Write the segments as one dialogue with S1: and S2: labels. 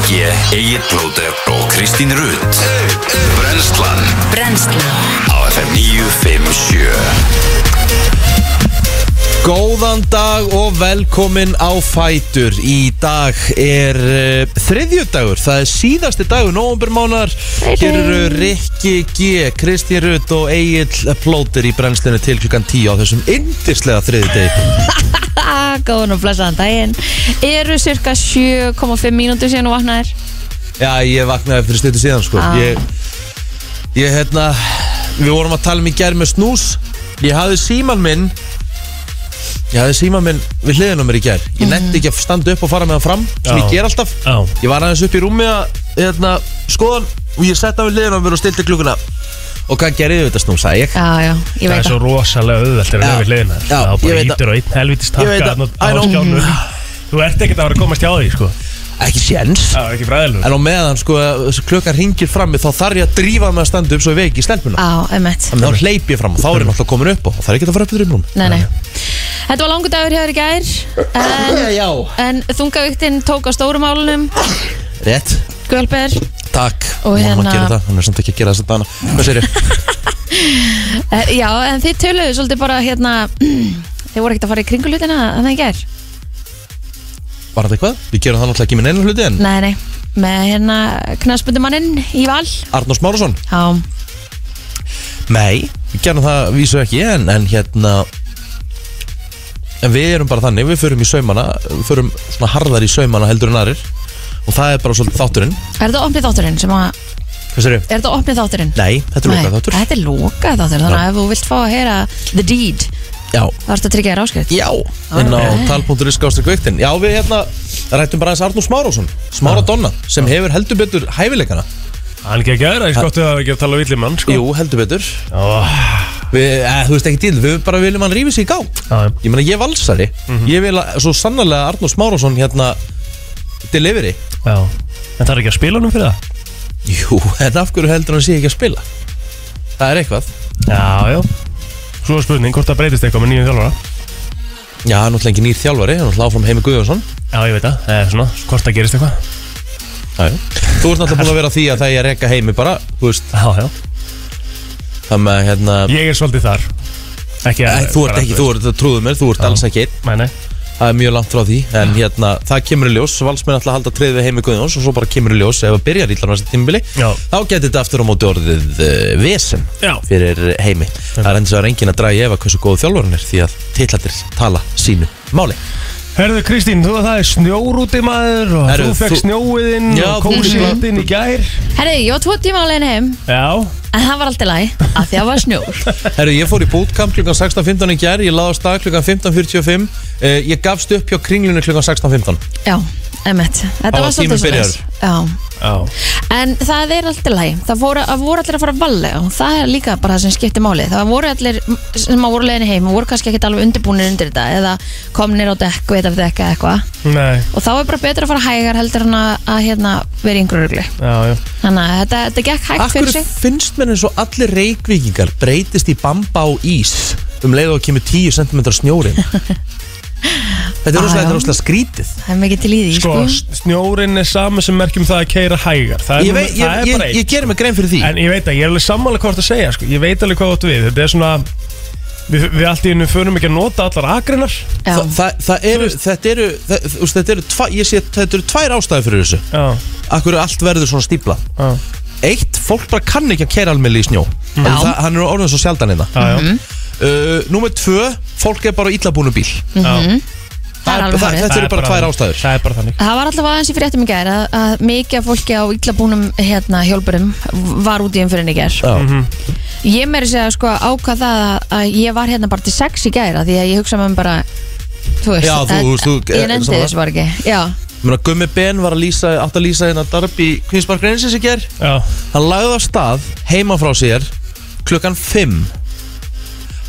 S1: Egil Blóter og Kristín Rutt Brenslan
S2: Brennslan
S1: á FM 957
S3: Góðan dag og velkomin á Fætur Í dag er uh, þriðjudagur, það er síðasti dagur Nóumbermánar, hér eru Rikki G, Kristín Rutt og Egil Plóter í brennslinu til klukkan 10 á þessum yndislega þriðjudegi
S2: Góðan og blessaðan daginn Eru cirka 7,5 mínútur síðan og vaknaðir
S3: Já, ég vaknaði fyrir stundu síðan sko
S2: Ah.
S3: Ég, ég hérna Við vorum að tala um í gær með snús Ég hafði síman minn Ég hafði síman minn við hliðin á mér í gær Ég nefndi ekki að standa upp og fara með hann fram sem ég
S4: Já.
S3: ger alltaf
S4: Já.
S3: Ég var aðeins upp í rúmi að hérna, skoðan og ég setta við hliðin á mér og stilti klukkuna Og hvað gerði þetta snús, sagði ég
S2: Já, já, ég
S4: Það er
S2: veit
S4: svo
S2: það
S4: rosalega auðvelt að
S3: Já,
S4: vera við hliðina þér.
S3: já,
S4: Það
S3: ég
S4: bara
S3: veit
S4: ítur á einn helvitist
S3: Ég veit
S4: takka
S3: að-
S4: þarna
S3: I
S4: á
S3: know.
S4: skjánum Þú ert ekkert að vera að komast hjá því sko
S3: Ekki séns
S4: Það er ekki fræðilegur
S3: En á meðan sko, klukkan hringir frammi þá þarf ég að drífa mig að standa upp svo ég veiki í stelpuna
S2: Já, emmett
S3: Þá hleyp ég fram og þá er ég náttúrulega komin upp og það er ekki að fara upp í rúmi
S2: Nei, nei Þetta var langur dagur hjá þér í gær En,
S3: Já,
S2: en þungavíktin tók á stórum álunum
S3: rétt
S2: Gölber
S3: Takk,
S2: Og
S3: og hérna
S2: hérna-
S3: að gera það, hann er samt ekki að gera þess að dana Hvað segir ég?
S2: Eh, Já, en þið töluðu svolítið bara hérna Þið voru ekkert að fara í kringulutina en það í gær
S3: Var þetta eitthvað? Við gerum það náttúrulega ekki með neina
S4: Mm.
S3: hluti en
S2: Nei, nei Með hérna knarsbundumanninn í val
S3: Arnórs Márusson?
S2: Já,
S3: Nei, við gerum það vísu ekki en, en hérna En við erum bara þannig, við förum í saumana Við förum svona harðar í saumana heldur en aðrir Og það er bara svolítið þátturinn
S2: er þetta opnið þátturinn sem að
S3: Hvað segir ég?
S2: Er þetta opnið þátturinn?
S3: Nei, þetta er
S2: Nei,
S3: lokað þáttur
S2: Þetta er lokað þáttur, þannig að ef þú vilt fá að heyra The Deed,
S3: Já,
S2: þá ertu að tryggja þér áskrift
S3: já, en á tal.is skástur kveiktin Já, við hérna rættum bara aðeins Arnórs Márusson Smára Donna, sem hefur heldur betur hæfileikana
S4: Hann ekki að gera, ég skottu það ekki að tala villi mann sko
S3: Jú, heldur betur
S4: Ó,
S3: Við, eh, þú veist ekki til, við bara viljum hann rífi sig í gang
S4: Já, Mhm. já.
S3: Ég meina, ég er valsari Ég vil að, svo sannarlega að Arnór Smárásson hérna Delivery
S4: Já En það er ekki að spila honum fyrir það
S3: Jú, en af hverju heldur hann sé ekki að spila? Það er eitthvað
S4: Já, já Svo er spurning hvort það breytist eitthvað með nýjum þjálfara
S3: Já, hann er náttúrulega ekki nýr þjálfari, hann er náttúrulega áfram heimi Guðjónsson
S4: Já, ég veit það, það er svona, hvort það gerist eitthvað
S3: Já, já Þú ert náttúrulega búin að vera því að það ég að reka heimi bara, þú veist,
S4: Já, já
S3: það með hérna
S4: Ég er svolítið þar Ekki
S3: Æ,
S4: að
S3: Þú ert ekki, þú ert, trúðu mér, þú ert alls ekki einn
S4: Nei, nei
S3: Það er mjög langt frá því, en hérna, það kemur í ljós Valsmenn ætla að halda treðið við heimi Guðjóns og svo bara kemur í ljós ef að byrja ríðlan á þessi tímbili
S4: Já.
S3: þá getur þetta aftur á móti orðið uh, vesen
S4: Já.
S3: fyrir heimi Það er endur svo engin að draga í efa hversu góð þjálfurinn er því að titlatir tala sínu máli
S4: Herðu Kristín, þú að það er snjórúti maður og
S3: Herðu,
S4: þú fekk
S3: þú-
S4: snjóið inn
S3: Já,
S4: og kósi
S3: þú-
S4: inn í gær
S2: Herri, ég var tvo tíma á leiðin heim,
S4: Já,
S2: en það var alltaf læg, af því að var snjór
S3: Herru, ég fór í bootcamp klukkan 16.15 í gær ég laði á stað klukkan 15.45 uh, ég gafst upp hjá kringlunni klukkan 16.15
S2: Já, emmett,
S3: Það
S2: þetta
S3: var
S2: var svolítið
S3: tíminn
S2: svoleiðis. Já,
S4: já
S2: en það er alltaf læg Það voru, að voru allir að fara vallega og það er líka bara það sem skiptir máli Það voru allir sem að voru leiðin heim og voru kannski ekkit alveg undirbúinir undir þetta eða komnir á dekk, veit af dekk eða eitthvað
S4: Nei,
S2: og þá er bara betra að fara hægar heldur en að, að hérna, vera í einhverju rugli
S4: já, já
S2: Þannig að þetta, þetta gekk hægt
S3: Akkur
S2: fyrir sig
S3: finnst mér eins og allir reikvíkingar breytist í bamba á ís um leið og kemur 10 cm snjórin Þetta er
S2: Já,
S3: rosalega-
S2: já.
S3: þetta er rosalega skrítið
S2: Það er mikið til í því,
S4: Sko,
S2: sko,
S4: snjórin er sama sem merkjum það að keira hægar Það er,
S3: Ég, veit,
S4: númer-
S3: ég,
S4: það er
S3: ég,
S4: bara
S3: ég,
S4: einn
S3: gerir mig grein fyrir því
S4: En ég veit að ég er alveg sammála hvað þú ert að segja sko. Ég veit alveg hvað þú átt við Þetta er svona Við, við allt í hennu förum ekki að nota allar akreinar
S2: Já,
S3: Þa, það, það eru, þetta eru, það, þú veist, þetta eru, tva, ég sé, þetta eru tvær ástæði fyrir þessu
S4: Já,
S3: Akkur er allt verður svona stípla
S4: já,
S3: Eitt, fólk bara kann ekki að kæra almenni í snjó
S2: Já.
S3: mm.
S2: Mhm.
S3: það, Hann er orðin svo sjaldan hérna
S4: já, já.
S3: uh, Númer tvö, fólk er bara íllabúinu bíl
S4: já.
S2: Mhm. það er alveg
S3: það,
S2: hárið
S3: Þetta
S4: Það
S3: eru
S4: er
S3: bara tvær ástæður
S4: Það er bara þannig
S2: Það var alltaf aðeins í fréttum í gær að, að mikið af fólki á illabúnum hérna, hjálpurum var út í umfyrinni í gær
S3: Já.
S5: Mhm.
S4: Mhm.
S2: Ég meiri segja sko ákvað það að, að ég var hérna bara til sex í gær að því að ég hugsa með mér bara Þú veist,
S3: Já, þú-
S2: að-
S3: þú- þú- eh,
S2: ég nefndi
S3: sammála.
S2: þessu bara ekki Já,
S3: Muna, Gummi Ben var að lýsa, átt að lýsa hérna Darby Queenspark Reynsins í ger
S4: Já,
S3: Hann lagði af stað heima frá sér klukkan 5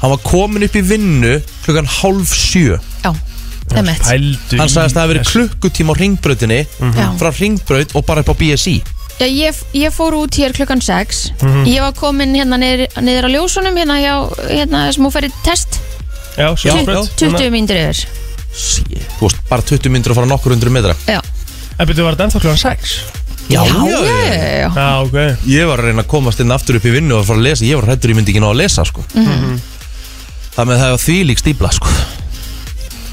S3: Hann var komin upp í vinnu klukkan hálf 7
S2: já, það er mitt
S4: pældu
S3: Hann
S4: í
S3: sagðist að það hafi verið
S4: þessu. Mhm.
S3: klukkutíma á ringbrautinni
S2: Já.
S3: frá ringbraut og bara upp á BSI
S2: Já, ég, ég fór út hér klukkan 6 Ég var komin hérna niður, niður á ljósunum hérna, hjá, hérna sem hún fer í test
S4: Já,
S3: Já,
S4: svo
S3: já.
S4: spredt.
S2: 20 mínútur yfir
S3: Sí, Þú veist, bara 20 myndur að fara nokkur hundru metra
S2: Já,
S4: En byrju, var þetta ennþá kljóðan 6?
S3: Já,
S2: já, já, já.
S4: Já, ok
S3: Ég var að reyna að komast inn aftur upp í vinnu og fara að lesa, ég var hættur ég myndi ekki ná að lesa sko. mm Það með það var þvílík stípla sko.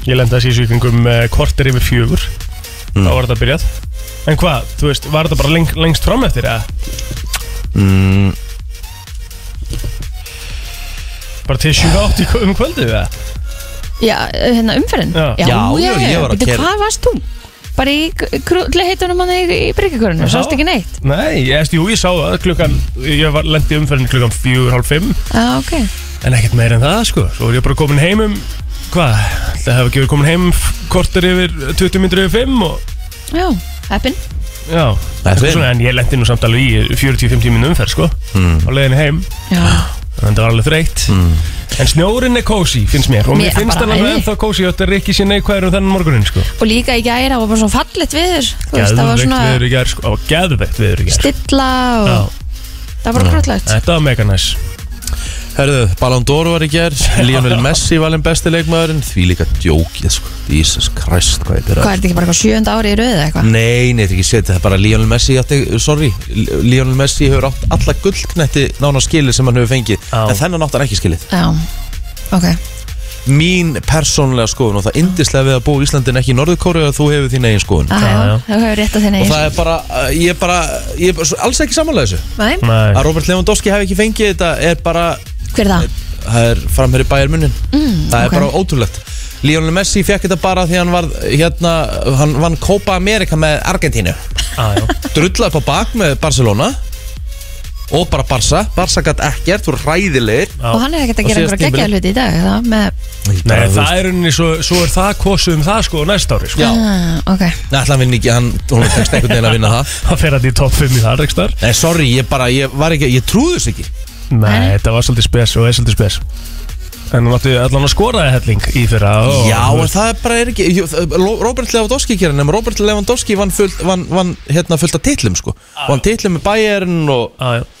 S4: Ég lenda þessi sýkingum uh, kortir yfir fjögur Þá var þetta byrjað En hvað, þú veist, var þetta bara leng, lengst fram eftir eða?
S3: mm,
S4: Bara til 7.8 um kvöldið eða?
S2: já hérna umferðin
S4: Já.
S3: Já, já, ég var að
S2: Bíddu,
S3: keyra.
S2: Hvað varst þú? Bara í heitunum hann í, í bryggjakörunum,
S4: Já.
S2: sást ekki neitt
S4: Nei, ég, veist, jú, ég sá það klukkan Ég var, lendi umferðin klukkan fjögur, hálf fimm
S2: Já, ok
S4: En ekkert meir en það, sko Svo er ég bara komin heim um Hvað, það hefur ekki verið komin heim kortir yfir 20 minnur yfir 5 og,
S2: Já, heppin
S4: Já,
S3: Það er
S4: eitthvað
S3: fyrr.
S4: svona, en ég lendi nú samt alveg í 40-50 minnum umferð, sko Á leiðin heim
S2: Já,
S4: Þannig að það var alveg þreytt
S3: Mm.
S4: En snjórin er kósi, finnst mér Og
S2: Mér
S4: mér
S2: er
S4: finnst
S2: bara
S4: hann alveg
S2: æði.
S4: ennþá kósi Þetta er ekki sér neikvæður um þennan morgunin sko.
S2: og líka í gæri, það var bara svo fallegt viður Þú veist, það var
S4: Geðveikt viður
S2: svona
S4: í gær sko. Það var Geðveikt viður í gær sko.
S2: stilla og
S4: Já,
S2: það var bara kröllegt
S4: Þetta var mega næs
S3: Herðu, Ballon d'Or var í gerð Lionel Messi valinn besti leikmaðurinn Því líka djókið sko. Jesus Christ, hvað er
S2: Hvað
S3: þetta?
S2: er þetta ekki bara eitthvað sjönda ári í röðu eitthvað?
S3: Nei, nei, þetta er ekki setið, það er bara Lionel Messi átti, sorry, Lionel Messi hefur átt alla gullknetti nána skilið sem hann hefur fengið,
S4: Já.
S3: en þennan átt hann ekki skilið
S2: Já, ok
S3: mín persónlega skoðun og það indislega við að búa í Íslandi en ekki í Norðurkóru að þú hefur þín eigin skoðun
S2: Ah, Já,
S4: Já, já.
S2: já, þú hefur rétt á þinn
S3: og
S2: eigin
S3: það er bara, uh, ég er bara ég er bara svo- alls ekki samanlega þessu
S2: Nei,
S4: Nei,
S3: að Robert Lewandowski hef ekki fengið þetta er bara,
S2: hver er það?
S3: það er framherri bæjar munnin mm, það er
S2: ok.
S3: bara ótrúlegt Lionel Messi fekk þetta bara því hann var hérna, hann vann Copa America með Argentínu
S4: að,
S3: drulla upp á bak með Barcelona og bara Barca, Barca gætt ekkert voru ræðilegir
S4: já.
S2: Og hann er ekkert
S3: Og
S2: að gera
S3: síðast
S2: einhverja geggja
S3: tímabilið.
S2: hluti í dag það með,
S4: Nei, Eh, það er unni svo, svo er það kosið um það sko næst ári sko.
S3: Já,
S2: ah, ok
S3: nætla hann vinni ekki, hann, hún tekst einhvern veginn að vinna það
S4: Það fer að því topp 5 í þar ekki þar
S3: Nei, sorry, ég bara, ég var ekki, ég trúðus ekki
S4: Nei, þetta var svolítið spes og er svolítið spes En hún átti allan að skoraði helling í fyrra og,
S3: Já, en það er bara er ekki jú, það- Lo- Robert Lewandowski gerir nema Robert Lewandowski vann fullt, vann, vann hérna fullt af titlum sko Vann titlum með Bayern og
S4: Ah, Já, já.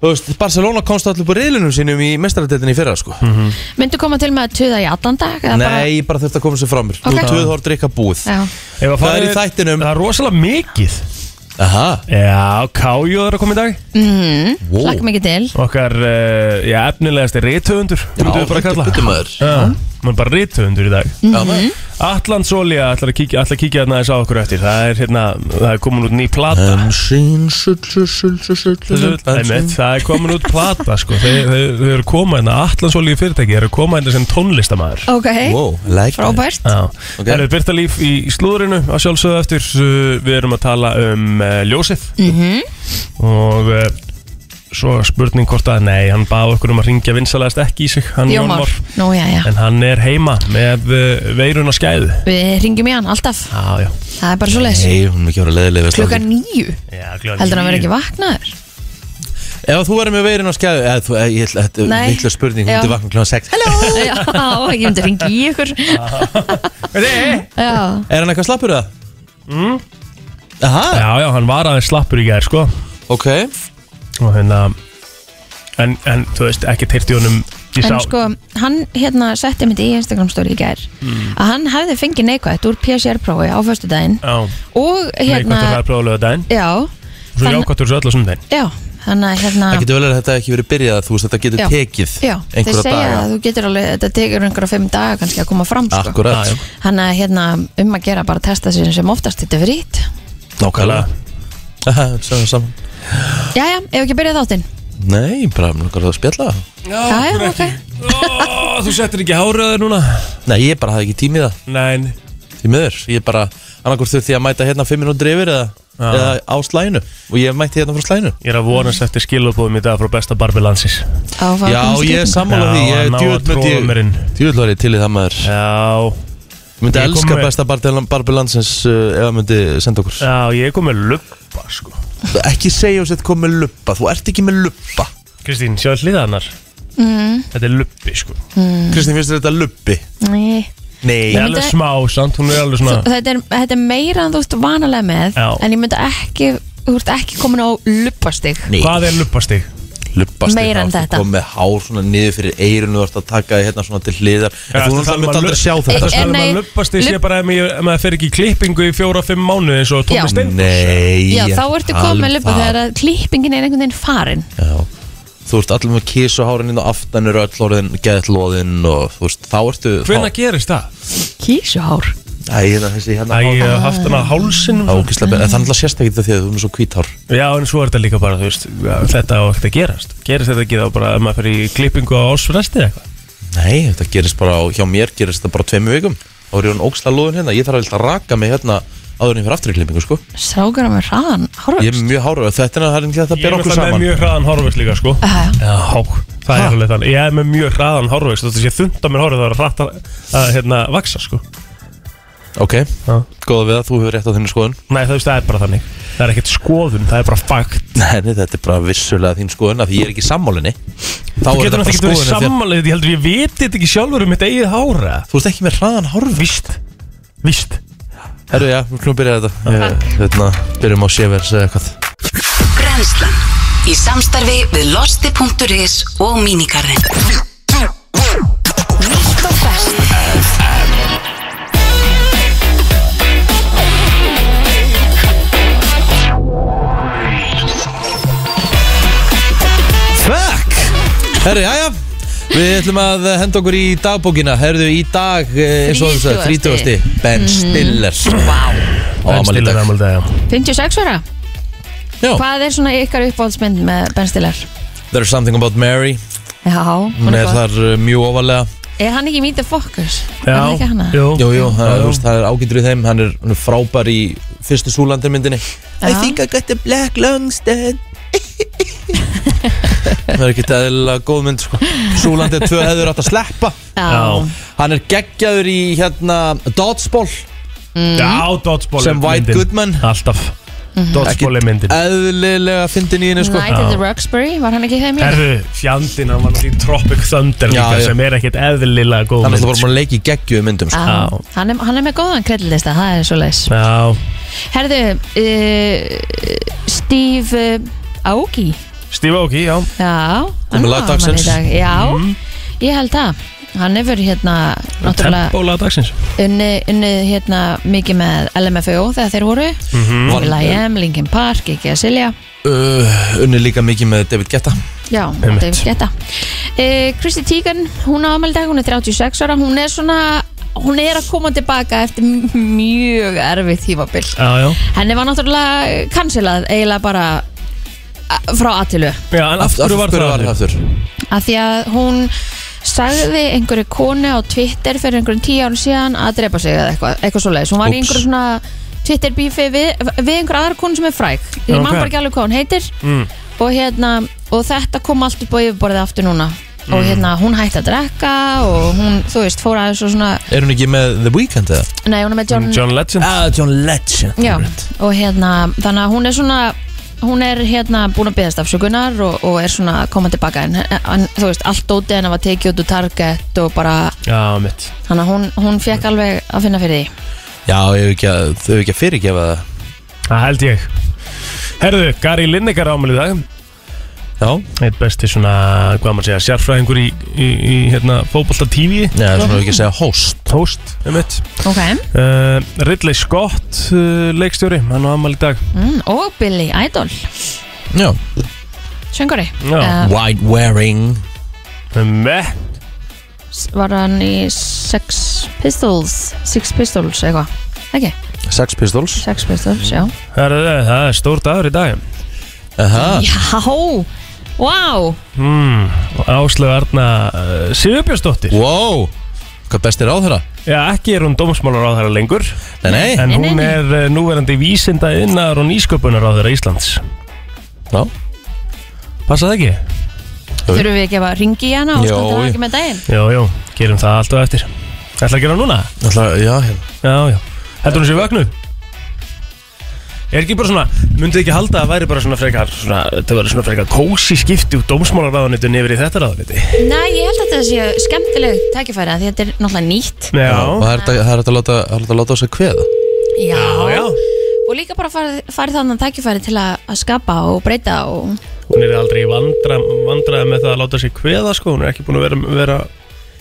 S3: þú veist, Barcelona komst allir på riðlunum sínum í mestaradetinni í fyrra sko
S4: Mhm.
S2: Myndu koma til með að tuða í allan dag? eða bara-
S3: Nei, ég bara þurfti að koma sér fram mér
S2: Ok.
S3: Nú töð horf drikka búið
S2: Já,
S4: Ef að
S3: Það er
S4: farið-
S3: í þættinum.
S4: Það er rosalega mikið
S3: Aha,
S4: Já, Kájó er að koma í dag
S3: wow
S2: lakka mikið til
S4: Okkar, uh, já, efnilegasti rithöfundur myndum við bara að kalla
S3: maður Mhm.
S4: Já, Hún er bara rithöfundur í dag
S3: Já, maður.
S4: Atlant Solia ætlar að kíkja, ætlar að kíkja hérna þess á okkur eftir Það er hérna, það er komin út ný plata
S3: En sín sull, sull, sull, sull, sull, sull, en
S4: Einmitt,
S3: sín-
S4: það er komin út plata sko Þau þau- þau eru að koma hérna, Atlant Solia fyrirtæki eru að koma hérna sem tónlistamæður
S2: Ok,
S3: Wow, like that.
S2: frábært
S4: Já,
S3: Ok.
S4: það er Birta Líf í slúðurinu á sjálfsögðu eftir uh, Við erum að tala um uh, ljósið
S2: Mm-hmm.
S4: -hmm. Og uh, svo spurning hvort að Nei, hann baði okkur um að ringja vinsalegast ekki í sig Hann Jón
S2: Jómar,
S4: Már
S2: nú já, já
S4: En hann er heima með uh, veirun á skæðu
S2: Við ringjum í hann alltaf,
S4: Já, já
S2: það er bara svo leis
S3: Nei, hún er ekki að vera leðilega við
S2: Klukkan níu,
S4: Já, klukkan
S2: heldur hann
S4: níu.
S2: verið ekki vaknaður
S3: Ef þú verður með veirin á skæðu eða þú, ég ætla, þetta er
S2: Nei.
S3: vittlega spurning hún
S2: Já.
S3: myndi vakna kl. 6
S2: Hello Já, ég myndi ringi í ykkur
S4: Nei.
S2: Já,
S3: Er hann eitthvað slappur það? Mm. Aha,
S4: Já, já, hann var aðeins slappur í gær sko
S3: ok
S4: Og hérna En, en þú veist, ekki teirt í honum Ég sá
S2: en sko, hann hérna setti mitt í Instagram story í gær að hann hefði fengið neikvætt úr PCR-prófi á föstudaginn
S4: Já,
S2: og
S4: neikvæmt að
S2: hérna,
S4: hraðprófa lögadaginn
S2: já
S4: Svo
S2: þann-
S4: jákvæmt úr svo öll á sundaginn
S2: Já, þannig að hérna
S3: Það getur vel verið að þetta hafi ekki verið byrjað þú veist þetta getur
S2: Já.
S3: tekið
S2: Já, þeir
S3: einhverja
S2: segja
S3: daga
S2: að þú getur alveg, þetta tekur einhverja fimm daga kannski að koma fram sko.
S4: Já,
S3: Akkurat,
S4: já.
S2: Þannig að hérna um að gera bara testa sér sem oftast þetta er frýtt
S3: nákvæmlega Aha, Sæðan saman
S2: Jæja, ef ekki að byrja þáttinn
S3: Nei, bara mér langar að spjalla
S4: Já,
S2: Jæja, ok
S4: Ó, þú settir ekki háraður núna
S3: Nei, ég bara hafði ekki tímið það
S4: Nein
S3: Því miður, ég bara annarkur þurfti ég að mæta hérna 5 minútur yfir eða,
S4: Já.
S3: eða á slæðinu og ég mætti hérna frá slæðinu
S4: Ég er að vonast eftir skilabóðum í dag frá besta barbi landsins
S2: Á, fá að
S3: Já,
S2: komast í
S3: ég er
S2: gegnum.
S3: sammála
S4: Já,
S3: því
S4: að ná að troða mér inn.
S3: Djúðl var ég til í það maður
S4: Já
S3: Ég myndi
S4: Ég kom
S3: elska
S4: með-
S3: besta barbi landsins uh, ef að myndi senda okkur
S4: Já, ég kom með luppa sko
S3: Ekki segja þess að kom með luppa, þú ert ekki með luppa
S4: Kristín, sjáðu hliðanar mm. Þetta er luppi sko
S3: Kristín, finnst þér þetta luppi?
S2: Nei.
S3: Nei,
S4: Ég er
S2: myndi-
S4: alveg smá, samt, hún er alveg
S2: Þú-
S4: svona
S2: Þetta er, þetta er meira en þú ert vanalega með
S4: Já.
S2: En ég myndi ekki, þú ert ekki komin á luppastig
S3: Nei.
S4: Hvað er luppastig?
S3: lubbast hérna
S2: Meira en þetta.
S3: kom með hár svona niður fyrir eirun og þú ert að taka þið hérna svona til hliðar en þú náttúrulega myndi aldrei sjá
S2: Eh,
S3: þetta
S2: eh,
S3: sko.
S4: Það er
S2: nei,
S4: maður lubbast í sé
S2: lubb-
S4: bara ef maður ef maður fer ekki í klippingu í fjóra-fimm mánu eins og
S2: Já.
S4: Tómi Steinn
S3: nei
S2: Já,
S3: ég
S2: þá
S3: er
S2: ertu
S3: að tala um
S2: komið lupa
S3: það.
S2: þegar að klippingin er einhvern veginn farin
S3: Já. þú ert allir með kísu hárin inn og aftan eru öll orðin geðt loðin og þú veist þá ertu
S4: Hvenna gerist það?
S2: Kísuhár
S3: þá- Æ, hérna þessi hérna
S4: Æ,
S3: hár-
S4: ég hef haft hana á hálsinum
S3: Það er ógeðslega betur, en þannig að sérst ekki þetta því að þú erum svo hvít hár
S4: Já, en svo er þetta líka bara, þú veist, já, þetta á ekkert að gerast Gerist þetta ekki þá bara ef maður fer í klippingu á ásfresti eða eitthvað?
S3: Nei, þetta gerist bara, á- hjá mér gerist þetta bara tveimu vikum Þá er ég hann ógeðslega loðin hérna, ég þarf að vilja raka mig hérna áður en ég fyrir aftur í klippingu sko
S2: Strákur á með hraðan
S3: Ég er
S2: hárvöxt
S3: mjög háröð, þetta er það er ekki þetta
S4: Ég er
S3: ber okkur
S4: náttúrulega með
S3: saman
S4: mjög hraðan hárveist líka, sko
S2: Jæja.
S4: Já, það er alveg þannig Ég er með mjög hraðan hárveist, þú veist, ég þund á mér hárið það er hratt að, að, hérna, vaksa, sko
S3: Ok,
S4: Já.
S3: góða við það, þú hefur rétt á þinni skoðun
S4: Nei, þú veist, það er bara þannig Það er ekkert skoðun, það er bara fakt
S3: Nei, nei, þetta er bara vissulega þín skoðun af Því ég er ekki í sammálinni Þá
S4: Þú
S3: er
S4: getur
S3: þetta
S4: náttúrulega
S3: bara
S4: ekki verið
S3: skoðun af því að-
S4: sammálið Ég heldur, ég veit þetta ekki sjálfur um mitt eigið hára
S3: Þú veist ekki með hraðan hárfi
S4: Víst, víst
S3: Herru, já, við klúum byrja þetta Ég- Hérna, byrjum á sévers eða eitthvað
S6: Brennslan Í samstarfi við losti.is og mínikarinn Nýtt og fest
S3: Fuck! Herru, já, já Við ætlum að henda okkur í dagbókina Herru, í dag, eh, eins og þess að
S2: 30..
S3: 30. Ben Stiller Vá Á
S4: Ben
S3: amal í
S4: Stiller
S3: dag
S4: afmæli í dag, já.
S2: 56 ára
S3: Já,
S2: Hvað er svona ykkar uppáhaldsmynd með Ben Stiller?
S3: There's Something About Mary
S2: Já, hún
S3: Hún
S2: er
S3: er
S2: góð
S3: þar eh, mjög ofalega
S2: Er hann ekki í Meet the Focus?
S4: Já,
S2: Er hann ekki hana?
S4: jú.
S3: Jú, jú, það,
S4: Já,
S3: er,
S4: jú.
S3: þú veist, það er ágættur í þeim Hann er, hann er frábær í fyrstu súlandir myndinni I
S2: Já.
S3: think I got the black lungs dead Það er ekki eðlilega góð mynd sko. Súlandið 2 hefur átt að sleppa
S4: Já.
S3: Hann er geggjaður í hérna Dodgeball
S2: Mm.
S3: Mm.
S4: Já, Dodgeball
S3: Sem White Goodman.
S4: Alltaf, Dodgeball er myndin
S3: Eðlilega fyndin í henni sko.
S2: Night at
S4: Já.
S2: the Roxbury, var hann ekki í þeim í?
S4: Herðu, fjandinn, hann var náttúrulega í Tropic Thunder
S3: Já,
S4: líka,
S3: já.
S4: sem er ekkert eðlilega góð
S3: Þannig að
S4: mynd,
S3: það voru bara að leiki geggjuðu myndum sko.
S2: Já,
S4: Já.
S2: hann er, hann er með góðan kreddlista, það er svo leis
S4: sko.
S2: Herðu, uh, Steve uh, Aoki
S4: Já, Steve Aoki, já
S2: Já, hann
S3: með
S2: var
S3: lag
S2: afmæli í
S3: dagsins.
S2: dag. Já, ég held það Hann hefur hérna náttúrulega
S4: Tempólaða dagsins
S2: unni, unni hérna mikið með LMFAO þegar þeir voru
S3: Vann,
S2: Will I Am, Linkin Park, ekki að silja
S3: uh, Unni líka mikið með David Guetta
S2: Já,
S4: Einmitt.
S2: þetta er geta e, Kristi Tígan, hún á afmæli í dag, hún er 36 ára Hún er svona, hún er að koma tilbaka eftir m- mjög erfið tímabil
S4: Já, já
S2: Henni var náttúrulega kansilað eiginlega bara a- frá Atilu
S4: Já, en af hverju var það?
S3: það aftur?
S2: af því að hún sagði einhverju konu á Twitter fyrir einhverjum tíu árum síðan að drepa sig eða eitthvað, eitthvað svo leiðis hún var í
S3: Úps.
S2: einhverju svona Twitter bífi við, við einhverju aðra konu sem er fræk ég
S4: Já,
S2: man
S4: ok.
S2: bara ekki alveg hvað hún heitir
S3: Mm.
S4: Mm.
S2: og, hérna, og þetta kom allt upp á yfirborðið aftur núna og hérna hún hætti að drekka og hún, þú veist, fór aðeins og svona
S3: Er hún ekki með The Weeknd eða?
S2: nei, hún er með John,
S4: John Legend
S3: Ah, John Legend
S2: Já, og hérna, þannig að hún er svona hún er hérna búin að beðast afsökunar og, og er svona að koma tilbaka en, en þú veist, allt dótið hennar var tekið út úr target og bara,
S4: Já, mitt
S2: þannig að hún, hún fekk alveg að finna fyrir því
S3: Já, ég hef ekki að, þau hef ekki að fyrirgefa það
S4: Það held ég Herðu, Gary Lineker ámæli í dag
S3: Já,
S4: Eitt besti svona, hvað maður segja, sérfræðingur í, í, í hérna, fótbolta TV
S3: Já, svona ekki að segja host
S4: Host, um mitt
S2: Ok,
S4: uh, Ridley Scott, uh, leikstjóri, hann á ammali í dag
S2: mm, og Billy Idol
S3: Já
S2: söngari
S4: Já.
S2: Eh,
S3: White wearing
S4: Meh,
S2: var hann í Sex Pistols Six Pistols, eitthvað ekki,
S3: Sex Pistols
S2: Sex Pistols, já
S4: herðu, það er stór dagur í dag
S3: Aha
S2: Já, wow
S4: mm, Áslöf Arna uh, Sigurbjörnsdóttir
S3: Wow Hvað best er á þeirra?
S4: Já, ekki er hún dómsmálar á þeirra lengur
S3: Nei, nei
S4: En
S2: Nei,
S4: hún
S2: nei, nei.
S4: er uh, núverandi vísinda innar og nýsköpunar á þeirra Íslands
S3: Já
S4: Passa það ekki?
S2: Þurfum við ekki að ringi í hana og
S3: Jó,
S2: standa
S3: jú.
S2: ekki með daginn
S4: Jó, jó, gerum það allt og eftir Ætla að gera það núna?
S3: Ætla, já, hérna
S4: Já, já. Heldur hún sér vögnu? Er ekki bara svona, myndið ekki halda að væri bara svona frekar, svona, þetta væri svona frekar kósi skipti úr dómsmálaráðunitun yfir í þetta ráðuniti?
S2: Nei, ég held að þetta sé skemmtileg tækifæri af því að þetta er náttúrulega nýtt
S4: Já.
S3: Og það er hægt að- það er hægt að láta, það er hægt að láta á sig kveða
S2: Já,
S4: já.
S2: og líka bara farið, farið þannig tækifæri til að, að skapa og breyta og
S4: hún er aldrei í vandra, vandræði með það að láta sig kveða sko, hún er ekki búin að vera, vera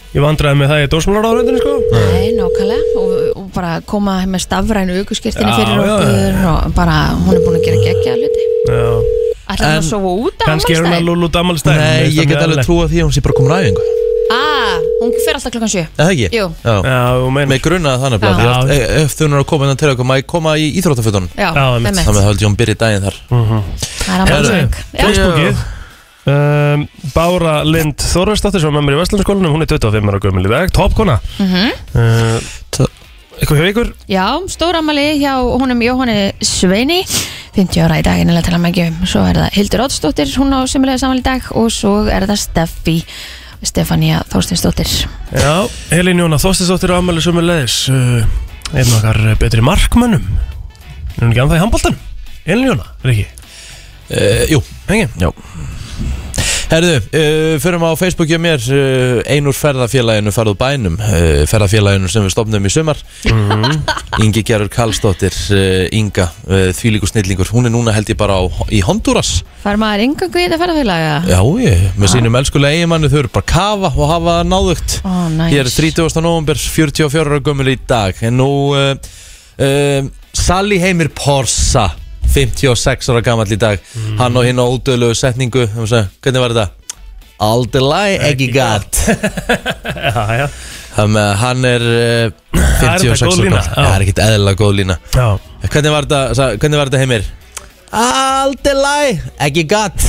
S4: í vandræði með það í dósmálaráðurindinu sko
S2: Nei, nákvæmlega og, og bara koma með stafrænu aukuskirtinu
S4: Já,
S2: fyrir
S4: já,
S2: okkur og bara hún er búin að gera geggja hluti
S4: Já,
S2: Ætla hún
S3: En
S2: að sofa út á
S4: kannski er hún að
S2: afmælisdaginn?
S4: lúlu damalstæð
S3: Nei, ég get alveg trúa því að hún sé bara komin á æfingu
S2: Ah, hún fer alltaf klokkan 7
S3: Er það ekki?
S2: Jú.
S3: Já.
S4: Já, þú
S3: Með
S4: meinar
S3: grunnaði þannig að
S4: Já.
S3: ef, ef þau eru að koma innan til okkur, maður koma í íþróttafutunum
S2: Já,
S4: Já, einmitt. Mhm.
S2: einmitt.
S3: Þannig að það höldi Jón byrja daginn þar
S2: Það er
S4: Herðu,
S2: afmælisdag. Já.
S4: Facebookið Um, Bára Lind Þorvarsdóttir sem er með mér í Vestlandskólanum, hún er 25 ára gömul í dag, topkona mm
S2: Mhm.
S3: Uh,
S4: -hmm.
S3: T-
S4: Eitthvað hjá ykkur?
S2: Já, stóramali hjá honum Jóhanni Sveini 50 ára í dag innlega til að maður gefum svo er það Hildur Oddsdóttir, hún á sumulega samanlega í dag og svo er það Steffi Stefania Þórstinsdóttir
S4: Já, Elin Jóna Þorstinsdóttir á afmæli sömulegis uh, einn okkar betri markmönnum er hún ekki annað í handbóltan? Elin Jóna, er ekki?
S3: uh, Jú,
S4: Engin?
S3: Já Herðu, uh, förum á Facebooki og mér uh, Einur ferðafélaginu farðu bænum uh, Ferðafélaginu sem við stopnum í sumar Ingi Gerur Karlsdóttir uh, Inga, uh, þvílíku snillingur Hún er núna held ég bara á, í Honduras
S2: Fær maður yngangu í þetta ferðarfélaga?
S3: Já, ég, með sínum elskulega eiginmannu Þau eru bara að kafa og hafa það náðugt
S2: Ó, næs.
S3: Ég er 30. november, 44 ára gömul í dag En nú uh, uh, Sally Heimir Porsa 56 ára gamall í dag
S4: Mm.
S3: Hann og hinn á ódöðlegu setningu um sem, Hvernig var þetta? Aldrei ekki gatt
S4: Já, já,
S3: Hann er uh,
S4: Það er
S3: 56
S4: þetta góð
S3: ára
S4: lína, já.
S3: gamall Það er ekkit eðlilega góð lína
S4: já
S3: Hvernig var þetta, sa- hvernig var þetta Heimir? Aldrei ekki gatt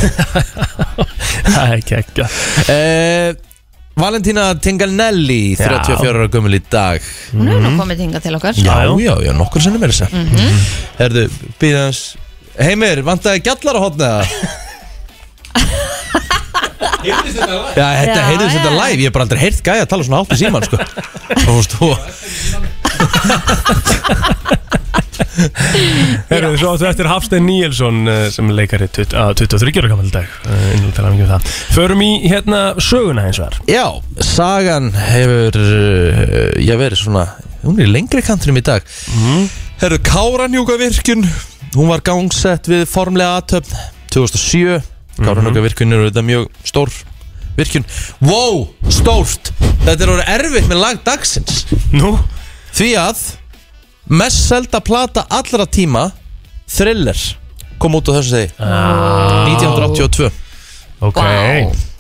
S4: Það er ekki ekki
S3: Eh, Valentína Tinganelli
S4: Já.
S3: 34 ára gömul í dag
S2: Hún hefur nú komið hingað til okkar Mhm.
S4: Já, já.
S3: Mhm. já, já nokkur sinnum er þess
S2: Mm.
S3: að Herðu, býða hans Heimir, vantaði gjallar að hotna það? Já, þetta
S2: Já,
S3: heyrðist þetta
S2: já.
S3: live, ég hef bara aldrei heyrt gæja að tala svona hátt í síman sko. Þú veist, þú
S4: Erum við svo áttu eftir Hafstein Níelsson eh, sem er leikari tut- að 23 ára gammal í dag eh, innan til að mikið það Förum í hérna söguna eins og þar
S3: Já, sagan hefur uh, ég verið svona hún er í lengri kantinum í dag
S4: Mhm.
S3: Herðu, Káranjúkavirkjun hún var gangsett við formlega aðtöfn 2007
S4: Mhm.
S3: Káranjúkavirkjun eru þetta mjög stór virkjun Wow, stórt! Þetta er orðið erfitt með lag dagsins
S4: Nú,
S3: því að mest selda plata allra tíma Thriller kom út á þessu segi 1982
S4: Ah. ok
S2: Vá.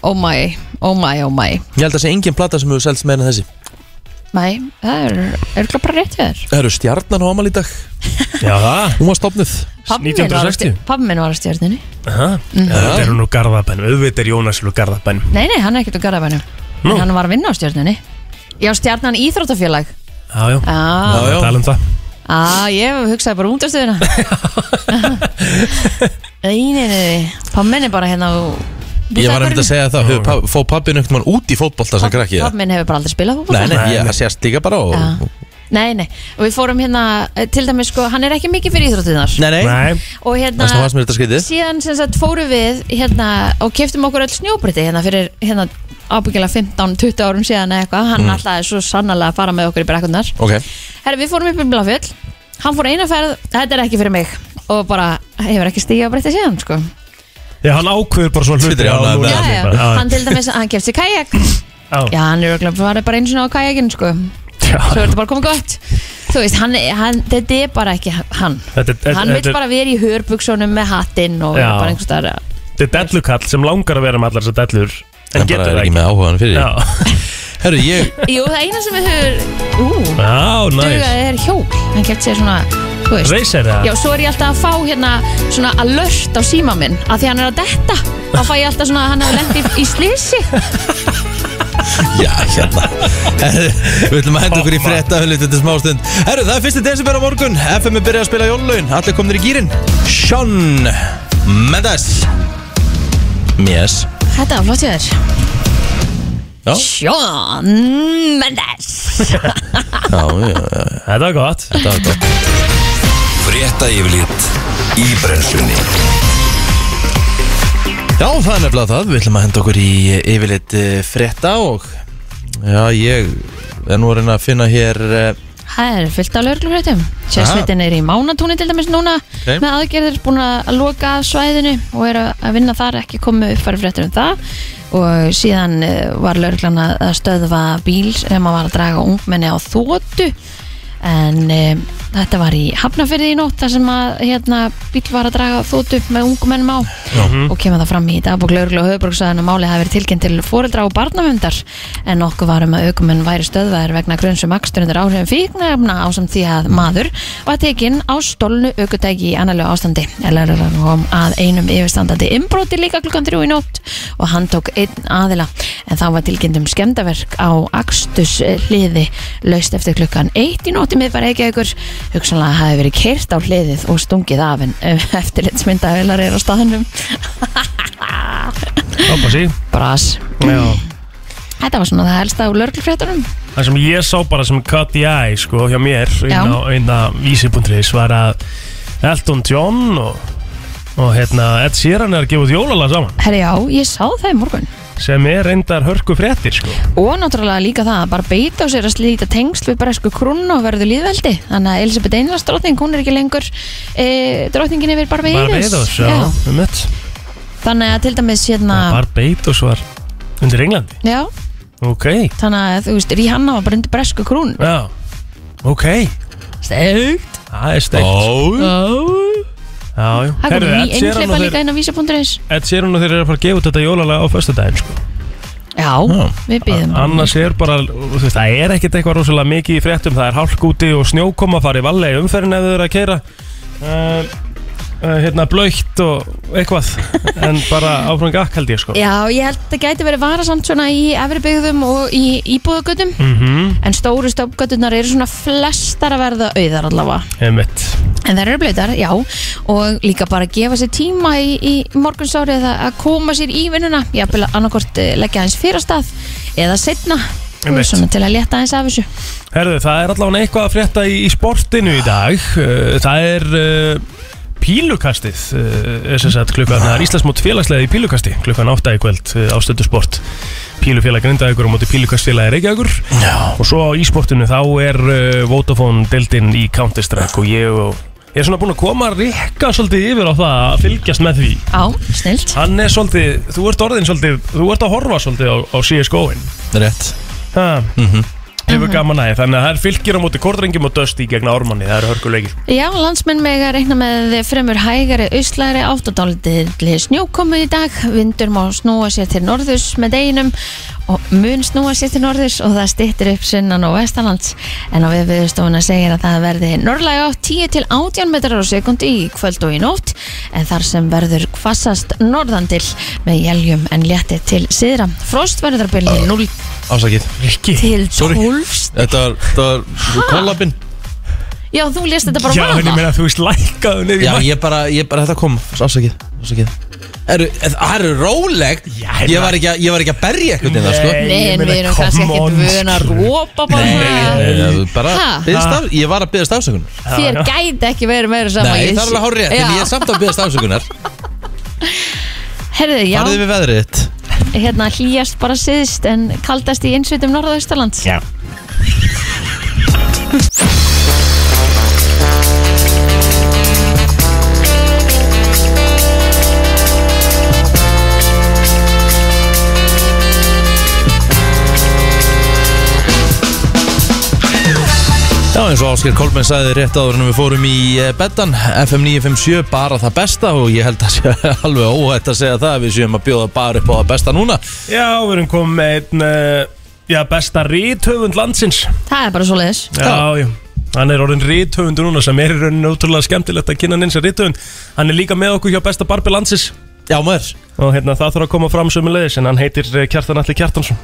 S2: Oh my, oh my, oh my
S3: Ég held að það sé engin plata sem hefur selst meira en þessi
S2: Nei, það er örgulega bara rétt hjá þér
S3: Það eru stjarnan á amal í dag
S4: Já, það
S3: Ah, Hún var stopnuð
S2: Pabbi minn var á
S4: 1960.
S2: stjör- Pabbi minn var á stjörnunni
S4: Þetta er hún úr Garðabænum, auðvitað er Jónas úr Garðabænum
S2: Nei, nei, hann er ekkert á Garabænum
S4: Nú.
S2: En hann var að vinna á stjörnunni Já, stjarnan íþróttafélag
S4: Já, já,
S2: Já,
S4: já, já.
S3: já.
S4: tala um það
S2: Á, ég hugsaði bara út af stöðuna Nei, nei, nei Pammin er bara hérna á
S3: Ég var einmitt að segja það, hefur pa- fó pappin einhvern mann út í fótbolta sem krakki það?
S2: Pammin hefur bara aldrei spilað fótbolta
S3: Nei, nei, ég, það sést líka bara og...
S2: Já. Nei, nei, og við fórum hérna eh, Til dæmis sko, hann er ekki mikið fyrir íþróttunar
S3: Nei, nei,
S4: Nei,
S2: Og hérna
S3: það var sem er þetta skytið
S2: Síðan sem sagt fórum við hérna Og keftum okkur öll snjóbriti hérna fyrir hérna Ábyggilega 15-20 árum síðan eða eitthvað
S3: Mm.
S2: Hann alltaf er svo sannarlega að fara með okkur í brekkunnar
S3: Ok,
S2: Herri, við fórum upp í Bláfjöll Hann fór eina ferð, þetta er ekki fyrir mig Og bara hefur ekki stíga á breytta síðan sko.
S4: já, hann ákveður bara svona
S3: Þetta
S4: hluti
S3: er ánægður með
S2: Já, já,
S4: já,
S2: hann til dæmis, hann kefst sér kajak
S4: já,
S2: Já, hann er örugglega bara, bara einu sinna á kajakin sko.
S4: já.
S2: Svo er þetta bara komið gott Þú veist, hann, hann, þetta er bara ekki hann
S4: Þetta er-
S2: Hann
S4: þetta
S2: vil
S4: er-
S2: bara vera í hörbuksunum með hattinn Og
S4: Já.
S2: bara einhvers staðar að-
S4: Þetta er dellukall sem langar að vera með allar þessar dellur En
S3: en bara
S4: getur
S3: er
S4: það
S3: ekki
S4: ekki
S3: með áhugaðan fyrir því.
S4: Já,
S3: Herru, ég,
S2: Jú, það eina sem við höfum Ú,
S4: já, næs
S2: dugaði er hjól Hann kefti sér svona, þú veist
S4: Reysir það
S2: Já, svo er ég alltaf að fá hérna svona alert á síma minn að því hann er að detta þá fæ ég alltaf svona að hann hefur lent í, í slisi
S3: já, hérna Herru, við ætlum að henda okkur í frétta Höllu, þetta er smástund Herru, það er fyrsti desember á morgun FM er byrjað að spila jólun, allir komnir í gýrin Sean Mendes Yes
S2: Þetta var flott hjá þér
S3: Já,
S2: Sjón Mendes
S3: já, já, já,
S4: Þetta var gott
S3: það er gott
S1: Frétta yfirlit í brennslunni
S3: Já, það er nefnilega það, við ætlum að henda okkur í eh, yfirleitt eh, frétta og Já, ég er nú að reyna að finna hér eh,
S2: Það er fullt af lögreglufréttum. Sérsveitin er í mánatúni til dæmis núna
S3: Ok.
S2: með aðgerðir búin að loka af svæðinu og er að vinna þar ekki komið uppfæri fréttur um það og síðan eh, var lögreglan að að stöðva bíl sem að var að draga ungmenni á þótu en e, þetta var í Hafnafyrði í nótt þar sem að hérna, bíl var að draga þótu með ungmennum á
S4: Mhm.
S3: Mhm.
S2: og kemur það fram í dagbók lögreglu og höfuborgsvæðan og málið hafi verið tilkynnt til fóreldra og barnavöndar en nokkuð var um að aukumenn væri stöðvæðir vegna um grunnsum aksturundur áhrifum fíknefna á samt því að maður var tekinn á stólnu aukutæki í annarlegu ástandi LRL kom að einum yfirstandandi inbroti líka klukkan þrjú í nótt og hann tók einn aðila en þá var tilkynnt um skemdaverk á akstus hliði laust eftir klukkan eitt í nótti miðbæra ekki ykkur hugsanlega hafi verið keirt á hliðið og stungið af en eftirlitsmyndavelar er á staðnum
S4: Ápa sí
S2: Brás
S4: Já
S2: Þetta var svona það helsta úr lörglufréttunum
S4: Það sem ég sá bara sem cut í æ sko, hjá mér
S2: Já.
S4: inn á, inn á vísi.is var að Elton John og, og hérna, Ed Sheeran er að gefa út jólalag saman
S2: Herri já, ég sá það í morgun
S4: sem er reyndar hörku fréttir sko.
S2: Og náttúrulega líka það að bara beita á sér að slíta tengsl við bresku krúnu og verður líðveldi Þannig að Elisabeth Einars drottning, hún er ekki lengur e, drottningin yfir Barbados
S4: Barbados já, um þetta
S2: Þannig að til dæmis hérna
S4: Barbados var undir Englandi
S2: Já,
S4: ok,
S2: þannig að þú veist, Rihanna var bara undir bresku krún
S4: já, ok
S2: Stegt
S4: það er steikt já, já.
S2: Það kom
S4: Herru,
S2: ný
S4: Ed Sheeran
S2: einhleipa
S4: og
S2: líka
S4: þeir-
S2: inn á vísa.is
S4: Ed Sheeran og þeir eru að fara að gefa út þetta jólalag á föstudaginn sko.
S2: Já, við um býðum
S4: annars er bara, þú veist, það er ekkert eitthvað rosalega mikið í fréttum, það er hálk úti og snjókoma farið vallega í umferðin ef þau eru að keira uh, uh, hérna blöytt og eitthvað en bara áfram gakk held ég sko
S2: Já, ég held að það gæti verið varasamt svona í efri byggðum og í íbúðugötum
S4: mhm,
S2: En stóru stofgöturnar eru svona flestar að verða auðar allavega.
S4: einmitt
S2: En þær eru blöytar, já. Og líka bara að gefa sér tíma í, í morgunsárið að, að koma sér í vinnuna. Ég að byrja annarkort leggja aðeins fyrir á stað eða setna.
S4: Einmitt.
S2: Svona til að leta aðeins af þessu.
S4: Herðu, það er allavega eitthvað að frétta í, í sportinu í dag Uh, það er uh, pílukastið uh, sem sagt klukkan, það er Íslandsmót félagslega í pílukasti klukkan 8 í kvöld uh, á stöldu sport pílufélag grindaðugur og móti pílukastfélagi reykjagur
S3: Já
S4: Og svo í sportinu þá er uh, Vodafone deildin í Counter-Strike og ég og Ég er svona búinn að koma að rikka svolítið yfir á það að fylgjast með því
S2: Á, snilt.
S4: Hann er svolítið, þú ert orðin svolítið, þú ert að horfa svolítið á, á CSGO-in
S3: Rétt Mhm.
S4: Ha, hefur gaman aðeins Þannig að það er fylgjir á móti kortrengjum og dösti gegn ármanni, það eru hörkuleikir
S2: Já, landsmenn með að reikna með fremur hægari auðslæri áttadálitli snjókomu í dag. Vindur má snúa sér til norðurs með deginum og mun snúa sér til norðurs og það stittir upp sunnan og vestanlands. En á viðviðstofuna segir að það verði norðlæg átt 10 til 18 metrar á sekundi í kvöld og í nótt en þar sem verður kvassast norðan til með jæljum en létti til síðra. Frost verður að byrja 0
S3: Ásakið
S4: Rikki,
S2: til
S3: sorry.
S2: 12. st-
S3: Þetta var, þetta var kollabinn
S2: Já, þú lést þetta bara
S4: já, en ég
S2: vaða.
S4: meina þú veist lækkaðu niður í
S3: Já,
S4: mæ
S3: ég bara, ég bara, þetta kom Ásakið, ásakið Eru, það eru rólegt
S4: Já, hérna.
S3: Ég var ekki að, ég var ekki að berja eitthvað til það, sko
S4: Nei,
S2: Nei,
S4: ég
S2: en
S4: meina,
S2: við erum kannski
S4: come
S2: ekkert
S4: on, sko.
S2: vöðin að
S4: skilur.
S2: rópa bara
S3: Nei,
S2: Nei,
S3: nei, nei, bara
S2: Ha?
S3: biðst af, ég var að byggðast afsökunar
S2: Þér gæti ekki verið meira saman
S3: Nei, það er alveg hár rétt, en ég er samt að byggðast afsökunar
S2: Herðu, já,
S3: Farðu við veðrið þitt
S2: hérna hlýjast bara síðst en kaldast í innsveitum norðaustalands
S4: Já.
S3: Já, eins og Ásker Kolben sagði rétt áður en við fórum í eh, betan FM 957, bara það besta og ég held að sé alveg óhætt að segja það að við séum að bjóða bara upp á það besta núna
S4: Já, við erum komið með einn, uh, já, besta ríthöfund landsins
S2: Það er bara svo leiðis
S4: Já, já Hann er orðin rithöfundur núna sem er í rauninu ótrúlega skemmtilegt að kynna hann eins og rithöfund Hann er líka með okkur hjá besta barbi landsins
S3: Já, maður
S4: og hérna það þarf að koma fram sömulegis en hann heitir eh, Kjartan Alli Kjartansson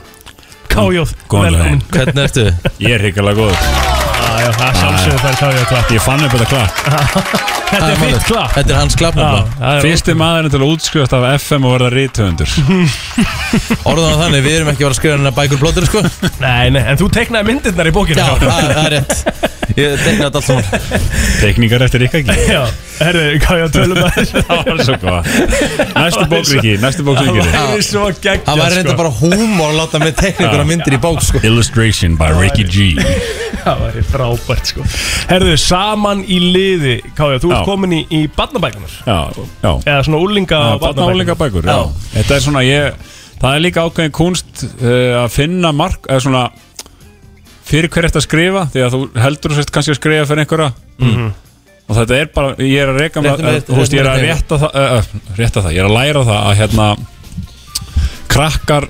S4: Kájóð,
S7: Góðan
S4: velkomin
S3: Hvernig ertu?
S7: Ég er hrigalega góð
S4: Já, já, það er sjálfsögur þær Kájóð klapp
S7: Ég fann upp þetta klart
S4: Þetta er
S3: málið.
S4: þitt klapp
S3: Þetta er hans klapp
S4: Já,
S3: nefnilega
S4: það er-
S7: Fyrsti maðurinn til að útskjöfast af FM og verða rítöfundur
S3: Orðan á þannig, við erum ekki að vera að skrifa hennar bækur blóttir sko Já,
S4: Nei, nei, en þú teknaði myndirnar í bókinu
S3: það það er rétt Ég tegna þetta allt svona
S7: Tekningar eftir Rikka ekki
S4: Já, herru, Kájóð tölum að
S7: Það var svo góð Næstu bók Rikki, næstu bók
S4: Það
S7: Rikki
S4: var svo geggjað
S3: Það væri reynda
S4: sko.
S3: bara húmor að láta mig tekna ykkur myndir í bók sko
S7: Illustration by Ricky G
S4: Það væri frábært sko Herðu, saman í liði Kája, þú ert
S7: Já.
S4: komin í, í barnabækunar
S7: Já, já
S4: Eða svona úlinga
S7: Barnálinga bækur, já. Þetta er svona, ég Það er líka ákveðin kunst uh, að finna mark, eða svona fyrir hver eftir að skrifa, því að þú heldur sérst kannski að skrifa fyrir einhverja
S4: Mhm.
S7: og þetta er bara, ég er að reka
S3: Réttu með-
S7: þú veist, ég er að
S3: réttu með
S7: rétta það uh, uh, rétta það, ég er að læra það að hérna krakkar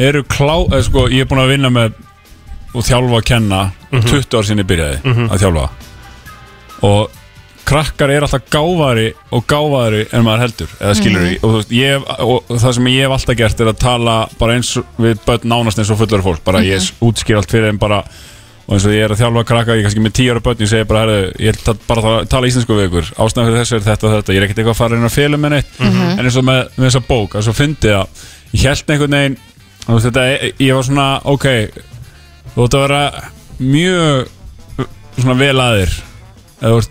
S7: eru klá, eða sko, ég er búin að vinna með og þjálfa að kenna
S4: Mhm.
S7: 20 ár sinni byrjaði að þjálfa og krakkar er alltaf gáfari og gáfari en maður heldur eða skilur mm og, þú veist, ég, hef- og það sem ég hef alltaf gert er að tala bara eins og- við börn nánast eins og fullar fólk bara ég útskýr allt fyrir þeim bara og eins og ég er að þjálfa krakka ég er kannski með 10 ára börn ég segi bara herðu ég er ta- bara að tala íslensku við ykkur ástæðan fyrir þessu er þetta og þetta ég er ekkert eitthvað að fara inn á félum með neitt en eins og með, með þessa bók að svo fyndi að ég held einhvern veginn þú veist, þetta, ég- ég var svona ok þú ætti að vera mjög svona vel aðir eða þú ert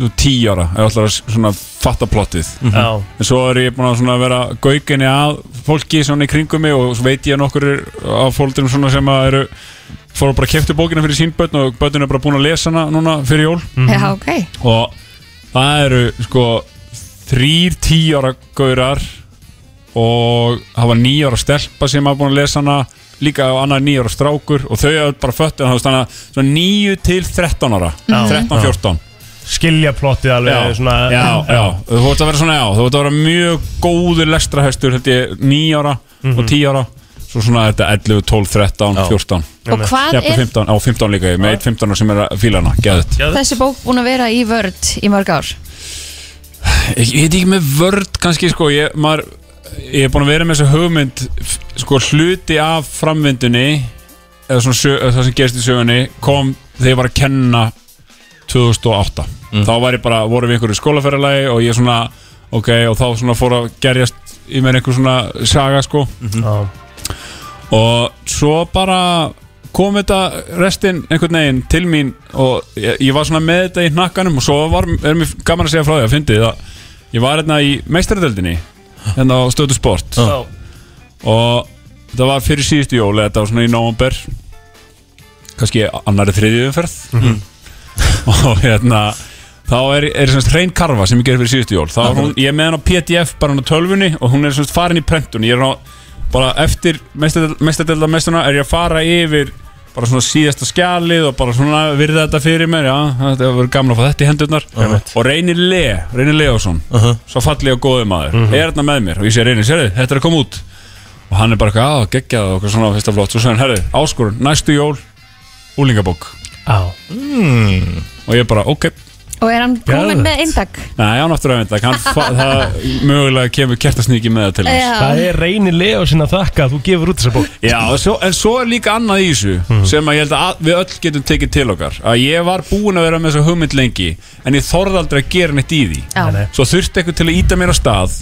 S7: þú ert 10 ára eða ætlar að svona fatta plottið
S4: Já,
S7: en svo er ég búin að svona vera gauginni að fólki svona í kringum mig og svo veit ég nokkur á fólkdurum svona sem að eru fóru bara að keftu bókina fyrir sín börn og börnin er bara búin að lesa hana núna fyrir jól
S2: Já, ok
S7: Mhm. og það eru sko þrýr tíjára gaurar og hafa nýjára stelpa sem hafa búin að lesa hana líka á annar nýjára strákur og þau hafa bara föttu þannig að svona níu til 13 ára, 13-14
S4: skilja plottið alveg
S7: já,
S4: svona,
S7: já, já, þú vart að vera svona já, þú vart að vera mjög góður lestrahestur held ég, 9 ára og 10 ára svo svona þetta 11, 12, 13, 14
S2: Og hvað
S7: jafnvel
S2: er
S7: 15, á 15 líka ég, með 1, 15 -ar sem er að fíla hana, geðut
S2: þessi bók búin að vera í vörd í mörg ár?
S7: ég, ég veit ekki með vörd kannski sko, ég, maður ég er búin að vera með þessu hugmynd f- sko hluti af framvindunni eða svona sög, eða það sem gerist í sögunni kom þegar ég var að kenna 2008 þá var ég bara, vorum við einhverju skólaferðalagi og ég svona, ok, og þá svona fór að gerjast í mér einhver svona saga sko
S4: já.
S7: og svo bara kom þetta restin einhvern veginn til mín og ég, ég var svona með þetta í hnakkanum og svo var, er mér gaman að segja frá því að fyndi það, ég var hérna í meistaradeldinni hérna á stöðu sport
S4: Já.
S7: og þetta var fyrir síðustu jól eða þetta var svona í nóvumber kannski annari þriðju umferð og hérna þá er, er semst hrein karfa sem ég gerði fyrir síðustu jól þá er hún, ég er með hann á PDF bara hann á tölvunni og hún er semst farin í prentun ég er hann á, bara eftir mestadelda mestuna er ég að fara yfir bara svona síðasta skjalið og bara svona virða þetta fyrir mér, já, þetta hefur verið gamla að fá þetta í hendurnar og reynir Le, reynir Leosson, svo fallega og góði maður er þarna með mér og ég sé reynir, sérðu, þetta er að koma út og hann er bara eitthvað að gegja og eitthvað svona fyrsta flott, svo segir hann, herri, áskorun, næstu jól úlingabók
S4: Já.
S7: Hmm. og ég bara, ok,
S2: Og er hann komin
S4: Geðvegt.
S2: með eintak?
S7: Nei, hann áttur að venda Hann fa- það mögulega kemur kertasnýki með það til hans
S4: Það
S2: Já,
S4: er reyni Leo sinna þakka að þú gefur út þessa bók Mhm.
S7: Já, og svo, en svo er líka annað í þessu sem að ég held að við öll getum tekið til okkar að ég var búin að vera með þessu hugmynd lengi en ég þorði aldrei að gera neitt í því
S2: Já. Nei, nei.
S7: Svo þurfti eitthvað til að íta mér á stað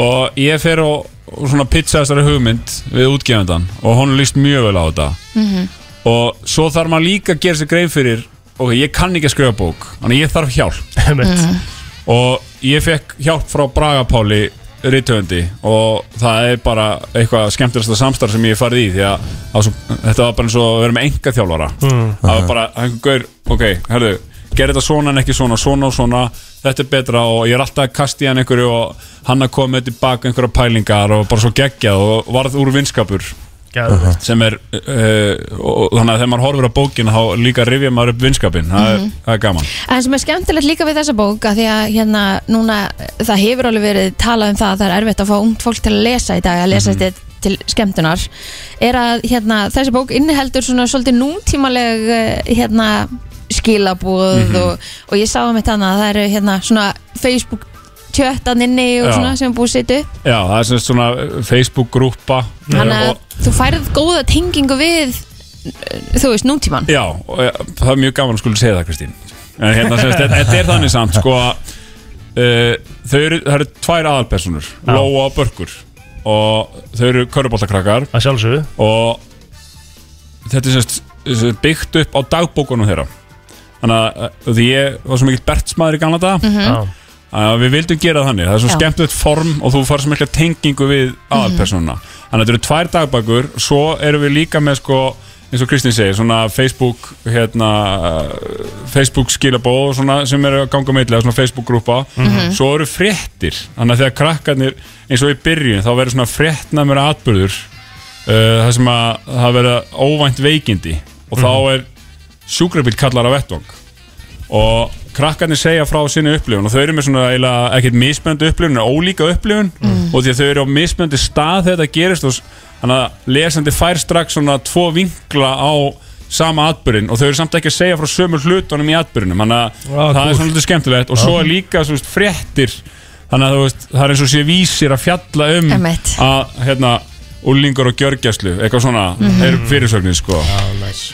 S7: og ég fer og, og svona pitcha þessari hugmynd við útgefandan og honum líst mjög vel á þetta
S8: Mhm.
S7: -hmm. og svo þarf maður líka að gera sér grein fyrir ok, ég kann ekki að skrifa bók þannig að ég þarf hjálp
S8: Mhm.
S4: mm.
S7: og ég fekk hjálp frá Braga Páli rithöfundi og það er bara eitthvað skemmtilegsta samstarf sem ég hef farið í því að það var svo- þetta var bara eins og að vera með enga þjálfara það var bara einhver gaur, ok, herðu gerði þetta svona en ekki svona, svona og svona þetta er betra og ég er alltaf að kasta í hann einhverju og hann að koma með tilbaka einhverja pælingar og bara svo geggjað og varð úr vinskapur sem er uh, og, og þannig að þegar maður horfir á bókin þá líka rifja maður upp vinskapin, það, er, það er gaman
S2: En sem er skemmtilegt líka við þessa bók að því að hérna núna það hefur alveg verið talað um það að það er erfitt að fá ungt fólk til að lesa í dag að lesa
S7: Mhm.
S2: mm til skemmtunar er að hérna þessi bók inniheldur svona svolítið nútímaleg eh, hérna skilabúð
S7: Mhm.
S2: og, og ég sá um eitt annað að það eru hérna svona Facebook tjöttan inni
S7: Já.
S2: og svona sem er búið að setja upp
S7: Já, það er sem sagt svona Facebook-grúpa
S2: Þannig að
S7: Og-
S2: þú færð góða tengingu við þú veist nútíman
S7: Já, og, ja, það er mjög gaman að skuli segja það, Kristín En hérna, sem sagt, þetta- þetta er þannig samt, sko að uh, þau eru, það eru tvær aðalpersonur Lóa og Börkur Og þau eru köruboltakrakkar
S4: Að sjálfsögðu
S7: Og þetta er sem sagt, sem sagt byggt upp á dagbókunum þeirra Þannig að eh, því ég var svo mikill bertsmaður í gamla daga
S4: Já.
S7: að við vildum gera það þannig það er svo
S2: Já.
S7: skemmtilegt form og þú farið svo mikla tengingu við aðalpersonuna þannig að þetta eru tvær dagbækur svo erum við líka með sko eins og Kristín segir, svona Facebook hérna, uh, Facebook skilabóð og svona sem eru að ganga meitlega, svona Facebook grúpa
S4: Mhm.
S7: svo eru fréttir, þannig að þegar krakkarnir eins og í byrjun, þá verður svona fréttnæmur atbyrður uh, það sem að það verður óvænt veikindi og
S4: Mhm.
S7: þá er sjúkrabíl kallar á vettvang og krakkarnir segja frá sinni upplifun og þau eru með svona eiginlega ekkert mismöndu upplifun en ólíka upplifun
S4: Mhm.
S7: og því að þau eru á mismöndu stað þegar þetta gerist og s- þannig að lesandi fær strax svona tvo vinkla á sama atbyrðin og þau eru samt ekki að segja frá sömu hlutunum í atbyrðinum þannig að
S4: Vá,
S7: það er
S4: cool.
S7: svona lítið skemmtilegt og svo er líka svo veist, fréttir þannig að þú veist, það er eins og sé vísir að fjalla um
S2: Einmitt.
S7: að hérna úlingur og gjörgjæslu, eitthvað svona er fyrirsögnin sko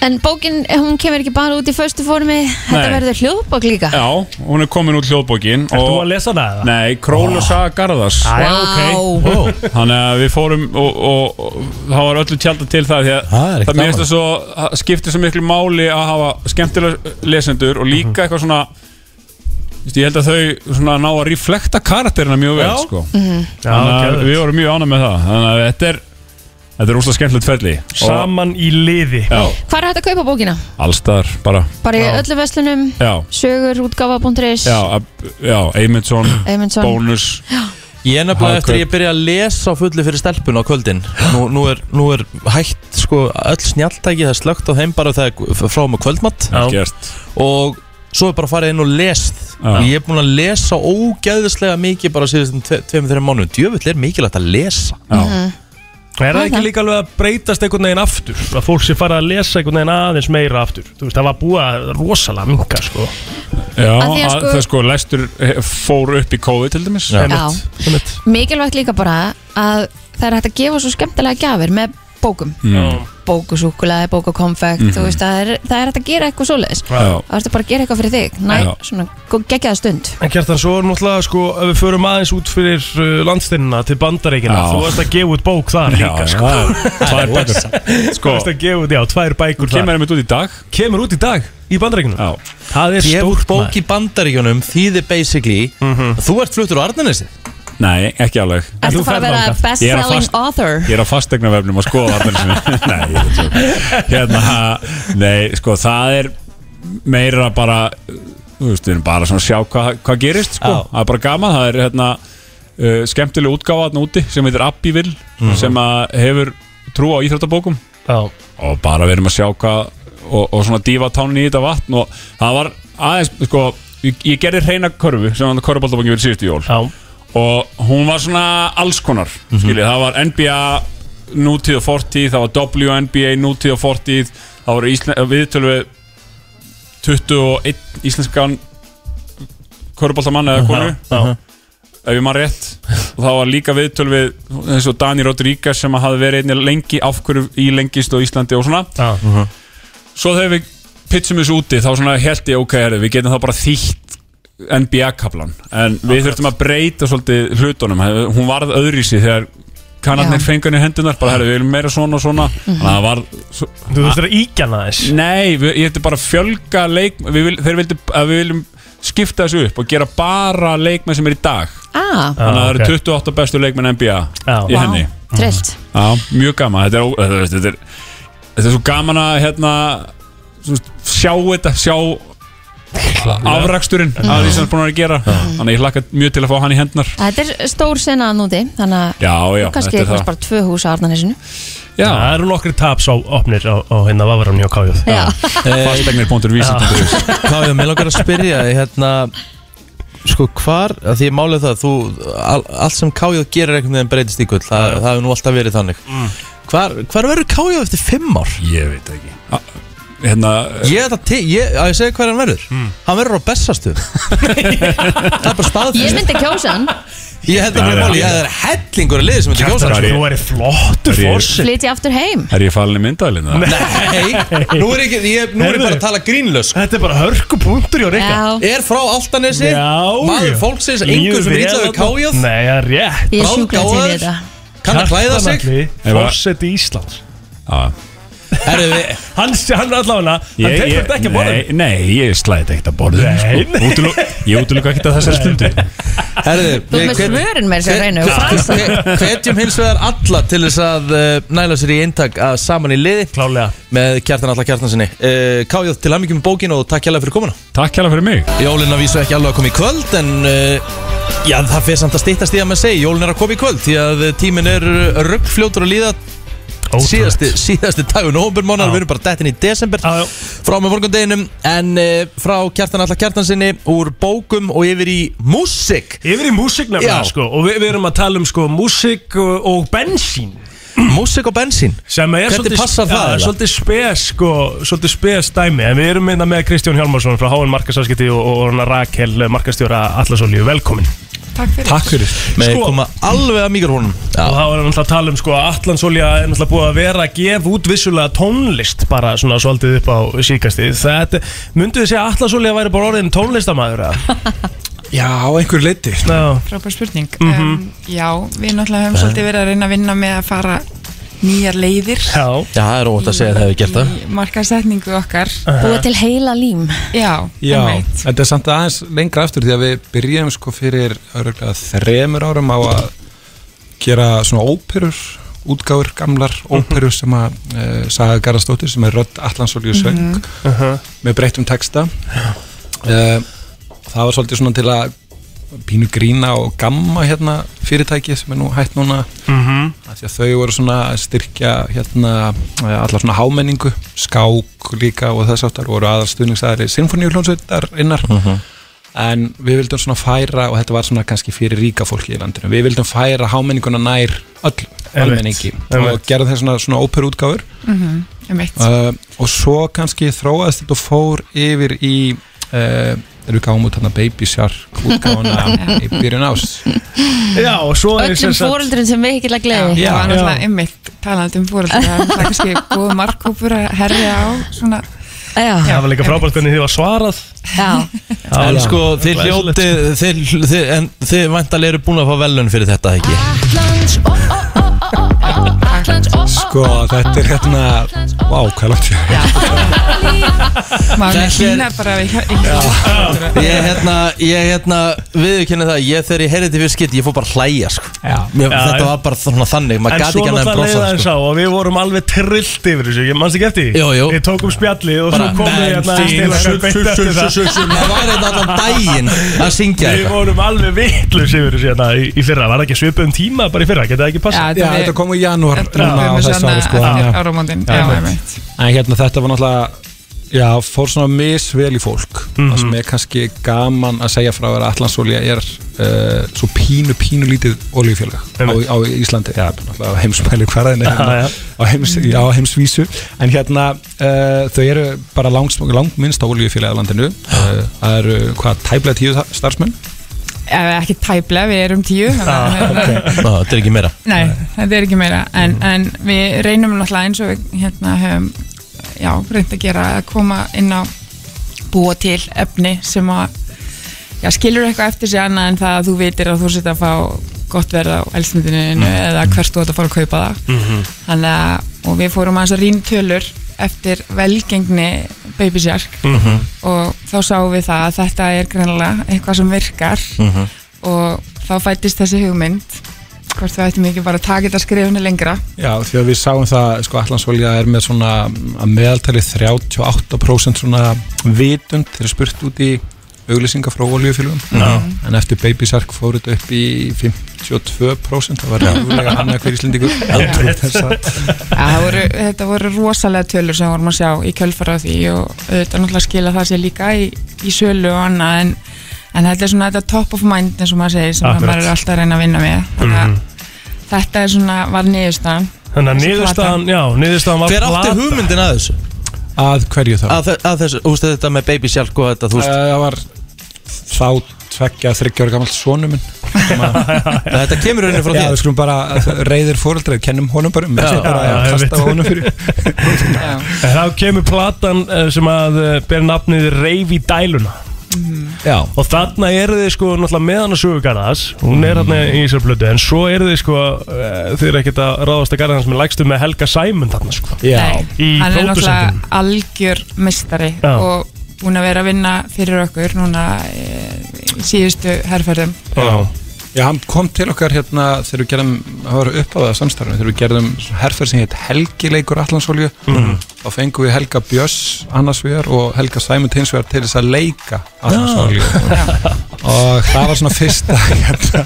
S2: En bókin, hún kemur ekki bara út í föstu formi Þetta
S7: Nei.
S2: verður hljóðbók líka
S7: Já, hún er komin út hljóðbókin
S4: Ertu að lesa hana eða?
S7: Nei, Król og Saga Garðars
S4: Æ,
S2: Vá.
S4: ok wow.
S7: Þannig að við fórum og, og, og það var öllu tjálta til það því að
S3: Það
S7: það
S3: er ekki
S7: mér
S3: gaman.
S7: finnst það svo það skiptir svo miklu máli að hafa skemmtilega lesendur og
S3: Mhm.
S7: líka eitthvað svona veist, ég held að þau svona ná að reflekta karakterina mjög vel
S4: Já.
S7: sko.
S4: Já,
S7: þannig að
S4: geðveikt.
S7: við vorum mjög ánað með það þannig að þetta er þetta er úrslega skemmtilegt ferli og
S4: Saman í liði
S7: já,
S2: Hvað er hægt að kaupa bókina?
S7: allstaðar bara
S2: Bara í öllum veslunum
S7: já,
S2: Sögur, útgáfa.is
S7: já, ab- já, Eymundsson,
S2: Eymundsson.
S7: Bónus
S3: Ég er
S7: Hagkaup.
S3: nefnilega eftir ég byrja að lesa á fullu fyrir stelpun á kvöldin Nú, nú, er, nú er hægt sko öll snjaltæki, það er slögt á þeim bara þegar frá um kvöldmatt
S4: Já.
S7: gert
S3: Og svo er bara farið inn og lest
S7: Já.
S3: Ég er búin að lesa ógæðislega mikið bara síðustum tveimur, þreim mánuðum Djöfull er mikilvægt að lesa
S7: já,
S4: Mhm. Er það ekki líka alveg að breytast einhvern veginn aftur? Að fólk sé farið að lesa einhvern veginn aðeins meira aftur Þú veist, það var búið að rosalega minka, sko
S7: já
S2: Af því
S7: að,
S2: að sko-
S7: það sko lestur eh, fór upp í COVID til dæmis
S3: Já.
S4: Einmitt, einmitt.
S2: Mikilvægt líka bara að það er hægt að gefa svo skemmtilega gjafir með bókum
S7: Já.
S2: Bókusúkulaði, bókukonfekt mm veist, það, er, það er hægt að gera eitthvað svoleiðis
S7: Mhm. Já.
S2: Það ertu bara að gera eitthvað fyrir þig Næ,
S7: Já.
S2: svona, geggjaða stund
S4: En Kjartan, svo er náttúrulega, sko, ef við förum aðeins út fyrir uh, landsteinina til bandaríkina
S7: Já.
S4: Þú varst að gefa út bók þar líka, sko
S7: Tvær bækur
S4: Þú
S7: Sko,
S4: varst að gefa út, já, tvær bækur þar
S7: kemur einmitt út í dag
S4: kemur út í dag í bandaríkina
S7: Já,
S4: Það er
S3: Gefur
S4: stórt
S3: bók í bandaríkjunum þýðir basically að Þú ert fluttur á Arnanesi
S7: Mhm. nei, ekki alveg
S2: Ertu
S4: þú
S2: að fara að
S4: ferð
S7: Ég
S2: vera
S4: þangað.
S7: er að
S2: best-selling
S7: fast-
S2: author
S7: Ég er á fastegna vefnum að skoða allir sinni Nei, ég veit svo Hérna, nei, sko, það er meira bara Þú veist, við erum bara svona að sjá hvað hva gerist sko.
S3: Já.
S7: Það er bara gaman, það er hérna uh, skemmtileg útgáfa þarna úti sem heitir Abbivil
S4: Mm.
S7: sem að hefur trú á íþróttabókum
S4: Já.
S7: og bara við erum að sjá hvað og, og svona dífa tánni í þetta vatn og það var aðeins, sko ég, ég gerði hreina körfu sem hann körfubaldabóki verið síðustu jól
S4: Já. Mhm.
S7: og hún var svona alls konar skiljið, það var NBA nútíð og fortíð, það var WNBA nútíð og fortíð, það voru Ísla- viðtölu við 21 íslenskan körfubaldamann eða konu
S4: Já.
S7: ef ég maður rétt og það var líka viðtöl við eins og Dani Rodríguez sem hafði verið einnig lengi af hverju í lengist og Íslandi og svona
S4: Já.
S7: svo þegar við pitchum þessu úti þá svona held ég ok, herri, við getum þá bara þýtt NBA-kaplan en við þurftum að breyta svolítið hlutunum hún varð öðrísi þegar kannarnir
S2: Já. Mhm.
S7: fengunni hendunar bara herri, við erum meira svona og svona þannig að það var svo,
S4: Þú þurftir að íkja hana aðeins
S7: Nei, við, ég ætti bara að fjölga leik við, vil- þeir vildi að við viljum skipta þessu upp og gera bara leikmenn sem er í dag
S2: Ah,
S7: þannig að það
S4: ok.
S7: eru 28 bestu leikmenn NBA
S4: Já.
S7: í henni
S2: trillt
S7: Já, mjög gaman Þetta er, ó- þetta, þetta er, þetta er svo gaman að hérna, svona, sjá þetta sjá afraksturinn af því sem það er búin að vera að gera Þannig að ég hlakka mjög til að fá hann í hendnar
S2: Þetta er stór sena að núti Þannig að
S7: Já, já,
S2: kannski
S7: þetta er
S2: eignast
S7: það
S2: bara tvö hús á Arnarnesinu
S7: Já,
S4: Það eru nokkri taps á opnir á, á hérna vafram hjá Kájóð
S2: Já,
S7: Eh, fastegnir.vísi.is
S3: Hvað ég með langar að spyrja þig, hérna, Sko hvar, að því ég málið það þú, all, Allt sem kájóð gerir einhvern veginn breytist í gull Það, það hefur nú alltaf verið þannig
S4: Mm.
S3: Hvar, hvar verður kájóð eftir fimm ár?
S7: Ég veit það ekki Ah, Hérna,
S4: eh,
S3: Ég ætla til, ég, að ég segja hver hann verður
S4: Mm.
S3: Hann verður á bestastu Það er bara
S2: ég
S3: staðfest
S2: myndi kjósa hann
S3: Ég held að
S7: Já,
S3: mér
S7: já.
S3: máli, ég er hellingur að liði sem þetta kjósa
S7: Kjartan,
S3: sko.
S4: Þú væri flottur
S7: Það er-
S4: fórsett
S2: Flytja aftur heim
S7: er ég falin í myndaðalina?
S3: Nei, nú er, ekki, ég, nú er ég bara
S4: Heyrðu.
S3: að tala grínlaus sko.
S4: Þetta er bara hörku punktur hjá Rikka
S2: Já,
S3: Er frá Altanesi
S4: Já,
S3: Maður
S4: já.
S3: fólksins,
S4: Líður
S3: engur sem
S4: vel
S3: er ítlaður
S4: þarna.
S3: kájóð
S4: Nei, það er rétt
S2: ég er sjúkla til í
S3: Bráðgáfaður.
S2: þetta
S3: Kann að klæða sig
S7: Ef að-
S4: Fórsett í Íslands
S7: Já,
S3: Herru, við-
S4: Hann, hann allavega, hann tekur þetta ekki að borða
S7: nei, nei, ég slæði þetta ekkert að borðinu
S4: Nei,
S7: sko.
S4: nei.
S7: Útilok, Ég útiloka ekkert að þessari stundu
S3: Herðu,
S2: Þú ert með svörin með þessu hreinu og frasan.
S3: Hvetjum hins vegar alla til þess að uh, næla sér í eintak að saman í liði
S4: Klálega
S3: með kjartan alla kjartansinni uh, Kájóð til hammingjum með bókin og takk hérlega fyrir komuna
S7: Takk hérlega fyrir mig
S3: Jólin að vísu ekki alveg að koma í kvöld en uh, já, það fyrir samt að stýttast í að maður segi Jólin er að koma í kvöld því að eh, tíminn er ruggfljótur að líða
S4: Ótrúlegt.
S3: síðasti, síðasti dagur nógumbjörnmánar, við erum bara dettin í desember
S4: Já, já.
S3: frá með morgundeginum en uh, frá kjartan alla kjartansinni úr bókum og yfir í músik
S4: Yfir í músík
S3: Já.
S4: nefnilega sko Og við, við erum að tala um sko músík og, og bensín
S3: músik og bensín
S4: sem er
S3: Hvernig
S4: svolítið,
S3: passar það
S4: ja,
S3: eiginlega?
S4: svolítið spes sko, svolítið spes dæmi en við erum einna með Kristján Hjálmarsson frá HN Markasaskiti og, og, og Rakel Markastjóra Allasolíu, velkomin
S7: Takk fyrir
S3: með
S4: Sko-
S3: koma alveg að mikrofónum
S4: og
S3: já,
S4: það var náttúrulega að tala um sko að Atlansolja er náttúrulega búið að vera að gefa út vissulega tónlist bara svona svolítið upp á síkasti þetta, myndu þið segja að Atlansolja væri bara orðin tónlistamæður eða?
S9: Já, á einhverju leiti
S4: Já,
S8: Frábær spurning um, Já, við náttúrulega höfum svolítið verið að reyna að vinna með að fara nýjar leiðir
S4: já,
S3: já, það er óvægt að segja að það hefur gert það
S8: Í markasetningu okkar
S2: Búið til heila lím
S8: Já,
S9: Já,
S8: einmitt.
S9: þetta er samt aðeins lengra aftur því að við byrjum sko fyrir örgulega þremur árum á að gera svona óperur útgáfur, gamlar óperur sem að uh, Saga Garðarsdóttir sem er rödd Allansolíu söng með breyttum texta uh, það var svolítið svona til að pínu grína og gamma hérna fyrirtæki sem er nú hætt núna af því að þau voru svona að styrkja hérna eh, alla svona hámenningu skák líka og þess aftar voru aðal stuðningsæðari sinfoníuljónsveitar innar
S4: Mhm.
S9: en við vildum svona færa og þetta var svona kannski fyrir ríka fólki í landinu við vildum færa hámenninguna nær öll almenningi og
S4: einmitt.
S9: gerðum þess svona, svona óperútgáfur
S8: einmitt
S9: uh, og svo kannski þróaðist þetta og fór yfir í uh, erum við gáum út hérna Baby Shark útgáfuna í byrjun ás
S4: já og svo er
S2: Öllum fóreldurinn sem við ekki til að
S8: Það
S2: gleði
S8: var náttúrulega
S4: já.
S8: einmitt talandi um fóröld Það var kannski góð markkópur að herja á svona
S2: Já, já,
S4: það var líka frábært hvernig þið var svarað
S2: já.
S4: Já,
S3: En
S4: já.
S3: sko, þið hljóti, þið, þið, en þið væntalega eru búin að fá velun fyrir þetta, ekki?
S9: sko þetta er hérna vá hvað er langt sér
S8: maður
S3: Þessi er-
S8: kýna bara við Já,
S3: Ég, hérna, ég, hérna, viðurkenni það, ég þegar ég heyrði þetta fyrir skitt, ég fór bara að hlæja, sko. Mér,
S4: Já,
S3: þetta
S4: en-
S3: var bara svona þannig, maður
S4: En
S3: gæti
S4: svo
S3: ekki annað en
S4: náttúrulega leiða
S3: brosa,
S4: þess
S3: sko.
S4: á og við vorum alveg trillt yfir þessu, ég mannst ekki eftir því?
S3: Jú, jú.
S4: Við tókum spjallið og svo
S3: Bara,
S4: komum við
S3: menn,
S4: hérna
S3: þið-
S4: stilagar beint eftir það.
S3: Það var þetta allan daginn að syngja
S4: Við
S3: eitthvað.
S4: vorum alveg vittlus yfir þessu hérna í, í fyrra, var það ekki svipað um tíma bara í fyrra, getið það ekki passa?
S9: Já, þetta kom í janúar núna á
S8: Dröfum við
S9: þessu
S8: svona
S9: ári sko
S8: eftir
S9: já.
S8: áramótin
S4: Já,
S8: Já,
S4: einmitt.
S8: einmitt
S9: En hérna þetta var náttúrulega Já, fór svona misvel í fólk Það
S4: Mhm.
S9: sem er kannski gaman að segja frá er að Allansolja er uh, svo pínu, pínu lítið oljufjölga á,
S4: Einmitt.
S9: á Íslandi, já, náttúrulega á heimsmæli hverðin
S4: Já, já.
S9: hérna, á, heims, já, á heimsvísu En hérna, uh, þau eru bara langs, langminnst á oljufjölga á landinu uh, Það eru, hvað, tæplega tíu þa- starfsmenn
S8: Ef ekki tæplega, við erum tíu þannig að-
S9: Ah,
S3: Ná, þetta er ekki meira.
S8: Nei, þetta er ekki meira en, en við reynum náttúrulega eins og við hérna höfum já, reynd að gera að koma inn á búa til efni sem að já, skilur eitthvað eftir sig annað en það að þú vitir að þú sitt að fá gott verð á elsmyndinu eða hvert þú átt að fara að kaupa það þannig að og við fórum aðeins að rýna tölur eftir velgengni Baby Shark og þá sáum við það að þetta er greinlega eitthvað sem virkar
S4: Mhm.
S8: og þá fættist þessi hugmynd hvort við ættum ekki bara að taka þetta skrifinu lengra
S9: Já, því að við sáum það, sko, Allansolja er með svona að meðaltali 38% svona vitund þeir eru spurt út í auglýsingar frá oljufélugum en eftir Baby Shark fóru þetta upp í 52% það var rúlega hann að hver íslendingur Aldrei þess að-
S8: ja, voru, þetta voru rosalega tölur sem við vorum að sjá í kjölfara á því og auðvitað náttúrulega skila það sér líka í, í sölu og annað en, en þetta er svona þetta top of mind eins og maður segir sem
S4: Akkurat.
S8: maður er alltaf að reyna að vinna með þannig
S4: Mhm.
S8: að þetta er svona var niðurstaðan
S4: Þannig að
S8: Þessi
S4: niðurstaðan, já, niðurstaðan var
S3: Hver átti
S4: plata.
S3: hugmyndin að þessu?
S9: að hverju þá? Eh,
S3: Að, þe- að þessu, þú veist þetta með Baby Shark og þetta, þú veist,
S9: Það var þá tveggja, þryggja ára gamalt sonu minn
S3: þetta kemur henni frá
S9: Já, við
S3: þér.
S9: skulum bara reyðir fóreldreið, kennum honum bara um
S3: Já,
S9: bara að
S4: já, ég
S9: kasta
S4: veit.
S9: á honum fyrir
S8: Já.
S4: En Þá kemur platan eh, sem að eh, ber nafnið Reyf í dæluna
S9: Mhm.
S3: Já,
S4: Og þarna eru þið sko náttúrulega með hana sögugarðas Hún er þarna í þessar blötu En svo eru þið sko e, Þið eru ekkert að ráðast að garða hans með lægstu með Helga Sæmund þarna sko
S3: já,
S4: Í
S8: Nei, hann er
S4: pródusentinn.
S8: náttúrulega algjör mistari
S4: Já.
S8: og búin að vera að vinna fyrir okkur núna e, í síðustu herrferðum
S4: Já.
S9: Já, hann kom til okkar hérna þegar við gerðum, það var uppáðað að samstarfinu, þegar við gerðum herferð sem hétt Helgileikur Allansolju, þá fengum við Helga Björns annars vegar og Helga Sæmund hins vegar til þess að leika Allansolju og það var svona fyrsta, hérna,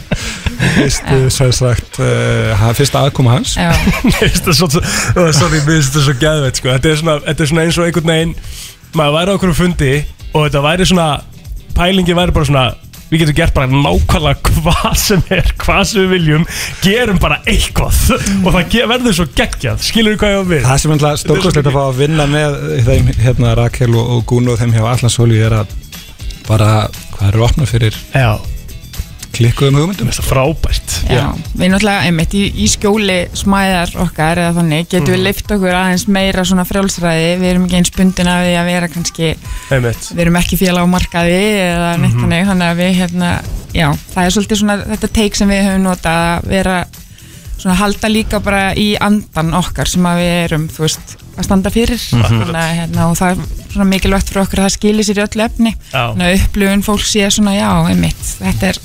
S9: fyrstu, svo sagt, uh, ha- fyrsta aðkoma hans.
S8: Já,
S4: Mér finnst það svo- svo- Sorry, mér finnst þetta svo gæðveit sko. þetta, er svona- þetta er svona eins og einhvern veginn Maður væri á okkur fundi Og þetta væri svona Pælingi væri bara svona Við getum gert bara nákvæmlega hvað sem er Hvað sem við viljum Gerum bara eitthvað Og það ge- verður svo geggjað sko. Skilur við hvað ég á við
S9: Það sem er stórkostlegt að fá að vinna með þeim, hérna, Rakel og, og Gun og þeim hjá Allansolju er að bara, hvað eru opna fyrir
S4: Já,
S9: klikkuðum hugmyndum?
S4: þetta er frábært
S8: já. Við náttúrulega einmitt í, í skjóli smæðar okkar eða þannig
S4: Mm.
S8: getum við leift okkur aðeins meira svona frjálsræði við erum ekki eins bundin af því að vera kannski
S4: Einmitt. Mhm.
S8: við erum ekki félag á markaði eða neitt þannig, þannig að við hérna, já, það er svolítið svona þetta teik sem við höfum notað að vera svona halda líka bara í andan okkar sem að við erum, þú veist að standa fyrir
S4: Mhm.
S8: þannig að hérna, og það er svona mikilvægt fyrir okkur að það skilir sér í öllu efni
S4: Já.
S8: þannig að upplifun fólk sé svona já, einmitt, þetta er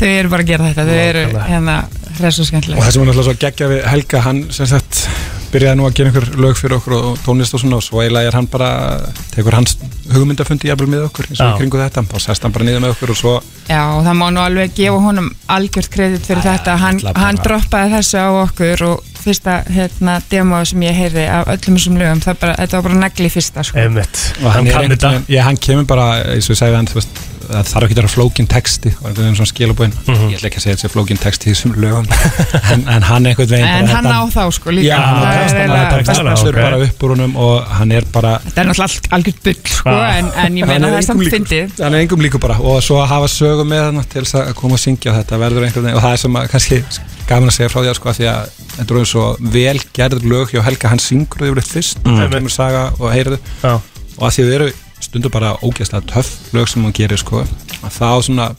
S8: þau eru bara að gera þetta, þau eru hérna, hressu
S9: og
S8: skemmtilega
S9: það sem er náttúrulega svo geggja við Helga hann sem sagt byrjaði nú að gera einhver lög fyrir okkur og tónlist og svona og svo eiginlega er hann bara tekur hans hugmyndafundi jafnvel með okkur eins og
S4: Já.
S9: í kringu þetta, þá sest hann bara niður með okkur og svo
S8: Já, og það má nú alveg gefa honum algjört kredit fyrir þetta, hann,
S9: náttúrulega bara-
S8: hann droppaði þessu á okkur og fyrsta hérna, demo sem ég heyrði af öllum þessum lögum, það bara, þetta var bara negli fyrsta sko.
S4: Einmitt.
S9: og
S4: Hann
S9: er
S4: kann
S9: einhvern
S4: þetta
S9: veginn- já, hann kemur bara, eins og ég sagði hann þú veist, það þarf ekki að vera flókin texti og einhvern veginn svona skilabóin
S4: Mhm.
S9: ég ætla ekki að segja þetta sé flókin texti í þessum lögum en, en hann einhvern veginn
S8: en
S9: bara
S8: hann á
S9: þetta-
S8: þá sko líka,
S9: já, hann
S8: það
S9: tekst
S8: er
S9: hann
S8: eiginlega
S9: bara
S4: textan
S8: besta.
S4: á.
S9: textur
S4: ok.
S9: bara upp úr honum og hann er bara
S8: Þetta er náttúrulega all- algjört bull sko,
S4: Ah.
S8: en, en ég meina
S9: Hann
S8: það er
S9: engum
S8: samt
S9: líkur.
S8: fyndið.
S9: Hann er engum líkur bara og svo að hafa sögum með hann til þess að koma og syngja þetta verður einhvern veginn og það er sem að kannski gaman að segja frá því að sko af því að þetta er svo vel gerð lög hjá Helga hann syngur þau yfirleitt fyrst mm. það kemur saga og heyrðu
S4: Já.
S9: og að því að þau eru stundum bara ógeðslega töff lög sem hann gerir sko að þá svona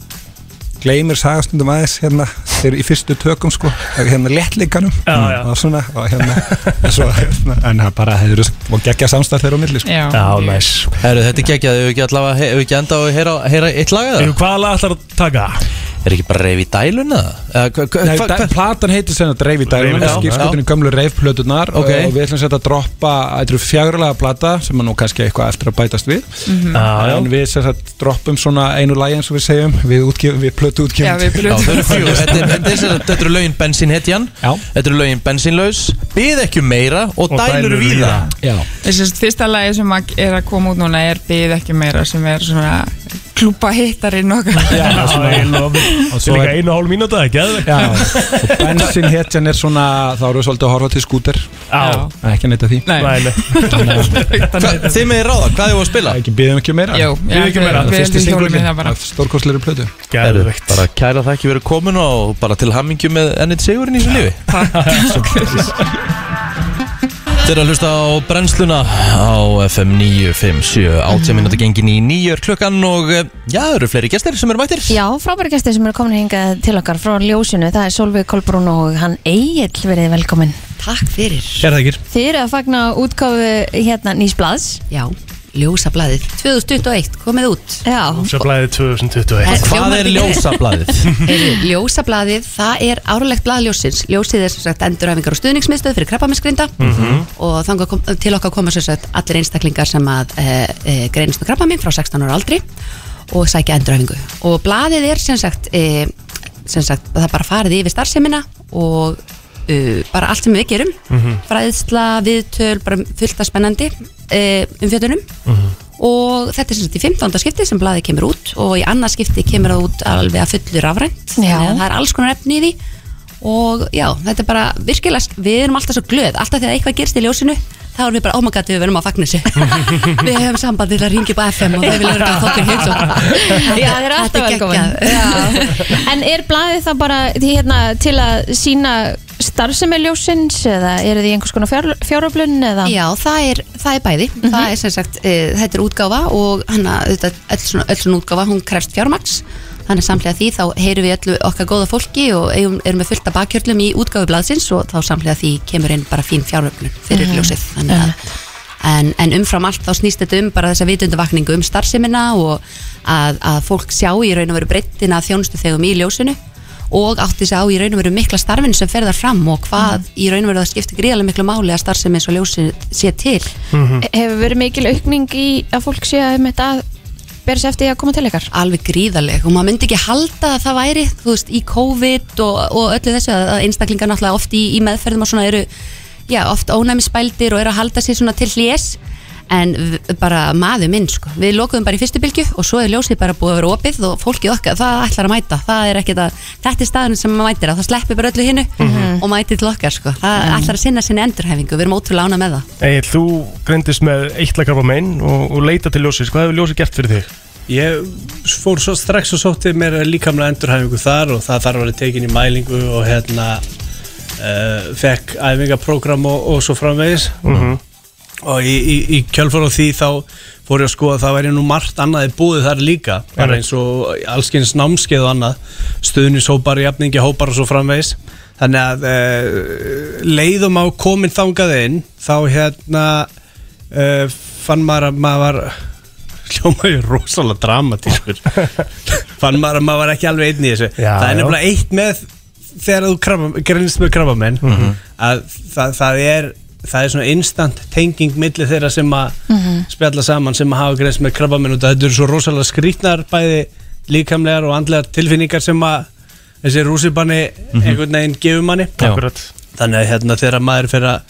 S9: gleymir sagastundum aðeins hérna þeir í fyrstu tökum sko hérna léttleikanum
S4: Já, já.
S9: og svona og hérna en svo, hérna, en það bara þeir eru og geggja samstarf þeirra á milli sko
S8: Já,
S4: Já, næs
S3: Herru, þetta er geggjað, hefur ekki allavega, hefur ekki endað að heyra, heyra eitt lag eða?
S4: Jú, Hvaða lag ætlar að taka?
S3: Er ekki bara reyfi í dæluna? Eða Eh, hva- hva-
S9: Nei,
S3: hva-
S9: da,
S3: hva-
S9: platan heitir sem að dreif í dag
S4: Dreif í dag,
S9: skýrskutinu gömlu reifplötunar
S3: Ok.
S9: og við ætlum sem sagt að droppa þetta eru fjárlega plata sem er nú kannski eitthvað eftir að bætast við
S8: Mhm.
S4: Já, já.
S9: en við sem sagt droppum svona einu lægi eins og við segjum við, útgef, við plötu
S8: já við
S9: útgefum
S3: Já, þau eru
S8: blöðum.
S3: fjögur. Þetta er- þetta er sem sagt- þetta eru lögin Bensínhetjan
S9: Já.
S3: Þetta eru lögin Bensínlaus Bið ekki um meira og,
S4: Og
S3: dælur
S4: dælur
S3: víða
S4: víða.
S9: Já.
S8: Þessi fyrsta lagi sem að- er að koma út núna er Bið ekki meira sem er svona klúpa hittarinn okkar.
S4: Já, ég lofi Þetta
S9: svo
S4: er líka
S9: er-
S4: einu og hálf mínúta, geðvegt
S9: Já, og bensin hetjan er svona þá eru við svolítið að horfa til skúter
S4: Já,
S9: Nei, ekki neitt að því
S8: Nei.
S4: næmi
S3: Hva- Þið með ráða, hvað hefur að spila?
S9: ekki býðum ekki meira
S8: Jú,
S4: Bið ekki meira.
S8: við
S9: fyrsti
S8: heldum hjólum í
S9: singulinn
S8: það bara.
S9: af stórkostleiru plötu
S3: Herru,
S4: Geðvegt
S3: bara kæra þakki verið komin og bara til hammingju með ennit sigurinn í þessu lífi Þeir eru að hlusta á brennsluna á FM 957 átjá minúti gengin í nýjör klukkan og eh, já, eru fleiri gestir sem eru mættir
S2: Já, frábæri gæstir sem eru komin hingað til okkar frá ljósinu, það er Solveig Kolbrún og hann Egil verið velkomin
S10: Takk fyrir.
S3: Er það ekki?
S2: Þið eru að fagna útgáfu hérna nýs blaðs
S10: Já, ljósablaðið. 2021, komið út.
S2: Já,
S4: Sjöflæði 2021
S10: En
S3: Hvað
S10: hljómar
S3: er
S10: ekki vel.
S3: ljósablaðið?
S10: Heyrðu, Ljósablaðið, það er árlegt blað ljósins. Ljósið er sem sagt enduræfingar og stuðningsmiðstöð fyrir krabbaminsgrinda
S3: Mhm.
S4: Mhm.
S10: og þangað kom, til okkar koma sem sagt allir einstaklingar sem að e, e, greinast með krabbaminn frá 16 ára aldri og sækja enduræfingu. Og blaðið er sem sagt, e, sem sagt það er bara farið yfir starfsemina og e, bara allt sem við gerum, fræðsla, viðtöl, bara fullt að spennandi e, umfjötunum og þetta er sem sagt í 15. skipti sem blaðið kemur út og í annað skipti kemur það út alveg að fullu rafrænt
S2: Já.
S10: Þannig að það er alls konar efni í því og já, þetta er bara virkilega við erum alltaf svo glöð, alltaf þegar eitthvað gerst í ljósinu þá erum við bara ómagat við verðum að fagna þessu við höfum samband við að ringi upp á FM og það vil vera að þóttir heimsó
S2: Já, þeir eru alltaf velkomin Já. En er blaðið það bara því, hérna, til að sína starfsemi ljósins eða eru þið í einhvers konar fjár, fjáröflun eða?
S10: Já, það er, það er bæði Það er sem sagt, e, þetta er útgáfa og hana, þetta, öll, svona, öll svona útgáfa, hún krefst fjármagns Þannig samlega því þá heyrum við öllu okkar góða fólki og eigum, erum með fullta bakhjörlum í útgáfu blaðsins og þá samlega því kemur inn bara fín fjáröflun fyrir ljósið Þannig að En, en umfram allt þá snýst þetta um bara þessa vitundavakningu um starfsemina og að, að fólk sjá í raun og veru breyttina þjónustu þegum í ljósinu og átti sig á í raun og veru mikla starfin sem ferðar fram og hvað í raun og veru það skiptir gríðarlega miklu máli að starfsemi eins og ljósin sé til.
S5: Mm.
S4: Mhm.
S10: Mhm.
S2: Hefur verið mikil aukning í að fólk sé að mitt að bera sér eftir því að koma til ykkar?
S10: alveg gríðarleg og maður myndi ekki halda að það væri þú veist, í COVID og, og öllu þessu að að einstaklingar náttúrulega oft í, í meðferðum og svona eru já, oft ónæmisbældir og eru að halda sér svona til hlés en v- bara maður minn sko, við lokuðum bara í fyrstu bylgju og svo er ljósið bara búið að vera opið og fólkið okkar, það ætlar að mæta það er ekkit að, þetta er staðurinn sem maður mætir að það sleppi bara öllu hinnu
S2: Mhm.
S10: og mætið til okkar sko, það ætlar að sinna sinni endurhæfingu við erum ótrúlega ána með það
S4: Egil, þú greindist með eitlakarpa mein og, og leita til ljósins, hvað hefur ljósið gert fyrir þig?
S5: Ég fór svo strax og sótti mér líkamlega endurhæfingu þar og það þarf að vera tekin í mælingu og hérna uh, fekk æfingaprógram og, og svo framvegis og í, í, í kjölfar á því þá fór ég að skoða að það væri nú margt annað í búið þar líka bara eins og allskyns námskeið og annað stuðnishópar, jafningi hópar og svo framvegis þannig að uh, leiðum á komin þangað inn þá hérna uh, fann maður að maður var hljómaði rosalega dramatískur fann maður að maður var ekki alveg einn í þessu
S4: Já,
S5: það er
S4: já.
S5: nefnilega eitt með þegar þú krabba, grænst með krabbamenn
S4: Mhm.
S5: að það, það er það er svona instant tenging milli þeirra sem að
S2: Mhm.
S5: spjalla saman sem að hafa grænst með krabbamenn og þetta eru svo rosalega skrýtnar bæði líkamlegar og andlegar tilfinningar sem að þessi rúsibanni
S4: Mhm.
S5: einhvern veginn gefur manni
S4: Akkurat
S5: þannig að hérna, þegar maður fer að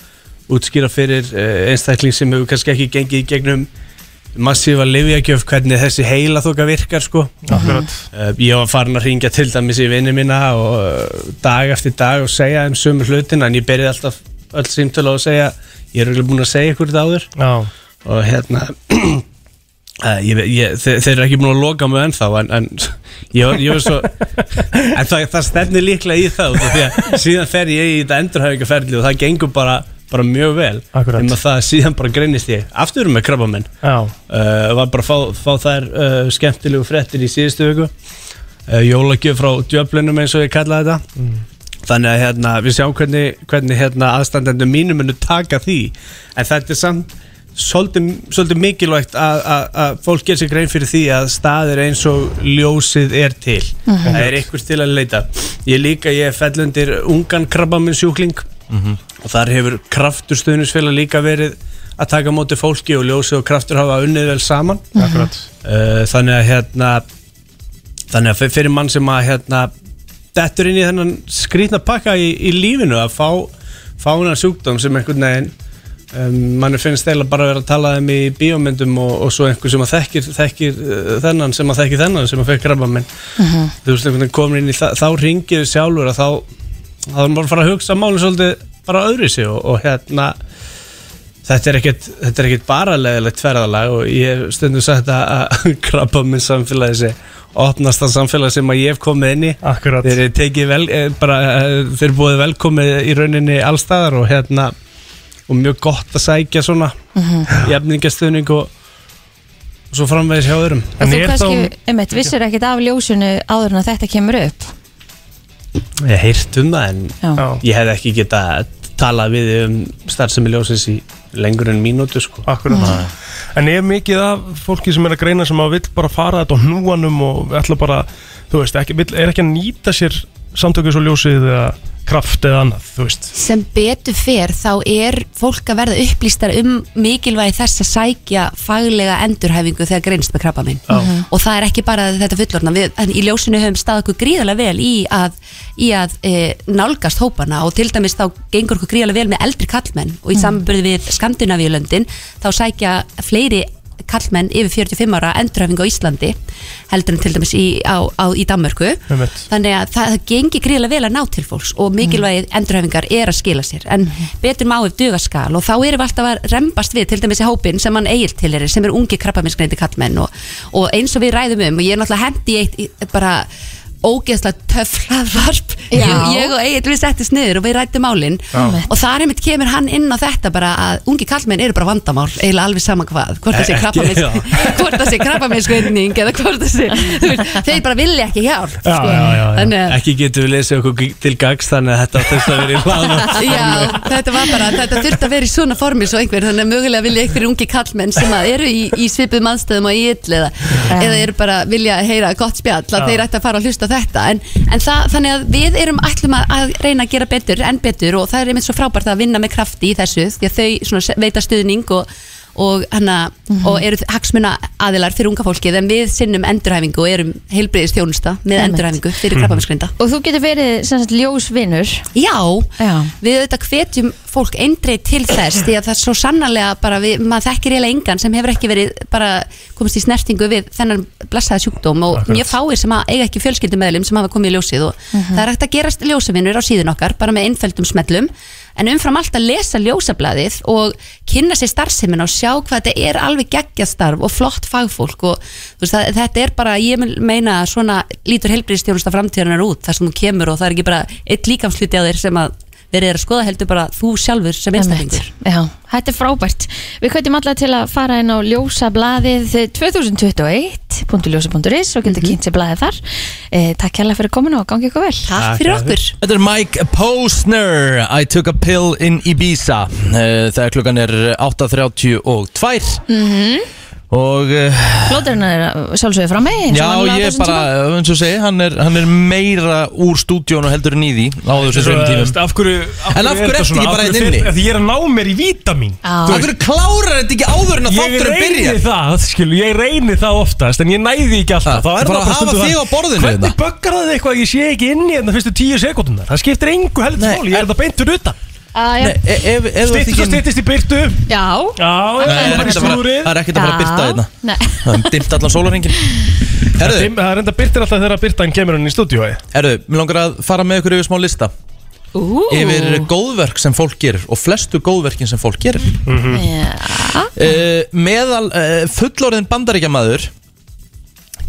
S5: útskýra fyrir uh, einstakling sem hefur kannski ekki gengið í gegnum massífa livjagjöf hvernig þessi heila þóka virkar sko
S4: Mhm. Akkurat
S5: uh, ég var farin að ringja til dæmis í vinni mína og uh, dag eftir dag og segja þeim sömu hlutin en ég byrjaði alltaf öll símtölu á að segja ég er örugglega búin að segja ykkur þetta áður
S4: Já
S5: og hérna Uh, ég, ve- ég, þe þeir eru ekki búin að loka mig ennþá en, en ég, var- ég var svo en það, það stefnir líklega í það út af því að síðan fer ég í þetta endurhæfingarferli og það gengur bara, bara mjög vel
S4: Akkúrat.
S5: nema það að síðan bara greinist ég aftur með krabba minn
S4: Já,
S5: uh, var bara að fá, fá þær uh, skemmtilegu fréttir í síðustu viku uh, jólagjöf frá djöflunum eins og ég kalla þetta þannig að hérna, við sjáum hvernig, hvernig hérna, aðstandendum mínum munu taka því en þetta er samt svolítið, svolítið mikilvægt að, að, að fólk gerir sér grein fyrir því að staðir eins og ljósið er til Eh, það er einhvers til að leita ég líka, ég fell undir ungan krabba minn sjúkling og þar hefur kraftur stuðnisfélag líka verið að taka á móti fólki og ljósi og kraftur hafa unnið vel saman
S4: akkurat
S5: uh, þannig að hérna þannig að fyr- fyrir mann sem að hérna dettur inn í þennan skrýtna pakka í, í lífinu að fá fá hennar sjúkdóm sem einhvern veginn um, mann finnst eða bara að vera að tala um í bíómyndum og, og svo einhver sem að þekkir, þekkir uh, þennan sem að þekkir þennan sem að fekk krabba minn þú veist einhvern veginn komin inn í það þá ringir þið sjálfur að þá þá er maður bara að fara að hugsa málum svolítið bara öðru sig og, og hérna þetta er ekkert, þetta er ekkert bara leðilegt ferðalag og ég hef stundum sagt að, að krabba minn samfélagi sé opnasta samfélagi sem að ég hef komið inn í
S4: Akkurat
S5: þeir eru tekið vel eh, bara, eh, þeir eru búið velkomið í rauninni allstaðar og hérna og mjög gott að sækja svona mm og, og svo framvegis hjá öðrum
S2: En
S4: En
S2: þú
S4: er
S2: kannski,
S4: þá-
S2: einmitt, vissir ekkit af ljósinu áður en að þetta kemur upp
S5: ég hef heyrt um það en
S2: Já,
S4: Já,
S5: ég hef ekki getað talað við þig um starfsemi ljósins í lengur en mínútu sko
S4: akkurat En er mikið af fólki sem er að greina sem að vill bara fara þetta á hnúanum og ætla bara, þú veist, ekki, vill, er ekki að nýta sér samtökjus og ljósið eða kraft eða annað, þú veist
S10: sem betur fer þá er fólk að verða upplýstar um mikilvægi þess að sækja faglega endurhæfingu þegar greinst með krabba minn og það er ekki bara þetta fullorna við, en í ljósinu höfum stað okkur gríðarlega vel í að, í að e, nálgast hópana og til dæmis þá gengur okkur gríðarlega vel með eldri kallmenn og í samburði við Skandinavíulöndin þá sækja fleiri kallmenn yfir 45 ára endurhæfingu á Íslandi heldur en til dæmis í, á, á, í Danmörku
S4: Einmitt.
S10: þannig að það, það gengi gríðlega vel að ná til fólks og mikilvægi endurhæfingar er að skila sér en betur má ef dugaskal og þá erum við alltaf að rembast við til dæmis í hópin sem hann eigil til er sem er ungi krabbaminsgreindi kallmenn og, og eins og við ræðum um og ég er náttúrulega hendi í eitt í- bara ógeðslega töff hlaðvarp
S2: Já.
S10: ég og Egil við settist niður og við rættum málin
S2: Já.
S10: og þar einmitt kemur hann inn á þetta bara að ungi kallmenn eru bara vandamál eiginlega alveg sama hvað, hvort það sé
S5: Ekki,
S10: krabbamins
S5: já.
S10: hvort það sé krabbaminsgreining eða hvort það sé, þú veist, þeir bara vilja ekki hjálp sko.
S4: Já, já, já, já.
S10: þannig að
S5: Ekki getum við lesið okkur g- til gags þannig að þetta þurft að vera í hlaðvarp.
S10: Já, þetta var bara, þetta þurfti að vera í svona formi svo einhver, þannig að mögulega vilja einhverjir ungi kallmenn sem að eru í, í svipuðum aðstæðum og í ill eða, eða eru bara vilja heyra gott spjall, að þeir ætti að fara að hlusta á þetta en, en það, þannig að við erum ætlum að, að reyna að gera betur, enn betur og það er einmitt svo frábært að vinna með krafti í þessu því að þau svona se- veita stuðning og og, hana, og eru hagsmuna aðilar fyrir unga fólkið en við sinnum endurhæfingu og erum heilbriðistjónusta með
S2: Einmitt.
S10: endurhæfingu fyrir
S4: Mhm.
S10: krabbaminsgrinda
S2: Og þú getur verið sem sagt ljósvinnur
S10: Já,
S2: Já.
S10: við auðvitað hvetjum fólk eindreið til þess því að það er svo sannarlega bara við, maður þekkir eiginlega engan sem hefur ekki verið bara komist í snertingu við þennan blessaða sjúkdóm og mjög fáir sem að eiga ekki fjölskyldumæðlum sem hafa komið í ljósið og það er hægt að gerast ljósavinnur á síðun okkar bara með einföldum smellum en umfram allt að lesa ljósablaðið og kynna sér starfsemin og sjá hvað þetta er alveg geggjastarf og flott fagfólk og þú veist, það, þetta er bara, ég mun meina að svona lítur helbriðstjónusta framtíðarinnar út þar sem þú kemur og það er ekki bara eitt líkamsluti á þér sem að verið er að skoða heldur bara þú sjálfur sem einstaklingur
S2: Einmitt. Já, þetta er frábært Við kveitum alla til að fara inn á eh, ljósablaðið 2021.ljósa.is og getur kynnt sér blaðið þar eh, Takk hérlega fyrir kominu og gangi ykkur vel
S10: Mhm. Takk fyrir okkur
S3: Þetta er Mike Posner I took a pill in Ibiza Eh, Þegar klukkan er 8.32 mm -hmm. Og eh,
S2: Plóturinn Mhm. er að sjálfsögðu frá mig eins og
S3: já,
S2: vanalega á
S3: ég
S2: þessum
S3: bara,
S2: tíma.
S3: eins og segi hann er, hann er meira úr stúdíónu heldur en í því Á þessum
S4: Svo,
S3: sveim
S4: þú
S3: tímum
S4: veist, af hverju, af
S3: En af hverju ertu ekki bara
S4: Af hverju
S3: hérna inni?
S4: fer- af Því ég er að ná mér í vítamin
S2: Já.
S3: Þú veist, klárar þetta ekki áður en að
S4: Ég
S3: þátturinn
S4: reyni
S3: byrjar
S4: það, skilu, ég reyni það oftast En ég næði ekki alltaf
S3: Ha,
S4: Þá er
S3: bara
S4: það bara
S3: hafa
S4: stundum
S3: þig
S4: það-
S3: á borðinu
S4: Hvernig
S3: hérna.
S4: böggar það þig eitthvað að ég sé ekki inni En það fyrstu tíu sekundunar Það skiptir engu heldur
S3: Nei,
S4: máli, ég er það beintur utan
S2: Ah, já.
S3: Nei, ef- ef- ef þú ert
S4: Styttist
S3: ekki
S4: og
S3: inn-
S4: styttist í byrtu Já,
S2: Já
S4: já, það
S3: Nei, það er
S4: er
S3: ekkert að fara-
S4: slúrið
S3: það er ekkert hérna. að fara að byrta
S2: Já.
S3: þetta
S2: Nei.
S3: Það er dimmt allan sólarhengin Herðu,
S4: Dimm- Það er enda byrtir alltaf þegar byrtan kemur hann í stúdíói
S3: herðu, mér langar að fara með ykkur yfir smá lista
S2: Ú.
S3: Yfir góðverk sem fólk gerir Og flestu góðverkin sem fólk gerir
S4: Mhm.
S2: Já.
S3: uh, meðal uh, fullorðin bandaríkjamaður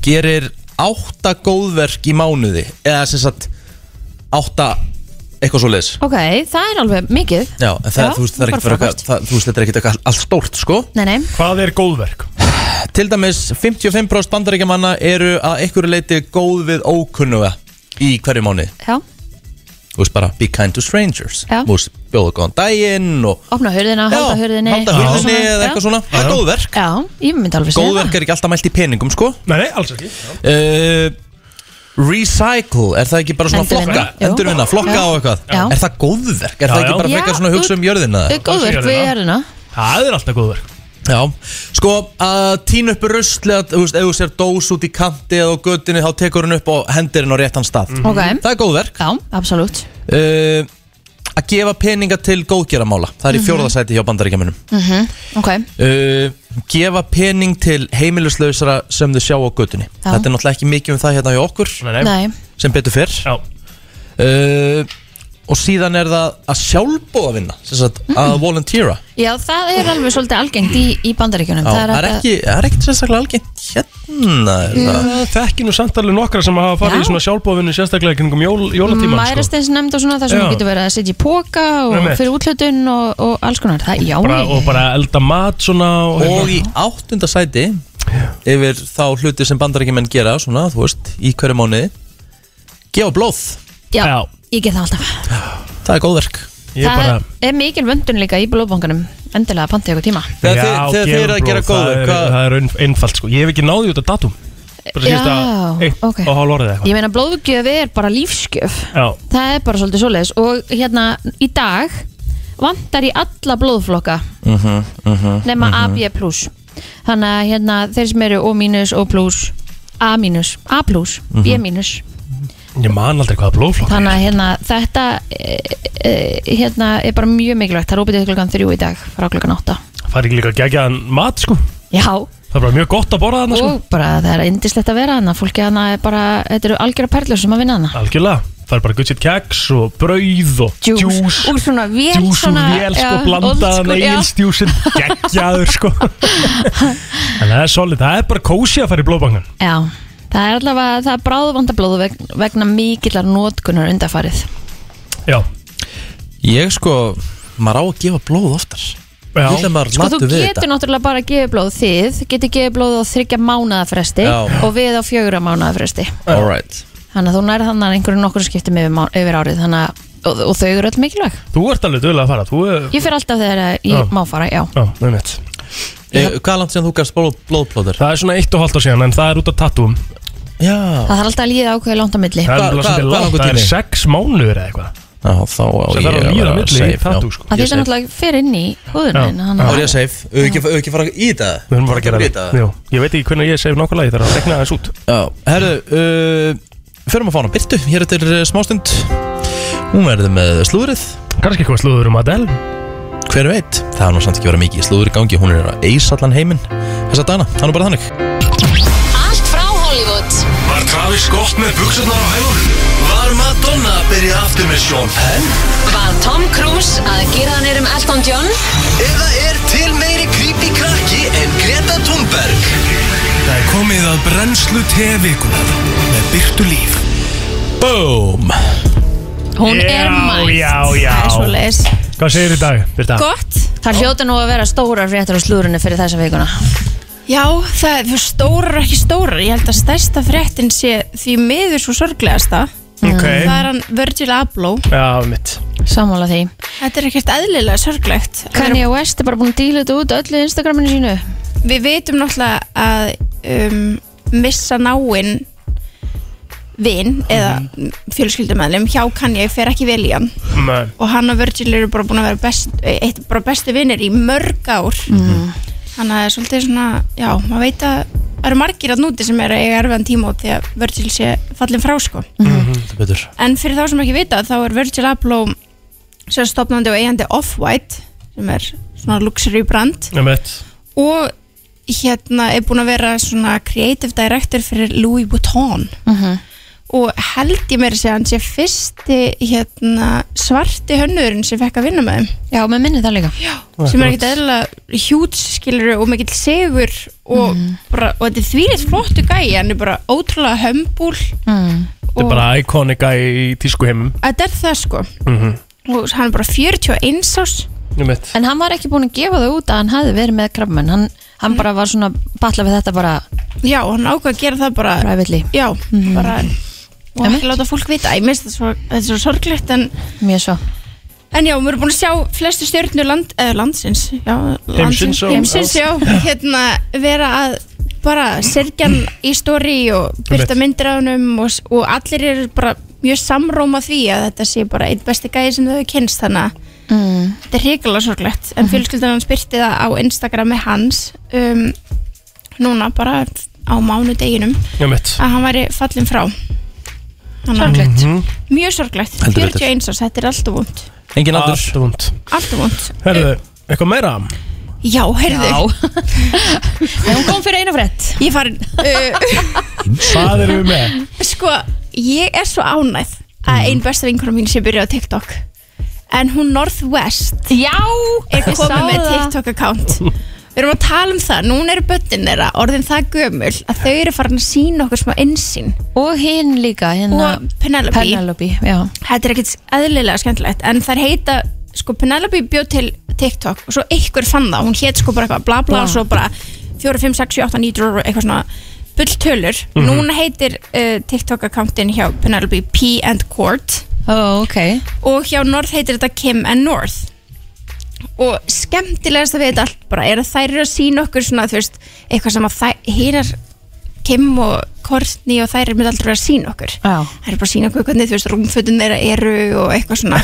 S3: gerir átta góðverk í mánuði eða sem sagt átta eitthvað svo leis
S2: Ok, það er alveg mikið
S3: Já, en það,
S2: Já,
S3: þú veist, það er
S2: bara
S3: ekkert verið
S2: frábært.
S3: eitthvað það- Þú veist, þetta er ekkert eitthvað allt stórt, sko
S2: Nei, nei,
S4: Hvað er góðverk?
S3: Til dæmis, 55% bandaríkjamanna eru að einhverju leiti góð við ókunnuga í hverju mánuði
S2: já,
S3: Þú veist, bara be kind to strangers
S2: Já.
S3: Þú veist, bjóða góðan daginn og
S2: opna hurðina,
S3: Já,
S2: halda hurðinni
S3: halda
S2: eitthvað
S3: hurðinni
S2: svona.
S3: eða eitthvað svona Það er góðverk
S2: Já, Já, ég myndi alveg segja
S3: Góðverk er ekki alltaf mælt í peningum, sko
S4: Nei, nei, alls ekki
S3: uh, Recycle, er það ekki bara svona
S2: Endurvinna,
S3: flokka
S2: jú.
S3: Endurvinna, flokka
S2: Já.
S3: á eitthvað
S2: Já.
S3: Er það góðverk? Er
S4: Já,
S3: það ekki
S4: já.
S3: bara
S2: Já,
S3: frekar svona að hugsa um jörðina?
S2: það.
S3: eða?
S2: Góðverk við hurðina
S4: Það er alltaf góðverk
S3: Já, sko að tína upp ruslega Þú veist, ef þú sér dós út í kanti eða á göttinni þá tekur hún upp og hendir henn á réttan stað
S2: Ok.
S3: Mhm. Það er góðverk
S2: Já, absolutt
S3: uh, Að gefa peninga til góðgeramála
S2: Mhm.
S3: Það er í fjórðasæti hjá bandaríkjamunum
S2: Ok,
S3: uh, Gefa pening til heimilislausara sem þau sjá á göttinni
S2: Já.
S3: Þetta er náttúrulega ekki mikið um það hérna hjá okkur
S4: Nei, nei
S2: nei,
S3: sem betur fyrr
S4: Já,
S3: uh, og síðan er það að sjálfbóða vinna sem sagt,
S2: Mm.
S3: að volunteera
S2: já það er alveg svolítið algengt í, í bandaríkjunum
S3: Já, það er
S2: hægt að-
S3: ekki, það er ekkert sérstaklega algengt hérna er það.
S4: Það þekki nú samt alveg nokkra sem hafa
S2: Já.
S4: farið í svona sjálfbóðvinni sérstaklega kringum jól, jólatíman sko.
S2: Mærastins nefnd og svona það sem
S4: Já.
S2: þú getur verið að setja í póka og
S4: Einmitt.
S2: fyrir útlötun og, og alls konar það, Já,
S4: bara, og
S2: ég-
S4: bara elda mat svona og, hérna.
S3: og í áttunda sæti yfir þá hluti sem bandarækjumenn gera svona, þú veist, í hverju mánuði gefa blóð,
S2: já,
S4: Já.
S2: ég get það alltaf
S3: það er góðverk
S4: ég
S2: Það
S4: bara
S2: er mikil vöndun líka í blóðbankanum endilega að panta ykkur tíma
S3: þegar þið- þegar þið eru að gera góðverk
S4: það, er-
S3: hvað-
S4: það er ein- einfalt sko, ég hef ekki náði út af datum bara síðasta
S2: Já,
S4: eitt
S2: ok.
S4: og hálf orðið eitthvað
S2: Ég meina blóðgjöf er bara lífsgjöf
S4: Já.
S2: Það er bara svolítið svoleiðis og hérna í dag vantar í alla blóðflokka
S3: Mhm,
S2: nema
S4: Mhm.
S2: AB plus Þannig að hérna þeir sem eru O mínus, O plus A mínus, A plus, B mínus
S4: ég man aldrei hvaða blóðflokk
S2: Þannig að hérna, þetta e, e, hérna, er bara mjög mikilvægt Það er opið til klukkan þrjú í dag frá klukkan átta
S4: það er ekki líka gegjaðan mat sko
S2: Já,
S4: það er bara mjög gott að borða þarna sko
S2: og bara það er indislegt að vera hana Fólki hana er bara, þetta eru algjörða perlur sem að vinna hana
S4: algjörlega, það er bara gutt sitt keks og brauð og
S2: Djús,
S4: djús
S2: og svona vel
S4: djús úr
S2: svona,
S4: vél
S2: Hérna,
S4: sko,
S2: já, old school,
S4: blandaðan
S2: já.
S4: eigilsdjúsin geggjaður sko en það er solid, það er bara kósi að fara í blóðbangan
S2: Já, Það er allavega, það er bráðvandablóð veg- vegna mikillar notkunar undarfarið.
S4: Já,
S3: Ég sko, maður á að gefa blóð oftar
S4: já,
S3: Ég vil að maður
S2: Sko þú
S3: matur við
S2: getur náttúrulega bara að gefa blóð þið, getur gefið blóð á þryggja mánaðafresti
S3: Já.
S2: og við á fjögra mánaðafresti.
S3: þetta All right
S2: Þannig að þú nærið þannig einhverju nokkur skiptum yfir, má- yfir árið þannig að, og, og þau eru öll mikilvæg.
S4: þú ert alveg dögulega að fara Þú er,
S2: Ég fyrir alltaf þegar að ég
S4: Já.
S2: má fara, já.
S4: já, nefnitt
S3: e, Hvað er langt síðan þú gafst blóð, blóðplóður?
S4: Það er svona eitt og halvt á síðan, en það er út af tattúum
S3: Já
S2: Það þarf alltaf að líða ákveði langt á milli.
S4: Það
S3: Hva-
S4: er, hva,
S3: hva- hvað
S4: langt,
S3: langur
S4: það er
S3: tími?
S4: sex mánuður eða eitthvað
S3: Já, þá á
S4: sem
S3: ég
S4: þarf að líða
S3: vera
S4: milli í
S3: safe, já.
S4: tattú sko.
S2: Það því sem
S4: Ég segi-
S2: náttúrulega fer inn í
S4: Já.
S2: húðunin.
S3: Þá
S2: þannig
S3: er
S2: að-
S3: ég safe Ef ekki, ef ekki fara í þetta
S4: Við höfum bara að gera
S3: Í
S4: það
S3: þetta
S4: Jú, Ég veit ekki hvernig ég segi nákvæmlega, ég þarf að regna þess út
S3: Já, herru uh, Förum að fá hana Byrtu, hér eftir uh, smástund Hún verður með slúðrið
S4: Kannski eitthvað slúður um Adele
S3: Hver veit, það er nú samt ekki verið mikið í slúður í gangi Hún er að eisa allan heiminn Þessa dana, það er nú bara þannig
S6: Allt frá Hollywood
S1: Var Travis gott með buksarnar á hælunum? Var Madonna að byrja aftur með Sean Penn?
S6: Var Tom Cruise að gera hann erum Elton John
S1: Eða er til meiri creepy krakki en Greta Thunberg? Það er komið að brennslu tevikunar með Byrtu Líf.
S3: Boom
S2: Hún er
S4: Já,
S2: mætt.
S4: já, já.
S2: Það er svo
S4: Hvað segir í dag, Birta?
S2: Gott. Það hljóta nú að vera stórar fréttur á slúrunni fyrir þessa vikuna.
S11: Já, það er stórar ekki stórar Ég held að stærsta fréttin sé því miður svo sorglegasta
S4: Ok,
S11: Það er hann Virgil Abloh
S4: já, mitt
S2: Sammála því.
S11: Þetta er ekkert eðlilega sorglegt
S2: Kanye West er bara búin að díla þetta út öllu í Instagraminu sínu.
S11: Við vitum náttúrulega að um, missa náinn vin eða
S2: Mhm.
S11: fjölskyldumæðlum hjá Kanye fer ekki vel í hann
S4: Nei.
S11: og hann og Virgil eru bara búin að vera best, eitt, bara bestu vinnir í mörg ár þannig að það er svolítið svona já, maður veit að það eru margir að núti sem eru að eiga erfiðan tíma út því að Virgil sé fallin frá sko
S5: Mhm.
S3: Þetta er betur
S11: en fyrir þá sem ekki vita þá er Virgil Abloh sem stopnandi og eigandi Off-White sem er svona luxury brand
S4: Nei, mitt
S11: og hérna er búin að vera svona creative director fyrir Louis Vuitton
S2: Mhm.
S11: og held ég mér að segja hann sé fyrsti hérna svarti hönnurinn sem fekk að vinna með þeim
S2: Já, með minni það líka.
S11: sem er ekkert eðla hjúts skilur og mikill segur og,
S2: Mm.
S11: bara, og þetta er þvílitt flottu gæi hann er bara ótrúlega hömbúl
S2: Mm.
S4: Þetta er bara íkonika í tísku heimum
S11: þetta er það sko
S4: Mhm.
S11: og hann er bara 41 ás
S4: Nei, mitt
S2: En hann var ekki búin að gefa það út að hann hafi verið með krabmenn. Hann, hann bara var svona batla við þetta bara
S11: já, hann ákvað að gera það bara
S2: privately. Mhm.
S11: já, bara og
S2: Einmitt.
S11: ekki láta fólk vita, ég minnst það svo, þetta er svo sorglegt en,
S2: Mjög svo.
S11: en já, við erum búin að sjá flestu stjórnur land, eh, landsins já, landsins,
S4: og-
S11: heimsins já, hérna, vera að bara sergjan í stóri og byrta myndir á hennum og, s- og allir eru bara mjög samróma því að þetta sé bara einn besti gæði sem þau hefur kynst þannig að
S2: Mm.
S11: þetta er hrigalega sorglegt
S2: Mhm.
S11: en fjölskyldan hans byrti það á Instagrami hans um, núna bara á mánudeginum
S4: Nei, mitt
S11: að hann væri fallin frá sorglegt mjög sorglegt,
S3: Mhm. Heldur betur.
S11: 41 árs, þetta er alltaf vond
S3: Engin aldur
S4: Alltaf vond
S11: alltaf vond
S4: Herðu, eitthvað meira?
S11: já, heyrðu,
S2: En hún kom fyrir eina frétt. Eh,
S11: ég farin uh,
S4: Hvað erum við með? Mm.
S11: sko, ég er svo ánægð að ein besta vinkona mín sé byrjuð á TikTok en hún Northwest
S2: Já!
S11: er
S2: Ég sá
S11: komið með
S2: það.
S11: TikTok account Við erum að tala um það, núna eru börnin þeirra orðin það gömul að þau eru farin að sína okkur smá einsinn
S2: Og hinn líka, hérna.
S11: og Penelope,
S2: Penelope, já.
S11: þetta er ekkert eðlilega skemmtilegt en þær heita, sko Penelope bjóð til TikTok og svo einhver fann það hún hétt sko bara eitthvað bla bla
S2: Bla.
S11: og svo bara 4, 5, 6, 7, 8, 9, 10, eitthvað svona bulltölur, núna heitir uh, TikTok accountin hjá Penelope P and Court
S2: Ó, ok.
S11: og hjá North heitir þetta Kim and North og skemmtilegast að við þetta allt bara er að þær eru að sína okkur svona þú veist, eitthvað sem að þær hýrar Kim og Courtney og þær eru myndi aldrei vera að sína okkur
S2: Já.
S11: þær eru bara að sína okkur hvernig þú veist rúmfötun þeirra eru og eitthvað svona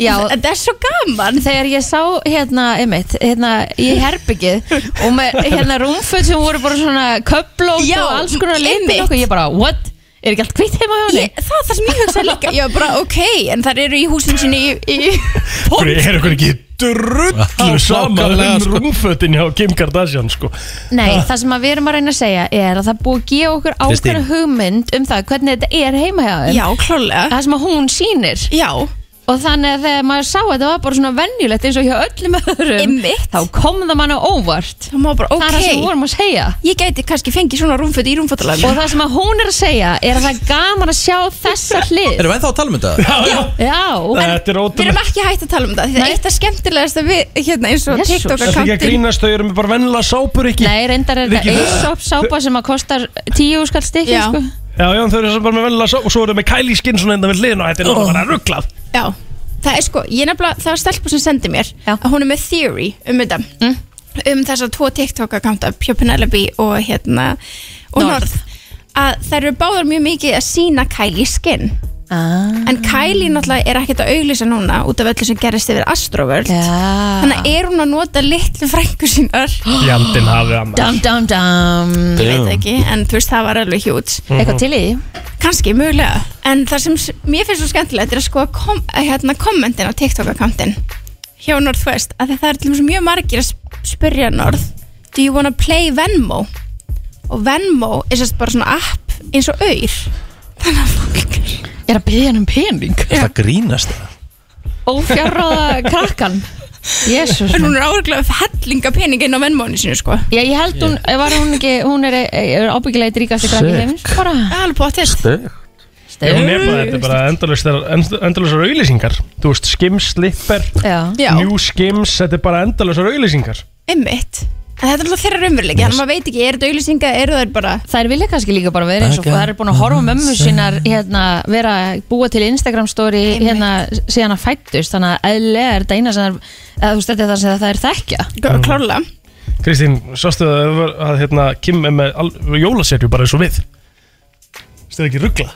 S2: Já,
S11: þetta er svo gaman
S2: þegar ég sá hérna, einmitt, hérna í herbyggið og með hérna rúmföt sem voru bara svona köplót
S11: Já,
S2: og alls konar
S11: einmitt.
S2: litur og ég bara, what? Er ekki allt hvitt heima hjá henni?
S11: ég, það er það sem ég hugsaði líka ég var bara ok, en þær eru í húsin sinni í, í
S4: Hverju er eitthvað ekki drullu saman
S3: nákvæmlega,
S4: um
S3: sko.
S4: rúmfötin hjá Kim Kardashian sko
S2: Nei, það sem að við erum að reyna að segja er að það er búið að gefa okkur
S3: Kristín.
S2: ákveðna hugmynd um það hvernig þetta er heima hjá þeim
S11: já, klálega
S2: Það sem að hún sýnir
S11: já,
S2: og og þannig að þegar maður sá að þetta var bara svona venjulegt eins og hjá öllum öðrum Einmitt. þá kom það manna óvart það, bara, það er það sem
S11: ókei.
S2: við vorum að segja
S11: Ég gæti kannski fengið svona rúmföt í rúmfötulæmi
S2: og það sem að hún er að segja er að það er gaman að sjá þessa hlið
S3: Erum við ennþá að tala um þetta?
S2: Já,
S4: Þetta er
S11: Við erum
S4: ótrúlega
S11: ekki hægt að tala um það Þetta er eitt af skemmtilegasta við hérna eins og
S4: Þetta
S11: TikTok
S4: er ekki að
S11: akkantinn
S4: grínast, þau eru með bara vennilega sápur ekki
S2: Nei, reyndar er
S4: Rikki,
S2: þetta
S4: þau-
S2: Aesop sápa sem að kostar 10 skall stykki
S11: Já.
S2: sko.
S4: Já, já, þau eru bara með vennilega sápur og svo eru þau með Kylie skinn svona enda við hliðin og þetta er náttúrulega bara rugglað
S11: Já, það er sko, ég nefnilega, það var stelpa sem sendi mér að hún er með theory um þetta um þessar tvo TikTok akkanta Pjó Penelope og hérna og Norð, að þær eru báðar mjög mikið að sína Kylie skinn
S2: ah.
S11: en Kylie náttúrulega er ekkert að auglýsa núna út af öllu sem gerist yfir Astroworld ja. þannig að er hún að nota litlu frængu sínar
S4: Jandinn hafið annars
S2: Dam, dam, dam
S11: Ég veit ekki, en þú veist, það var alveg hjút
S2: Eitthvað til í því?
S11: Kanski, mögulega En það sem s- mér finnst svo skemmtilegt er að sko kom, að hérna, kommentin á TikTok-akkantin hjá Northwest að það er til dæmis mjög margir að sp- spyrja North Do you wanna play Venmo? Og Venmo er sérst bara svona app eins og auður
S2: Er að byggja hann um pening?
S3: Það grínast það
S2: Ófjárráða krakkan Jésús
S11: En hún er áreglega hellinga pening inn á Venmo-ni sinu sko
S2: Já, ég held hún, var hún ekki, hún er, er ábyggilega eitt ríkast í krakki
S4: Sick.
S2: heims bara
S11: Alveg bóttist
S4: Ég hún er bara, þetta er bara endalausar endalausar auglýsingar Þú veist, skims, slipper,
S2: Já.
S11: Já.
S4: new skims Þetta er bara endalausar auglýsingar
S11: Einmitt En þetta er alltaf þeirra raunveruleiki, þannig að maður veit ekki, er þetta auðlýsinga, eru þær bara...
S2: Þær vilja kannski líka bara vera eins og
S11: Taka
S2: það er búin að horfa á mömmu sínar hérna, vera búa til Instagram story hérna, síðan að fættust þannig að eðlilega er þetta eina sem þær- eða þú stætti það sem það er þekkja
S11: Klála
S4: Kristín, sástu að, að hérna, Kim er með al, jólaserju bara eins og við Þetta er ekki ruggla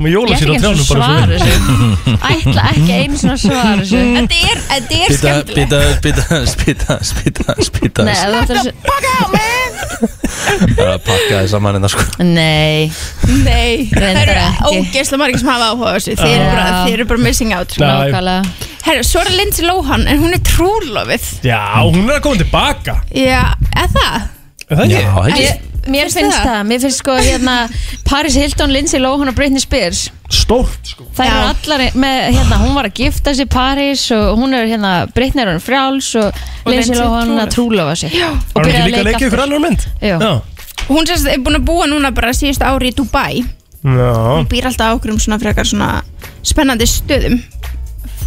S4: Með jólaserju á
S2: Ég ætla
S4: trjánum
S2: ekki
S4: bara
S2: einu
S4: eins og við
S2: Ætla ekki einu svona svar þessu
S11: Þetta er, þetta er
S3: Spýta,
S11: skemmtilegt.
S3: spýta, spýta, spýta, spýta, spýta
S2: Nei, ef þú ætlar að-
S3: Það er að pakka þið saman en það sko
S2: Nei
S11: Nei, það
S2: Reyndar
S11: eru
S2: ekki.
S11: ógeðslega margir sem hafa áhuga á þessu Þeir eru
S2: Já.
S11: bara, þeir eru bara missing out
S4: Nei. Nákvæmlega.
S11: Herru, svo er Lindsay Lohan En hún er trúlofið
S4: Já, hún er að koma tilbaka
S11: Já, eða það?
S4: Er það ekki? Já,
S2: Ég- Mér finnst það, mér finnst sko hérna Paris Hilton, Lindsay Lohan og Britney Spears
S4: Stórt sko
S2: Það eru allar með, hérna, hún var að gifta sig Paris og hún er hérna Britney er hún fráls og, Lindsay
S11: Lindsay
S2: Lohan að trúlofa sig
S11: Já.
S4: Var hún ekki líka að leika ykkur annar mynd?
S2: Já.
S11: Hún sérst er búin að búa núna bara síðustu ári í Dubai Hún
S4: Já
S11: býr alltaf ákveðum svona frekar svona spennandi stöðum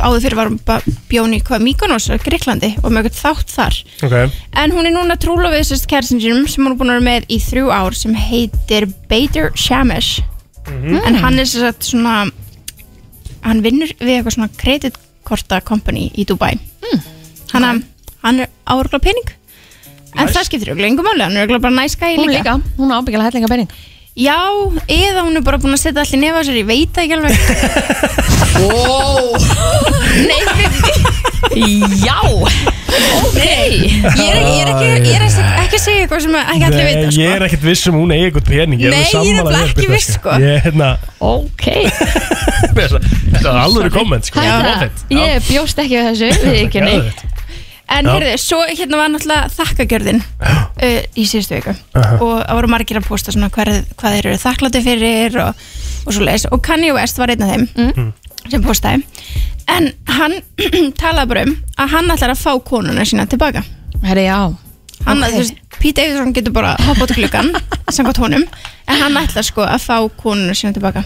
S11: Áður fyrir var hún bara bjón í hvað Mykonos á Greiklandi og með eitthvað þátt þar
S4: Ok
S11: En hún er núna trúlofið sérst kærisinn sínum sem hún er búin að vera með í þrjú ár sem heitir Bader Shamish
S2: Hmm.
S4: Mhm.
S11: en hann er sér sagt svona hann vinnur við eitthvað svona kreditkorta company í Dubai
S2: Hmm.
S11: hann, hann er áregla pening en það skiptir auðvitað engum máli hann er auðvitað bara næska í
S2: Hún
S11: líka
S2: líka, hún er ábyggilega hætlinga penning
S11: já, eða hún er bara búin að setja allir nefa sér ég veit það ekki alveg wow
S2: Já Ok
S11: ég er, ég er, ekki, ég er ekki, ekki að segja eitthvað sem ekki allir
S4: Nei,
S11: vita sko.
S4: Ég er ekkert viss um hún eigi eitthvað pening
S11: Nei, ég er nefnilega ekki viss, sko.
S4: Ég er hérna
S2: Ok
S4: Þetta er alveg komment sko
S2: Hæ,
S4: Ég
S2: það-
S4: er ofent. Já.
S2: Ég bjóst ekki við þessu Við ekki neitt
S11: En
S4: Já.
S11: heyrðu, svo hérna var náttúrulega þakkagjörðin uh, í síðustu viku
S4: Aha.
S11: og það voru margir að posta svona hver, hvað þeir eru þakklátti fyrir og, og svo leiðis og Kanye West var einn af þeim
S2: Mm.
S4: Mm.
S11: sem postaði en hann talaði bara um að hann ætlar að fá konuna sína tilbaka
S2: Herri, já
S11: hann,
S2: Ok.
S11: okay. veist, Pete Davidson getur bara hoppa út klukkan samkvæmt honum en hann ætlar sko að fá konuna sína tilbaka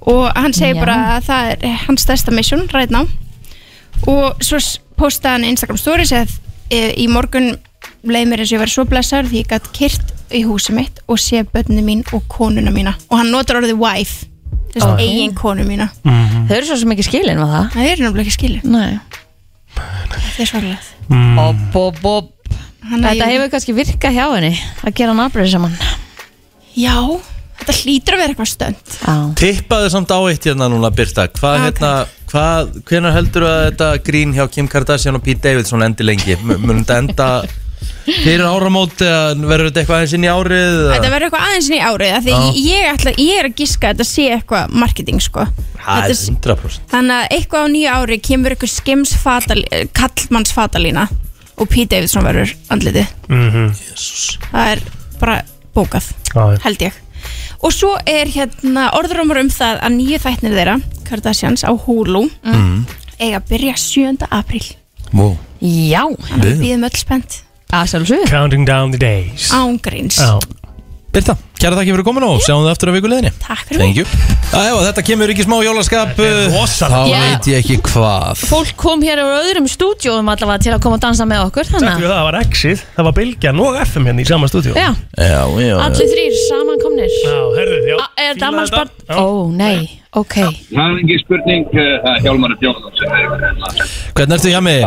S11: og hann segir
S2: Já.
S11: bara að það er hans stærsta mission right now og svo s- postaði hann Instagram stories að e, í morgun leið mér eins og ég var svo blessar því ég gætt kyrt í húsi mitt og sé börnum mín og konuna mína og hann notar orðið wife þess
S2: Ok.
S11: að eigin konu mína
S4: Mhm.
S2: Þau eru svo sem ekki skilin var það
S11: það er náttúrulega ekki skilin
S2: Nei
S11: það er svolítið
S4: Mm.
S2: Bob, bob, bob
S11: Hann er
S2: Þetta
S11: jú-
S2: hefur kannski virkað hjá henni að gera hann afbreyð saman
S11: já, þetta hlýtur að vera eitthvað stönd
S3: Tippaðu samt á eitt hérna núna Birta Hvað
S11: Ok.
S3: hérna, hvað, hvenær heldur að þetta grín hjá Kim Kardashian og Pete Davidson endi lengi? M- Mun þetta enda fyrir áramót eða verður þetta eitthvað aðeins inn í árið? eða?
S11: Þetta verður eitthvað aðeins inn í árið af Því
S3: Já.
S11: ég, ætla, ég er að giska að þetta sé eitthvað marketing sko.
S3: Það
S11: Þetta
S3: er
S11: s-
S3: 100%
S11: Þannig að eitthvað á nýju ári kemur eitthvað skims kallmanns fatalína og Pete Davidson verður andlitið
S4: Mhm.
S11: Það er bara bókað
S4: Já, já.
S11: held ég Og svo er hérna orðrumur um það að nýju þætnir þeirra Kardashians á Hulu
S2: Mm.
S11: eiga að byrja 7. apríl
S3: Wow.
S2: Já
S11: Þannig að við býðum öll spennt
S4: Counting down the days
S11: Ángríns
S4: Já.
S3: Birta, kæra þakki fyrir komin og sjáum þið aftur á vikuleginni
S11: Takk
S3: fyrir mig Æjá, þetta kemur ekki smá jólaskap eh, Þá
S2: rosalegt. Já.
S3: veit ég ekki hvað
S2: Fólk kom hér úr öðrum stúdjóum allavega til að koma og dansa með okkur
S4: Takk
S2: Þannig
S4: fyrir
S2: að
S4: það, það var Exit, það var Bilgjan og FM hérna í sama stúdíu
S2: Já.
S3: Já, já
S2: allir þrýr samankomnir Já,
S4: herðu, já
S2: Ah, Er þetta ammans Ó, nei, ok
S12: Það er engin spurning, eh, það er Hjálmar Björnsson sem er
S3: Hvernig ertu hjá mig?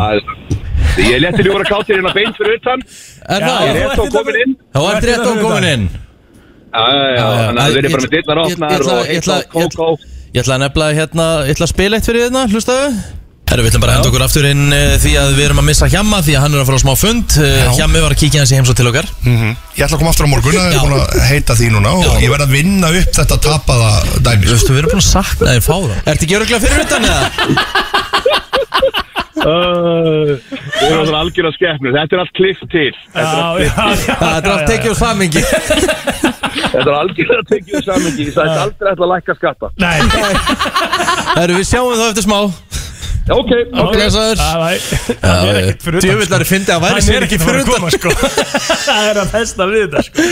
S12: Ég leti ljúra kátir hérna beint fyrir utan
S3: Er það?
S12: Ég er rétt og komin inn
S3: Þá
S4: hérna
S3: ert rétt á
S13: um?
S3: komin inn
S12: Já, já, já, þannig að
S3: Ég-
S12: við erum bara með
S3: ég-
S12: dillar
S3: ég- ég
S12: opnar
S3: ætla-
S12: og
S3: ég
S12: eitt á
S3: ætla- ég- Ég ætla að nefna hérna, ég ætla að spila eitt fyrir hérna, hlustaðu Herru, við ætlum bara að henda okkur aftur inn eh, því að við erum að missa Hjamma því að hann er að fara á smá fund Eh, Hjammi var að kíkja hans í heimsótt til okkar
S12: Mhm.
S13: Ég ætla að koma aftur á morgun, það er búin að heita því núna og ég verð að vinna upp þetta tapaða dæmi sko.
S3: Þú veist, við erum búin að sakna þér fá það Ertu ekki öruglega fyrir utan eða?
S12: Við erum alltaf algjör að skemmur, þetta er allt klift til
S3: Það er allt tekið úr samingi
S12: Þetta er algjör að tekið úr samingi Það er aldrei ætla að lækka skatta
S4: Nei
S3: Herru, við sjáum það eftir smá
S12: Ok,
S3: ok. Blessaður.
S4: Það er ekkert fyrir utan sko.
S3: Djöfull væri eh, fyndið að væri
S4: Hann
S3: sér
S4: er
S3: ekki
S4: ekkert fyrir
S3: fyrir
S4: utan koma, sko. Það er að festa við þetta sko.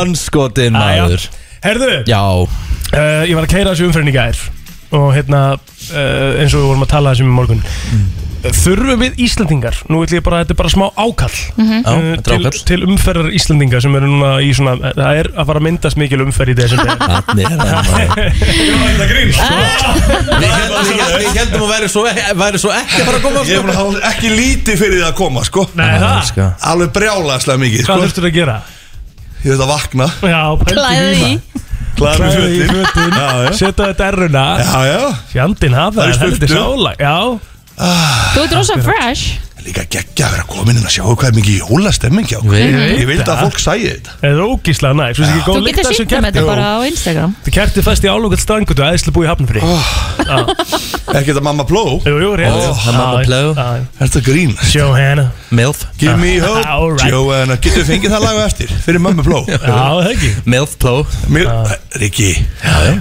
S3: Anskotin maður
S4: Herðu
S3: Já
S4: uh, Ég var að keira þessu umfyrin í gær Og hérna uh, eins og við vorum að tala þessum í morgun Þurfum við Íslandingar Nú ætlum ég bara, þetta er bara smá ákall
S3: Mhm. Já,
S4: Eh,
S3: þetta er
S4: til,
S3: ákall.
S4: til umferðar Íslandinga sem eru núna í svona eh, Það er að fara að myndast mikil umferð í þessum
S3: Þannig er það
S13: sko.
S3: Við héldum- Við heldum að væri svo, e- væri svo ekki að fara að koma
S13: Ég er búin að hafa ekki lítið fyrir það að koma sko
S4: Nei, það?
S3: sko.
S13: Alveg brjálæðislega mikið sko.
S4: Hvað þurftur að gera?
S13: Ég þurft að vakna
S4: Já,
S2: Klæði því
S13: Klæða mig
S4: Klæði í
S13: fötin.
S4: fötin
S13: Já, já.
S4: Setja þetta erruna
S13: Já, já
S4: Fjandinn hafa
S13: Það er
S4: það heldur
S13: sturtu.
S4: sálag Já Ah.
S2: Þú ert rosa fresh
S13: Líka geggja að vera komin inn að sjá hvað er mikið jólastemming hjá okkur. Ég vildi að fólk sæði þetta
S4: Það er ógíslega næst Þú
S2: Þú getur sýnt um þetta bara á Instagram
S4: Þú kerti fæst í álugall strangutu æðislega búið í hafnfri oh.
S13: Ekki þetta mamma pló
S4: Jú, jú, rétt
S13: Ó, það er mamma
S4: Já,
S13: pló.
S4: já.
S13: Þetta grín
S4: Johanna
S3: Milf
S13: Give me hope
S4: All right.
S13: Joanna Getur við fengið það lagu eftir Fyrir mamma pló Já,
S4: það ekki
S3: Milf pló
S13: Rikki Já, já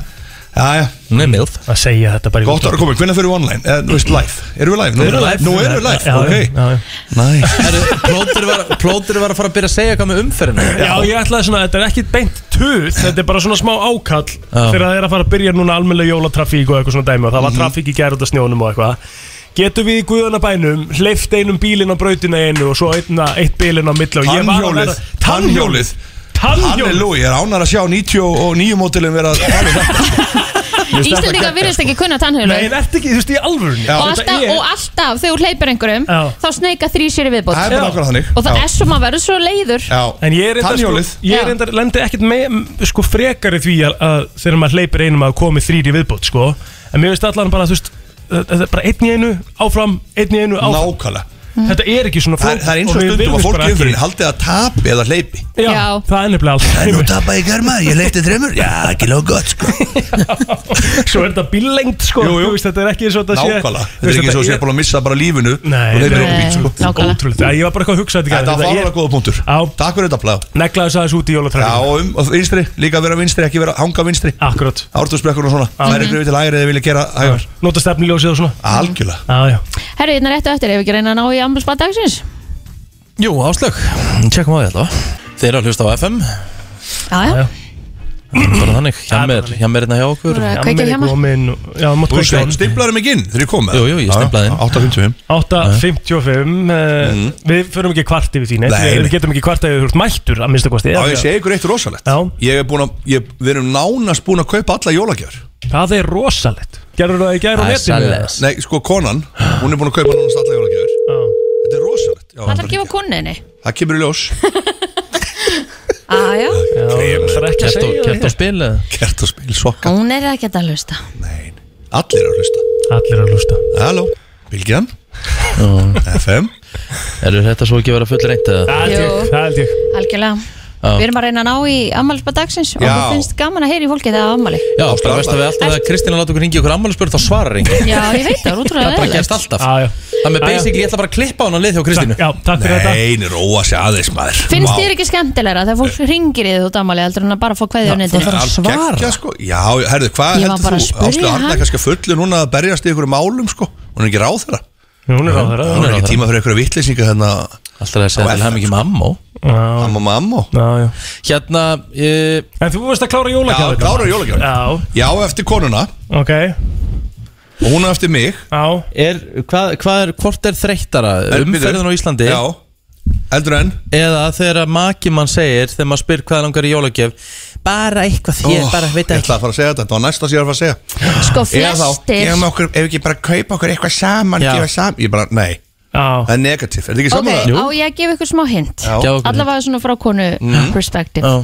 S3: Hún er milf
S4: Að segja þetta bara í
S13: Gótt ára komið, hvernig fyrir við online? Eh, Þú veist, live Erum við live? Nú
S4: Við erum live.
S13: Nú erum við live,
S4: Já,
S13: ok
S4: já, já.
S13: Nice
S3: Plótur var, plótur var að fara að byrja að segja hvað með umferðina
S4: Já, ég ætlaði svona, þetta er ekki beint tuð Þetta er bara svona smá ákall Þegar það er að fara að byrja núna almennilega jólatrafík og eitthvað svona dæmi Og það
S13: Mhm.
S4: var trafík í gær út af snjónum og eitthvað Getum við í guðanabænum Hleyft einum bílinn á brautina í einu Og svo einna, eitt bílinn á milli og ég var að
S13: Tannhjólið
S4: verða- Tannhjólið Tannhjólið
S13: Halleluja, ég er ánar að sjá 99 mótilum vera að tala um þetta
S2: Íslendinga virðist ekki kunna tannhjólu
S4: sko. Nei, en ertu ekki, þú veist, í alvörunni
S2: og, alltaf, og alltaf þegar þú hleypir einhverjum
S4: Já.
S2: þá sneika þrý sér í viðbót
S4: Það er bara nákvæmlega þannig.
S2: og það
S4: Já.
S2: er svo maður verður svo leiður
S4: En ég er reyndar,
S13: Tannhjólið.
S4: sko, ég er reyndar lendi ekkert með, m- sko, frekari því að, að þegar maður hleypir einum að komi þrýri viðbót sko. en mér veist allan bara, þú veist uh, þetta er bara einn í einu, áfram, einn í einu áfram
S13: Nákvæmlega
S4: Þetta er ekki svona
S13: Það er-
S4: flókið
S13: það er eins og
S4: við
S13: stundum að
S4: virðumst
S13: fólk
S4: bara
S13: í
S4: ekki-
S13: umfyrinni Haldið að tapi eða hleypi
S4: Já, það er nefnilega allt
S13: En nú tapaði ég garmar, ég hleypti þreymur Já, ekki nóg gott sko
S4: Svo er þetta bíllengt sko
S13: Jú, jú.
S4: Þú Veist, Þetta er ekki eins og þetta sé
S13: Nákvæmlega Þetta er ekki svo að sé búin að missa bara lífinu
S4: Nei,
S13: Og hleypir upp
S4: nei,
S13: í bíl sko
S4: nákvæmlega. Ótrúlegt. Ég var bara eitthvað að hugsa þetta í gær.
S13: Þetta var
S4: Þetta
S13: alveg
S4: er-
S13: góða punktur Takk fyrir þetta pláð
S4: Neglaðu þess aðeins út í
S13: Já,
S4: jólatræðinu
S13: og um, og vinstri, líka vera vinstri, ekki vera hanga vinstri
S4: Akkurát
S13: Ártúrsbrekkur og svona
S4: Já.
S13: Það er ykkur til hægri eða vilja gera hægar
S4: Nota stefniljósið og svona
S13: Algjörlega
S4: Já, já
S2: Herru, hérna réttu eftir, ef við ekki reyna að ná í ambulsbað dagsins
S3: Jú, áslög, tjekkum á því alltaf Þeir eru að hlusta á FM
S2: Já, já,
S3: Bara þannig, Hjammir, Hjammir hérna hjá okkur
S2: Þú eru að kveikja á
S3: hérna?
S2: Hjamma?
S4: komin og- Já, mátt
S13: Þú
S4: kveikja á honum.
S13: stimplaður mig inn þegar ég kom með
S3: Jú, jú, ég stimplaði inn
S13: 8.55
S4: 8.55 uh, Við förum ekki kvart yfir því
S13: Mhm.
S4: neitt
S13: Nei,
S4: Við
S13: nei.
S4: við getum ekki kvart yfir þú ert mættur að minnsta kosti
S13: Já, ég segi ykkur eitt rosalegt Ég er búin að, ég, við erum nánast búin að kaupa alla jólagjör
S4: Það er rosalegt Gerður það í gær á netinu?
S13: Nei, sko, konan, hún er búin að kaupa nánast alla jólagjör Þetta er rosalegt Já,
S2: það ætlar að gefa kunninni
S13: Það kemur í ljós
S2: ah, já.
S4: ekki að segja
S3: Kert og-
S4: það
S3: Kert
S4: hér.
S3: og spil eða?
S13: Kert og spil, sokka
S2: Hún er ekki að hlusta
S13: Allir eru að hlusta
S4: Allir eru að hlusta
S13: Halló, Bilgjan FM
S3: Eru þetta svo ekki að vera full reynt eða?
S4: Það held ég
S2: Algjörlega
S3: Já, Já.
S2: Við erum að reyna að ná í ammælisbað dagsins og
S3: Já.
S2: það finnst gaman að heyra í fólki þegar það er ammæli
S3: Já, bara veist að við alltaf að Kristina láta okkur ringi okkur ammælisbörn þá svarar enginn
S2: Já, ég veit það, það er
S3: Það
S2: útrúlega
S3: bara
S2: leðilegt
S3: gerst alltaf Það
S4: Já,
S3: með
S4: já.
S3: basically, ég ætla bara að klippa hann að lið hjá Kristínu
S4: Já, takk fyrir þetta.
S13: Nei, róa sér aðeins maður
S2: Finnst
S13: Vá.
S2: þér ekki skemmtilegra þegar fólk ringir í þú damali heldur en að bara fá kveðið á netinu?
S13: Gekkja, sko. Já, herðu, hvað
S2: Ég var
S13: heldur
S2: bara að spyrja
S13: þú? Áslu Arna
S2: hann.
S13: er kannski fullu núna að berjast í ykkur málum sko. Hún er ekki ráð þeirra
S4: Hún er ráðherra
S13: Hún er ekki tíma fyrir ykkur vittlýsinga hérna Alltaf
S3: að segja til hamingju með ammó
S13: Ammó með ammó
S3: Hérna
S4: En þú veist að klára
S13: Já,
S4: jólagjafirnar.
S13: klára jólagjafir
S4: Já.
S13: Já, eftir konuna
S4: Ok
S13: Og hún á eftir mig
S4: Já
S3: er, hvað, hvað er, Hvort er þreyttara?
S13: Er-
S3: Umferðin á Íslandi
S13: Já. Eldur en
S3: Eða þegar að maki mann segir Þegar maður spyr hvað langar í jólagjöf Bara eitthvað, ég
S13: Ó,
S3: bara veit
S13: Ég
S3: ekki
S13: ætla að fara að segja þetta, þetta var næsta sem ég var að fara að segja
S2: Sko,
S13: Eða þá,
S2: flestir-
S13: Ég með okkur, ef ekki bara kaupa okkur eitthvað saman
S3: Já.
S13: Gefa saman, ég bara, nei
S4: Já.
S13: Það er negativ, er þetta ekki
S2: Ok,
S13: saman
S2: á ég að gefa ykkur smá hint
S13: Já. Gjá okkur
S2: Allavega svona frá konu
S13: Mm.
S2: perspective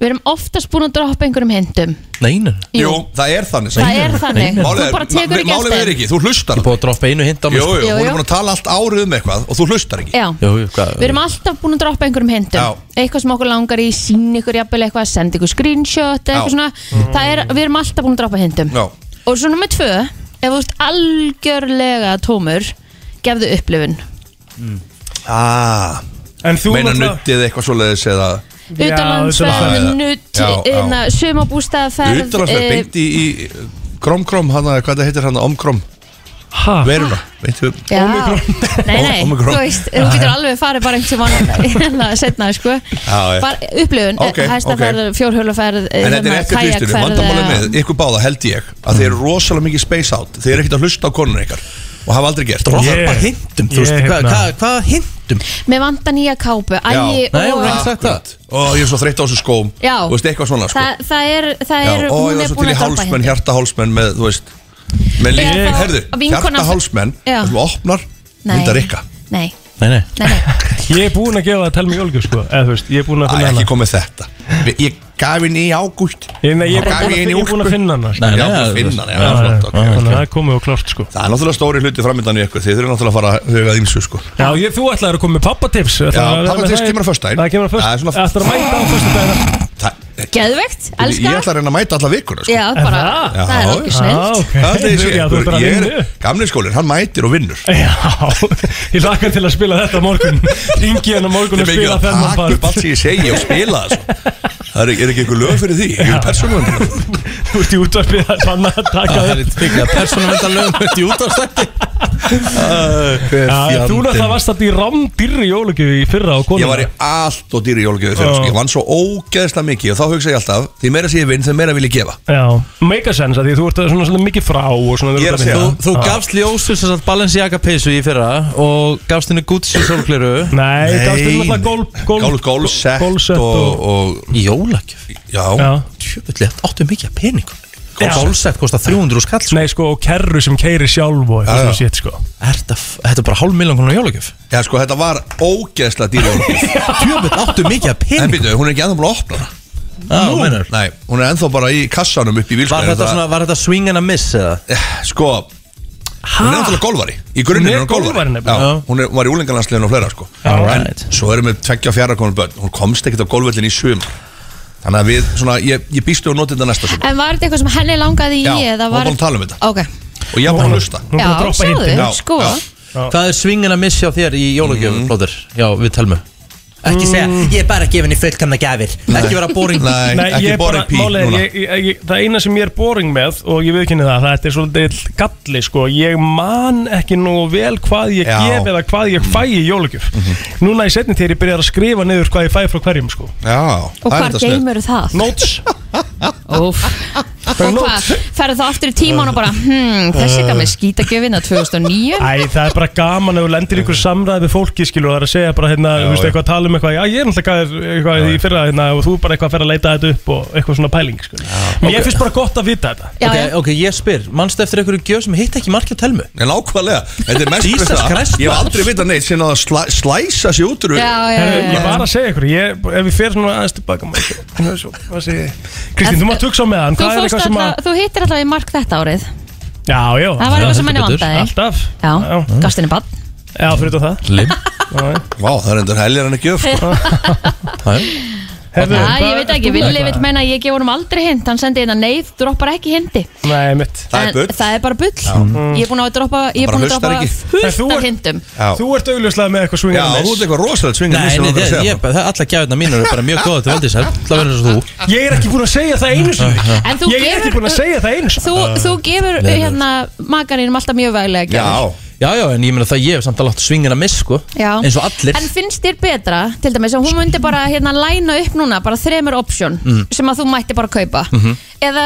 S2: Við erum oftast búin að droppa einhverjum hintum
S3: Neinu
S2: Jú.
S13: Jú, það er þannig
S2: Það er þannig. Þú
S13: Málið er-
S2: bara tekur
S13: ma-
S2: ekki
S13: Málið
S2: eftir.
S13: er ekki, þú hlustar
S3: Ég búið að droppa einu hint á mig sko.
S13: Jú, jú,
S2: Jú,
S13: hún
S2: jú.
S13: er búin að tala allt árið um eitthvað og þú hlustar ekki
S2: Já.
S3: Jú, jú, hvað
S2: Við erum alltaf búin að droppa einhverjum hintum Eitthvað sem okkur langar í, sín ykkur jafnvel eitthvað Send ykkur screenshot eða eitthvað
S13: Já. Mhm.
S2: svona Það er, við erum alltaf búin að droppa hintum
S13: Já.
S2: Og svo nummer tvö Ef þú ert algjörlega tómur Gefðu upplifun
S13: Ah,
S4: En þú
S13: Meina
S4: náttúrulega-
S13: nuttið eitthvað svoleiðis eða
S2: Utanlandsferð, nutt inna, Sumabústaðferð
S13: Utanlandsferð,
S2: eh,
S13: beint í, í Krom-krom, hana, hvað það heitir hana, omkrom Veruna, veit þú
S2: Já, nei, nei,
S13: Omicron.
S2: þú veist, þú getur alveg farið bara einhvern tíma setna, sko
S13: Já, já.
S2: bara upplifun,
S13: Ok,
S2: okay, hæstaferð, okay. fjórhjólaferð eh, hérna,
S13: En þetta er eftir hlustinu, vandamálið með ykkur báða held ég að þeir eru rosalega mikið space out þeir eru ekkert að hlusta á konun ykkar og hafa aldrei gert
S3: Droppa bara hintum, þú veist, hvað-
S4: hérna-
S3: hvað- hintum?
S2: með vanda nýja kápu, ægi og
S13: það Ó, ég er svo þreytt á þessu skóm
S2: Já.
S13: Þú veist, eitthvað svona sko
S2: Þa, það er, það
S13: Já,
S2: er,
S13: Ó, ég
S2: hún
S13: var
S2: er
S13: svo til
S2: búin að droppa
S13: í
S2: hérna.
S13: hálsmenn,
S2: hindi
S13: hjartahálsmenn með, þú veist
S2: Eða
S13: með líf,
S2: þá
S13: herðu,
S2: vinkona-
S13: hjartahálsmenn
S2: Já.
S13: þar sem þú opnar,
S2: Nei.
S13: myndar ykkar
S2: Nei,
S3: Nei, nei
S2: nei, nei,
S4: Ég er búinn að gefa það að telma jólgjöf sko Eða þú veist, ég er búinn að
S13: Æ,
S4: finna hana
S13: ekki komið þetta Vi- Ég gaf henni í ágúst
S4: Ég, nei, ég er
S13: Þá gaf
S4: búinn að-
S13: henni í
S4: ég er búinn að
S13: úlpu.
S4: finna hana sko.
S13: Nei, nei, Já, búinn að finna hana, já,
S4: Já,
S13: flott,
S4: já,
S13: ok,
S4: Þannig að
S13: ok.
S4: það er komið og klárt sko
S13: Það er náttúrulega stóri hluti framöndan í ykkur Þið þurfum náttúrulega að fara að huga þýmsu sko
S4: Já, ég, þú ætlaðir að koma með pappatips
S13: Já, pappatips kemur á föstudaginn.
S4: Það kemur á
S13: Það er
S4: föstudaginn
S13: svona-
S4: Ætlar að mæta á föstudaginn
S2: geðvegt,
S13: Ég
S2: elska
S13: ætla að reyna að mæta alla vikuna sko.
S2: Já, bara, það er okkur
S4: Ah,
S2: snill
S13: Það er þessi,
S4: Já, þú ert bara
S13: ég
S4: vinnu.
S13: er gamli skólinn, hann mætir og vinnur
S4: Já, ég lakar til að spila þetta á morgun Ringi hann á morgun
S13: Ég
S4: og
S13: með ekki
S4: spila
S13: að
S4: þennan
S13: taka upp
S4: part
S13: allt sem ég segi og spila það sko. Það er, er ekki einhver lög fyrir því, ég er persónuvendur
S4: Þú ert í útvarpið að banna að taka
S3: Það er ekki að persónuvendarlögum Þetta í útastætti
S4: Já, þú náttúrulega varst að því rámdýrri jólugjöf í fyrra á konuna
S13: Ég var í allt og dýri jólgjöðu fyrir sko. Ég vann svo ógeðslega mikið og þá hugsa ég alltaf Því meira sem ég vinn, þeim meira vil ég gefa
S4: Já, make a sense að því þú ert svona, svona mikið frá og svona
S3: Ég er
S4: vinna.
S3: að segja Ah. Þú, þú
S4: Já.
S3: gafst ljósu sem sagt Balenciaga peysu í fyrra og gafst henni Gucci sólgleru
S4: Nei, gafst henni náttúrulega gólf- gólf- Gólf- gólfsett gólfsett og-
S13: og
S3: Jólagjöf
S13: Já,
S4: Já.
S3: Tjöfulli, þetta áttu mikið að peningum
S4: Já.
S3: Gólfsett kostar 300 skall
S4: Nei, sko, og kerru sem keiri sjálf og eitthvað
S3: Já,
S4: svona
S3: já.
S4: sétt, sko
S3: Er þetta f- þetta er bara hálf miljón konar jólagjöf
S13: Já, sko, þetta var ógeðslega dýri jólgjöf
S3: Tjöfull, áttu mikið að peningum
S13: En býtu, hún er ekki ennþá búin að opna
S3: Já,
S13: Nú?
S3: meinar.
S13: Nei, hún er ennþá bara í kassanum upp í
S3: Var
S13: vilskæðinu
S3: þetta, svona, var þetta swing and a miss eða?
S13: Sko, hún er náttúrulega golfari Í grunninn er hún golfari Já, Hún er, var í úlingarlandsleginu og fleira sko. En svo erum við tveggja og fjara konum börn Hún komst ekkert á golfvöllin í sum Þannig að við, svona, ég, ég býst við að nota þetta næsta sum
S2: En var þetta eitthvað sem henni langaði í
S13: Já,
S2: eða
S13: hún
S2: var-
S13: var búin að tala um þetta.
S2: Ok,
S13: Og ég var búin að hlusta
S2: já, sjáðu, sko
S3: Hvað er swingin að missa á þér í jólagjöf, mm. Plóður? Já, við telmu Ekki segja,
S13: Mm.
S3: ég er bara að gefa henni fullkamna gafir Ekki vera boring
S4: ég er bara- málið er, ég, ég, ég, Það eina sem ég er boring með og ég viðkynni það, það er svolítið galli sko, ég man ekki nú vel hvað ég
S13: Já.
S4: gef eða hvað ég fæ í jólugjöf
S13: Mhm.
S4: Núna í setni þegar ég byrjar að skrifa niður hvað ég fæ frá hverjum sko
S13: Já,
S2: Og hvar geymur það?
S4: Notes
S2: Úf Og hvað, ferðu þá aftur í tíman og bara hmm, Þessi gaf
S4: Eh.
S2: mér skítagjöfina 2009
S4: Æ, það er bara gaman ef þú lendir í einhver samræði við fólki skilur og það er að segja bara hérna,
S13: Já,
S4: þú veist,
S13: já.
S4: eitthvað að tala um eitthvað Já, ég er náttúrulega gæðir eitthvað í fyrra hérna og þú er bara eitthvað að fara að leita þetta upp og eitthvað svona pæling, sko Mér finnst bara gott að vita þetta
S3: ok, ok, ég spyr, mannstu eftir einhverju gjöf sem hitt ekki markið á telmu?
S13: Nei, nákvæmlega Þetta er mest
S3: Jesus
S13: við það.
S3: Christ,
S13: Ég hef
S3: maður.
S13: aldrei vita neitt sem að það slæ, slæsa sér út úr
S4: Herru, Ég var að segja ykkur, ég, ef ég fer svona aðeins tilbaka maður, svo- Hvað segir ég? Kristín, þú mátt hugsa á meðan,
S2: Þú,
S4: hvað er
S2: fórst
S4: eitthvað sem
S2: alltaf,
S4: að
S2: þú hittir alltaf í mark þetta árið
S4: Já, já
S2: Það var eitthvað sem henni vantaði.
S4: Alltaf
S2: Já, gafst henni bann
S4: Já, fyrir þetta það
S3: Lim
S4: Já, já.
S13: Vá, það er endur helgar en ekki öf sko.
S4: Herðu,
S2: Næ, ég
S4: hvað
S2: veit
S4: ert
S2: ekki,
S4: þú með
S2: Villi
S4: eitthvað?
S2: vil meina að ég gef honum aldrei hint Hann sendi hérna nei, þú droppar ekki hindi
S4: Nei, mitt
S2: En Það er bara bull
S4: Já.
S2: Ég er búin að droppa, ég er
S4: Bara
S2: búin að
S4: hlustar
S2: droppa
S4: ekki. Mm. En þú
S2: fullt af
S4: ert-
S2: hindum
S4: Þú ert augljóslega með eitthvað swingar
S3: Já, þú ert eitthvað
S13: rosalega
S3: Nei, nei, nei, ég, ég, það- allar gæðuna mínu eru bara mjög góða til valdís Það verður eins og þú
S4: Ég er ekki búin að segja það einu sinni
S2: En þú
S4: Ég er
S2: gefur-
S4: ekki búin að segja það einu
S2: Þú, þú gefur
S3: Nei, nei.
S2: hérna makaninum alltaf mjög veglega gjafir.
S3: Já, já, en ég meina það ég hef samt að láta svingina miss, sko
S2: Já.
S3: Eins og allir
S2: En finnst þér betra, til dæmis, að hún myndi bara hérna læna upp núna, bara þremur option
S3: Mm.
S2: sem að þú mætti bara kaupa
S13: Mm.
S3: Mhm.
S2: eða,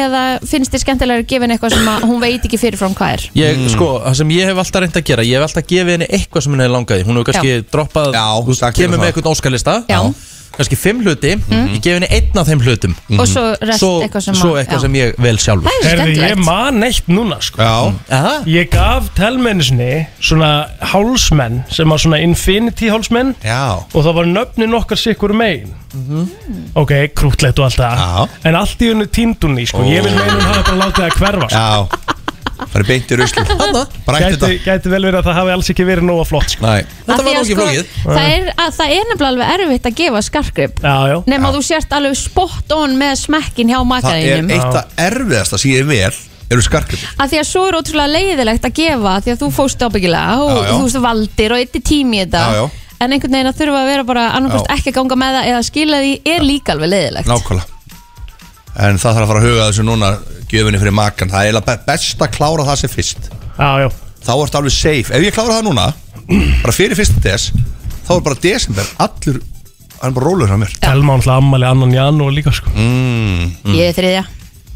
S2: eða finnst þér skemmtilega að gefa henni eitthvað sem að hún veit ekki fyrirfram hvað er
S3: Ég, sko, það sem ég hef alltaf reynd að gera Ég hef alltaf gefið henni eitthvað sem henni hefur langað í Hún hefur kannski
S2: Já.
S3: droppað, já, þú veist, kemur með eitthvað óskalista
S2: Já. Mhm.
S3: Kannski fimm hluti, ég gef henni einn af þeim hlutum
S2: Og svo rest eitthvað sem að-
S3: Svo
S2: já.
S3: eitthvað sem ég vel sjálfur Mm.
S2: Það er
S3: Eh,
S2: svo
S4: Herði, ég
S2: skemmtilegt.
S4: man eitt núna sko
S3: Já
S4: Ég gaf telmennisni svona hálsmenn sem var svona infinity hálsmenn
S13: Já
S4: Og það var nöfnin okkar sikkur megin
S2: Mhm.
S4: Ok, krútlegt og allt það Já En allt í hennu tíndunni sko Ég vil meina hún hafi bara látið það hverfa sko.
S13: Já Það er beint í ruslu Bara eitt
S4: gæti, gæti vel verið að það hafi alls ekki verið nóga flott sko.
S13: Nei,
S2: Af því að, sko, Það er, að, það er nefnilega alveg erfitt að gefa skarkrip
S4: Já, já
S2: Nefn að þú sért alveg spot on með smekkin hjá
S13: Það er
S2: makaninum
S13: eitt af erfiðasta sem ég er vel eru skarkjöld
S2: Af því að svo er ótrúlega leiðilegt að gefa af Því að þú fóst ábyggilega og
S13: Já, já.
S2: þú veist valdir og eitthi tími í þetta
S13: Já, já.
S2: En einhvern veginn að þurfa að vera bara annarkost
S13: Já.
S2: ekki að ganga með það eða skila því er líka alveg leiðilegt
S13: Nákvæmlega En það þarf að fara að huga að þessu núna Gjöfinni fyrir makan Það er eiginlega be- best að klára það sem fyrst
S4: Já, já
S13: Þá ertu alveg safe Ef ég klára það núna Bara fyrir fyrsta des Þá er bara desember Allur Það er bara rólur á mér
S4: Telma hann ammali annan janúar líka sko
S13: mm,
S2: Ég er þriðja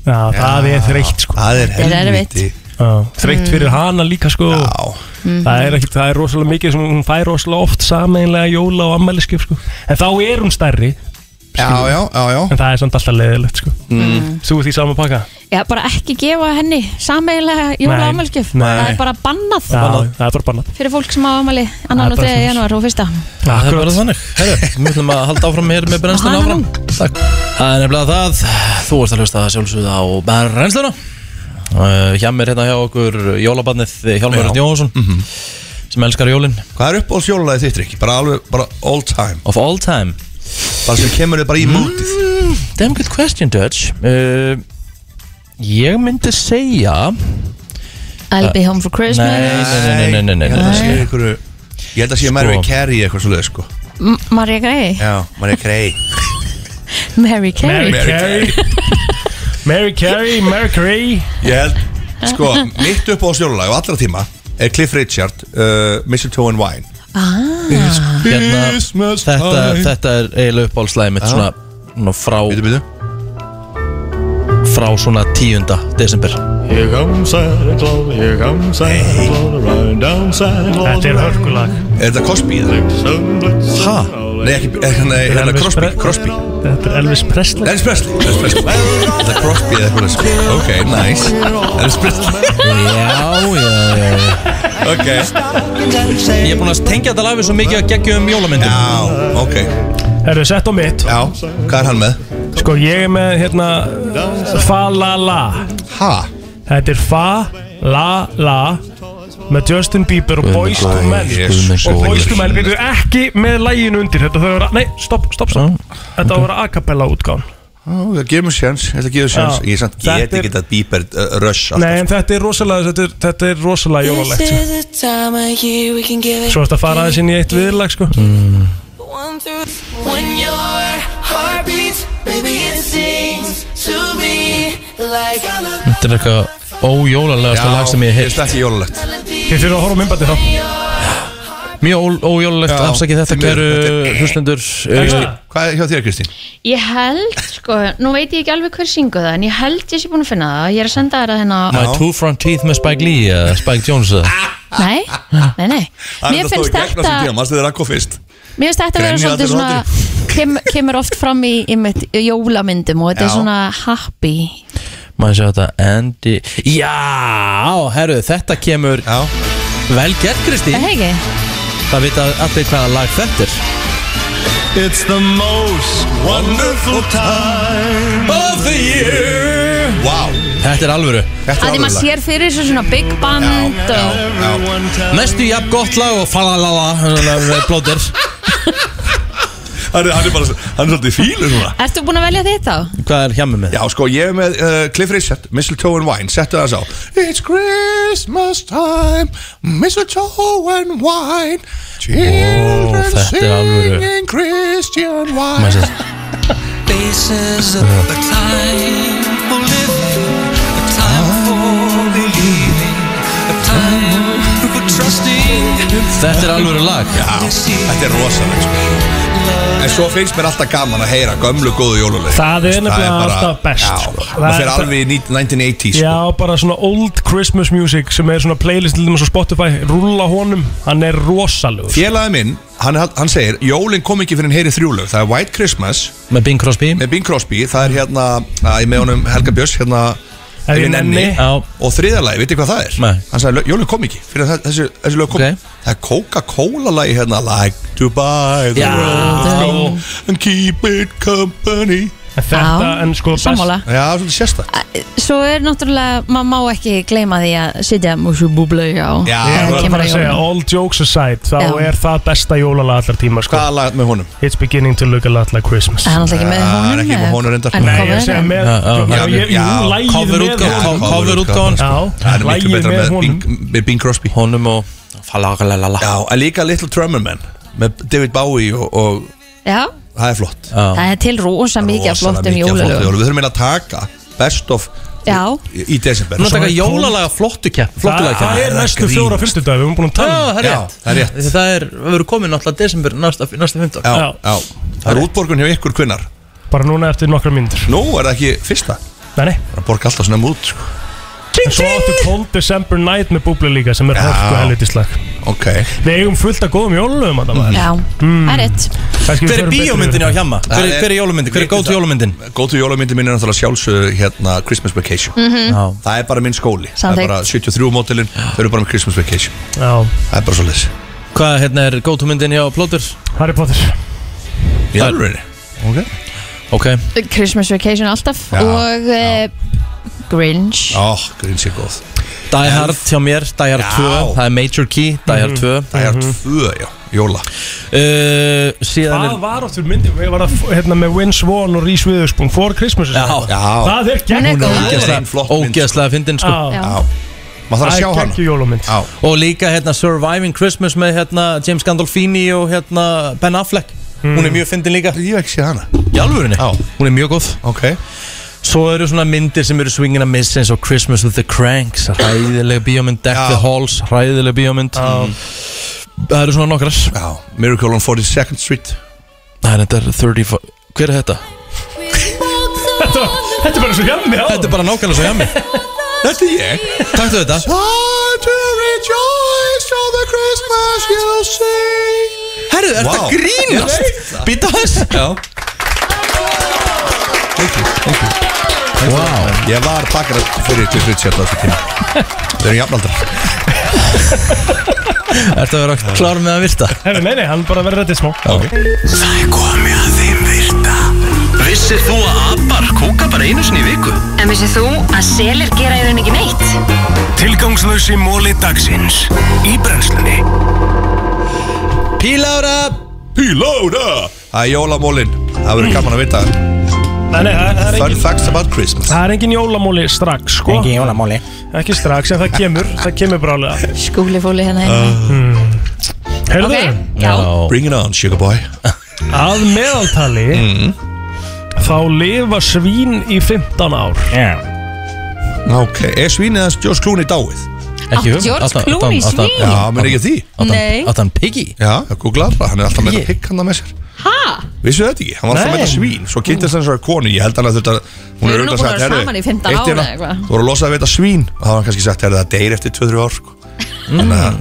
S4: Já, það er þreytt sko
S13: Það er
S2: Það er helviti. erfitt.
S4: Þreytt
S2: Mm.
S4: fyrir hana líka sko Það er ekki, það er rosalega mikið sem hún fær rosalega oft sameinlega jóla og ammæliskef sko En þá er hún stærri
S13: Já, já, já, já Mm.
S4: En það er samt alltaf leiðilegt sko Þú ert í sama pakka
S2: Já, bara ekki gefa henni sameiginlega jóla
S4: Nei.
S2: ámælskjöf
S4: Nei.
S2: Það er bara bannað
S4: Já, það er bara bannað
S2: fyrir fólk sem á ámæli
S3: Það er
S2: annan og 3.
S3: bara svoleiðis.
S2: janúar og fyrsta
S3: Það er bara þannig Herru, við ætlum að halda áfram hér með brennsluna áfram Takk Það er nefnilega það Þú ert að hlusta að sjálfsögða á brennsluna uh, Hjá mér hérna hjá okkur Jólabarnið Hjálmar Örn Jónsson
S13: Mhm.
S3: Sem elskar jólin
S13: Hvað er uppáhalds jólalagið þitt, Rikki? Bara alveg, bara all time
S3: Of all time Mm,
S13: Bara sem kemur þið bara í mútið
S3: Damn good question, Dutch uh, Ég myndi segja
S2: I'll be home for Christmas
S3: Nei, nei, nei, nei, nei, nei,
S13: Ég held að
S3: nei,
S13: sé
S3: nei.
S13: einhverju Ég held að sé
S3: Sko.
S13: Mary Carey eitthvað svoleið sko
S2: M- Maria Grey
S13: Já, Mary Carey
S2: Mary Carey
S4: Mary Carey Mary Carey, Mary Carey
S13: Ég held, sko, mitt uppáhalds jólalag á allra tíma er Cliff Richard, uh, Mistletoe and Wine
S2: Ah.
S3: hérna,
S13: Christmas
S3: þetta,
S13: time.
S3: þetta er eiginlega uppáhaldslæði mitt
S13: Já.
S3: svona, svona frá bitu, bitu. frá svona 10. desember
S14: Here comes Santa Claus, here comes Santa Claus, riding down Santa Claus
S4: Þetta er hörkulag
S13: Er þetta Cosby?
S14: Ha?
S13: Nei, ekki, ekki, nei, hérna Crosby, Crosby
S4: Þetta er Elvis Presley
S13: Elvis Presley, Elvis Presley Þetta er Crosby eða eitthvað sko Ok, nice Elvis Presley
S3: Já, já, já, já
S13: Ok
S3: Ég er búin að tengja þetta lafið svo mikið að geggjum um jólamyndum
S13: Já, ok
S4: Er þau sett á mitt?
S13: Já, hvað er hann með?
S4: Sko, ég er með hérna Fa-la-la
S13: Ha?
S4: Þetta er Fa-la-la með Justin Bieber og Boyz II Men og Boyz II Men við erum ekki með læginu undir þetta þau vera, nei, stopp, stopp, stopp þetta á að vera a cappella útgán
S13: Það gefur mér séns, þetta gefur séns
S4: Já.
S13: Ég samt get
S4: Þetta er-
S13: ekki þetta Bieber uh, rush alltaf.
S4: nei, en þetta er rosalega þetta er, þetta er rosalega jólalegt sko. svo ertu að fara aðeins inn í eitt viðlag sko
S15: When your heartbeats, baby, it sings to me like I love
S3: Þetta er eitthvað ójólalegasta
S13: Já,
S3: lag sem ég
S13: ég
S3: heilt
S13: veist ekki jólalegt
S4: Þið fyrir að horfa á mymbandi þá
S3: Mjög ó- ójólalegt,
S13: Já,
S3: afsakið þetta
S13: því miður,
S3: kæru
S13: þetta er-
S3: hlustendur
S13: Kristín, Hvað er hjá þér Kristín?
S2: Ég held, sko, nú veit ég ekki alveg hver syngu það en ég held ég sé búin að finna það ég er að senda þér að hérna
S3: My two front teeth með Spike Lee eða Spike Jones eða?
S13: Ah,
S2: Nei, nei, nei Mér finnst þetta
S13: Mástu þið rakko fyrst
S2: Mér finnst þetta að vera
S13: Grenja
S2: svolítið
S13: allir
S2: svona kem, kemur oft fram í, í mitt jólamyndum og þetta er
S3: Já.
S2: svona happy
S3: maður sjá þetta Andy Já, herru, þetta kemur
S13: Já.
S3: Vel gert, Kristín
S2: Það ekki
S3: Það vita allir hvaða lag þetta er
S14: It's the most wonderful time of the year
S13: Wow
S3: Þetta er alvöru
S2: Að því maður sér fyrir þessu svona big band og
S3: Næstu jafn gott lag og falalala Blóðir
S13: hann, er- hann er bara Hann er svolítið fílu núna
S2: Ertu búin að velja þitt þá?
S13: Hvað er hjá mig með? Já, sko, ég er með uh, Cliff Richard, Mistletoe and Wine Settu það sá
S15: It's Christmas time, mistletoe and wine, children
S13: þetta er alvöru.
S15: singing Christian wine.
S13: Maður
S15: Faces of the time for living, a time for believing, a time for trusting.
S13: Þetta er alvöru lag Já, þetta er rosalega sko. En svo finnst mér alltaf gaman að heyra gömlu góðu jóluleg
S4: Það er nefnilega alltaf best,
S13: Já,
S4: sko.
S13: það
S4: Það er-
S13: fyrir alveg í 1980s sko.
S4: Já, bara svona old Christmas music sem er svona playlist til dæmis á Spotify Rúlla honum, hann er rosalegur
S13: Félagið minn, hann, hann segir Jólin kom ekki fyrir hann heyri þrjúlög Það er White Christmas
S3: Með Bing Crosby
S13: Með Bing Crosby, það er hérna að Ég með honum Helga Björns hérna
S4: Ef ég nenni.
S13: Já. Og þriðalagi, veitir hvað það er? Nei. Hann sagði, "Lög- jólin kom ekki Fyrir það, þessi, þessi lög kom Það er Coca-Cola lagi hérna Like to buy the
S15: Já,
S13: world And keep it company
S2: þetta, Já, en sko, best- sammála.
S13: Já, svolítið sérsta
S2: Svo er náttúrulega, maður má ekki gleyma því að sitja músu búblau á
S4: ég
S2: þegar
S4: var
S2: kemur
S4: bara að
S2: að
S4: segja,
S2: jólum.
S4: all jokes aside þá
S2: Já.
S4: er það besta jólalag allar tíma sko.
S13: Hvaða lag með honum?
S4: It's beginning to look a lot like Christmas
S2: Það er náttúrulega ekki með honum,
S13: Það er ekki með honum reyndar
S4: Nei, ég segja með Já, ég- Jú, lægið með honum
S13: sko.
S4: sko.
S13: Það er miklu
S4: lagið
S13: betra
S4: með
S13: með
S4: honum
S13: Bing, með Bing Crosby Honum og Falagalala Já, en líka Little Drummer Man Með David Bowie og, og
S2: Já,
S13: það er flott
S2: það er um til rosa mikið af
S13: Rosalega
S2: flottum
S13: mikið af flottum jólum.
S2: jólulögum
S13: Við þurfum eiginlega að taka best of
S2: Já,
S13: í, í desember
S3: Nú taka jólalaga flottu kepp Flottu lag
S4: Það er næstu fjóra fyrstu dag, við erum búin að tala um
S3: Já, það er rétt
S13: það er rétt.
S3: Því Það er, við verum komin náttúrulega desember næsta, næsta fymtdag
S13: Já, já Það er útborgun hjá ykkur kvinnar
S4: Bara núna eftir nokkra myndir
S13: Nú er það ekki fyrsta
S4: Nei, nei
S13: Það borga alltaf svona út sko.
S4: En svo áttu Cold December Night með Búbli líka sem er hálfku helvitislag
S13: Ok
S4: Við eigum fullt af góðum Mm. jólulögum að það
S2: já, það er rétt
S3: Hver er bíómyndin á Hjamma? Hver er- hver er jólumyndin? Hver er góð
S13: jólumyndin? Góð til jólumyndin mín er náttúrulega sjálfsög hérna Christmas Vacation
S2: Mhm. Já.
S13: Það er bara minn skóli Það
S2: Samþykkt.
S13: er bara 73 mótilin Þau eru bara með Christmas Vacation
S4: Já
S13: Það er bara svo leys
S3: Hvað hérna er góð myndin hjá Plótur?
S4: Harry Potter
S13: Í alvöru Ok
S3: Ok
S2: Christmas Vacation alltaf
S3: Já,
S2: og uh, Grinch
S13: Ó, Grinch er góð
S3: Die Hard hjá mér, Die Hard 2 Það er Major Key, Die Hard
S4: Mhm.
S3: 2
S13: Die Hard 2, já, jóla
S3: Uh, Síðan
S4: Hvað
S3: er
S4: var áttur myndin? Við varum hérna, með Win Swan og Reese Witherspoon For Christmas
S3: Já, já
S4: Það er gegn
S3: Hún er ógeðslega- ógeðslega fyndin sko
S4: Já. Já.
S3: Maður þarf að
S4: Það er
S3: sjá hana
S4: geggjuð jólumynd
S3: Og líka hérna Surviving Christmas með hérna James Gandolfini og hérna Ben Affleck Hún er mjög fyndin líka
S13: Hmm. Ég hef ekki séð hana
S3: Í alvörinni? Já Hún er mjög góð
S13: Ok
S3: Svo eru svona myndir sem eru swingin að missa eins og Christmas with the Cranks Ræðilega bíómynd Deck the Halls Ræðilega bíómynd Hmm.
S13: Já.
S3: Það eru svona nokkrar
S13: Já Miracle on 42nd Street
S3: Nei, þetta er 30 fo- Hver er þetta?
S4: Þetta þetta er bara svo hjemmi
S3: Þetta er bara nákvæmlega svo hjemmi
S13: Þetta er ég
S3: Takk þetta
S15: Time to rejoice for the Christmas you sing.
S3: Herru,
S15: er þetta grínast?
S3: Býta þess
S13: Já Thank you, thank you Wow Ég var bakkar fyrir Cliff Richard á þessu tíma Þau eru jafnaldrar
S3: Ertu að vera klár með að virta?
S4: Nei, nei, nei, hann bara verður þetta smá
S1: Það er komið að þeim virta Vissir þú að abar kúka bara einu sinni í viku?
S6: En vissið þú að selir gera í rauninni ekki neitt?
S1: Tilgangslösi móli dagsins Í brennslunni
S3: Pílára
S13: Pílára Það er jólamólin Það verður gaman að vita
S4: Nei, nei, það er- það er
S13: Fun
S4: engin-
S13: facts about Christmas
S4: Það er engin jólamóli strax sko
S3: Engin jólamóli
S4: Ekki strax, en það kemur Það kemur brálega
S2: skúlifóli hérna uh,
S4: Hmm. Heyrðu
S2: já.
S13: Bring it on sugar boy
S4: Að meðaltali Þá lifa svín í 15 ár
S3: yeah.
S13: Ok, er svínið hans George Clooney dáið?
S3: Ekki um, Átti hugmynd. George Átti- átti- Clooney átti- svín?
S13: Já, menn ekki því
S3: Átti hann- Nei. átti hann piggy?
S13: Já, ég googlaði það, hann er alltaf með þetta pigg hann með sér
S2: Hæ?
S13: Vissu þetta ekki, hann var alltaf
S2: Nei.
S13: með þetta svín Svo kynntist hann þessari konu, ég held hann að þetta
S2: Þau
S13: Hún er
S2: eru nú
S13: auðvitað
S2: búin
S13: sagt,
S2: að vera
S13: herru,
S2: saman í 15
S13: eitt
S2: ár
S13: hérna,
S2: eða eitthvað.
S13: Þú voru að losa við þetta svín Og það var hann kannski sagt, herru, það deyr eftir 2-3 ár sko.
S3: Mm.
S13: Þannig að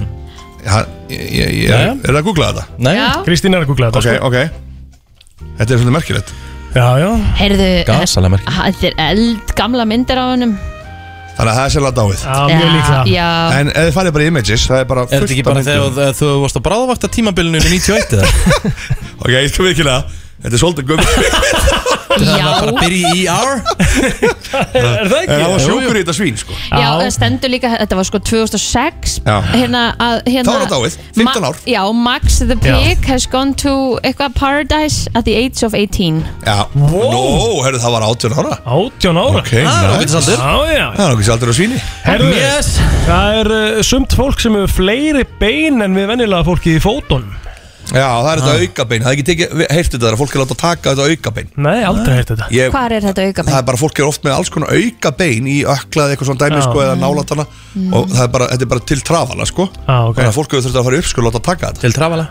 S13: hann- ég- ég- ég-
S4: Jæja.
S13: Er það að googla þetta?
S3: Nei,
S2: Já.
S4: Kristín er að googla þetta sko.
S13: Ok, ok Þetta er svolítið merkilegt
S4: Já, já
S2: Heyrðu, eh,
S13: Gasalega merkilegt.
S2: þetta er eld gamla myndir á hennum
S13: Þannig að það er sérlega dáið
S2: Já, mjög líklega. já.
S13: En ef þið farið bara í images, það er bara
S3: Er þetta ekki bara þegar þú- þú varst á bráðvakta tímabilinu í 91 eða?
S13: Ok, ég skal virkilega Þetta er svolítið gömur
S3: Það var bara að byrja í E ER
S4: Er það
S13: En það var sjúkur í þetta svín sko
S2: Já, það stendur líka, þetta var sko 2006
S13: Já.
S2: hérna, að, hérna,
S13: Þá er það dáið, 15
S2: Ma-
S13: ár.
S2: Já, Max the
S13: Já.
S2: Pig has gone to eitthvað paradise at the age of 18
S13: Já, wow. nó, herru, það var 18 ára
S4: 18 ára?
S13: Ok, nice.
S4: Það er ágætis aldur. Já, já.
S13: Það er okkur saldur á svíni
S4: Herðu, það er uh, sumt fólk sem hefur fleiri bein en við venjulega fólki í fótunum
S13: Já, það er
S4: Ah.
S13: þetta aukabein, það er ekki tekið, heyrtu þetta þegar fólk er látið að taka þetta aukabein
S4: Nei, aldrei heyrt þetta.
S13: ég,
S2: Hvar er þetta auka
S13: Það er bara, fólk er oft með alls konar aukabein í öklað eitthvað svona dæmi
S4: Já.
S13: sko eða nálatana
S2: Mm.
S13: og það er bara, þetta er bara til trafala sko
S4: ah, okay.
S13: Þannig að fólk hefur þurft að fara upp sko og láta taka þetta
S3: Til trafala?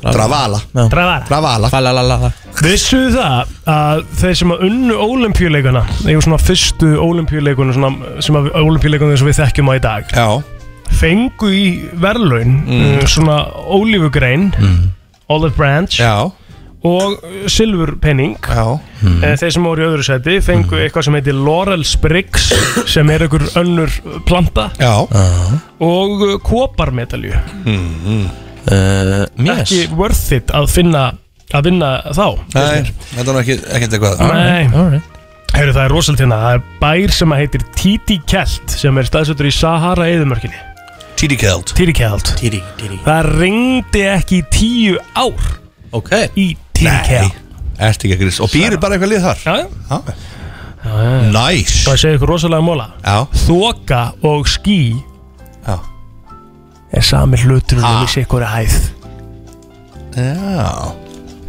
S13: Travala
S4: Travala
S13: Travala
S3: Falalala
S4: Vissu það að þeir sem að unnu ólimpíuleikana eða svona fyrstu ólimpíuleikuna svona, sem að ólimpíuleikana eins og við þekkjum á í dag
S13: Já.
S4: fengu í verðlaun
S13: Mm.
S4: mm. svona ólífugrein Olive Branch
S13: Já.
S4: og silfurpenning
S13: Já. Mm.
S4: mm. þeir sem voru í öðru seti fengu eitthvað sem heitir Laurel Spriggs sem er einhver önnur uh, planta
S13: Já
S4: og uh, koparmedalju
S13: mm.
S3: uh,
S4: ekki worth it að finna að vinna þá finnst
S13: Nei,
S4: mér.
S13: þetta er nú ekki, ekki eitthvað
S4: Nei Heyrðu, það er rosalit hérna Það er bær sem að heitir Titi Kelt sem er staðsettur í Sahara eðumörkinni
S13: Titi Kelt
S4: Titi Kelt
S3: Titi, Titi
S4: Það ringdi ekki í tíu ár
S3: Ok
S4: Í Titi Kelt
S13: Ertu ekki að grís Og býrur bara eitthvað lið þar
S4: Já,
S13: já
S4: Næs
S13: nice.
S4: Það segir ykkur rosalega móla
S13: Já
S4: Þoka og ský
S13: Já
S4: Er sami hluturinn ah. í sig ykkur hæð
S13: Já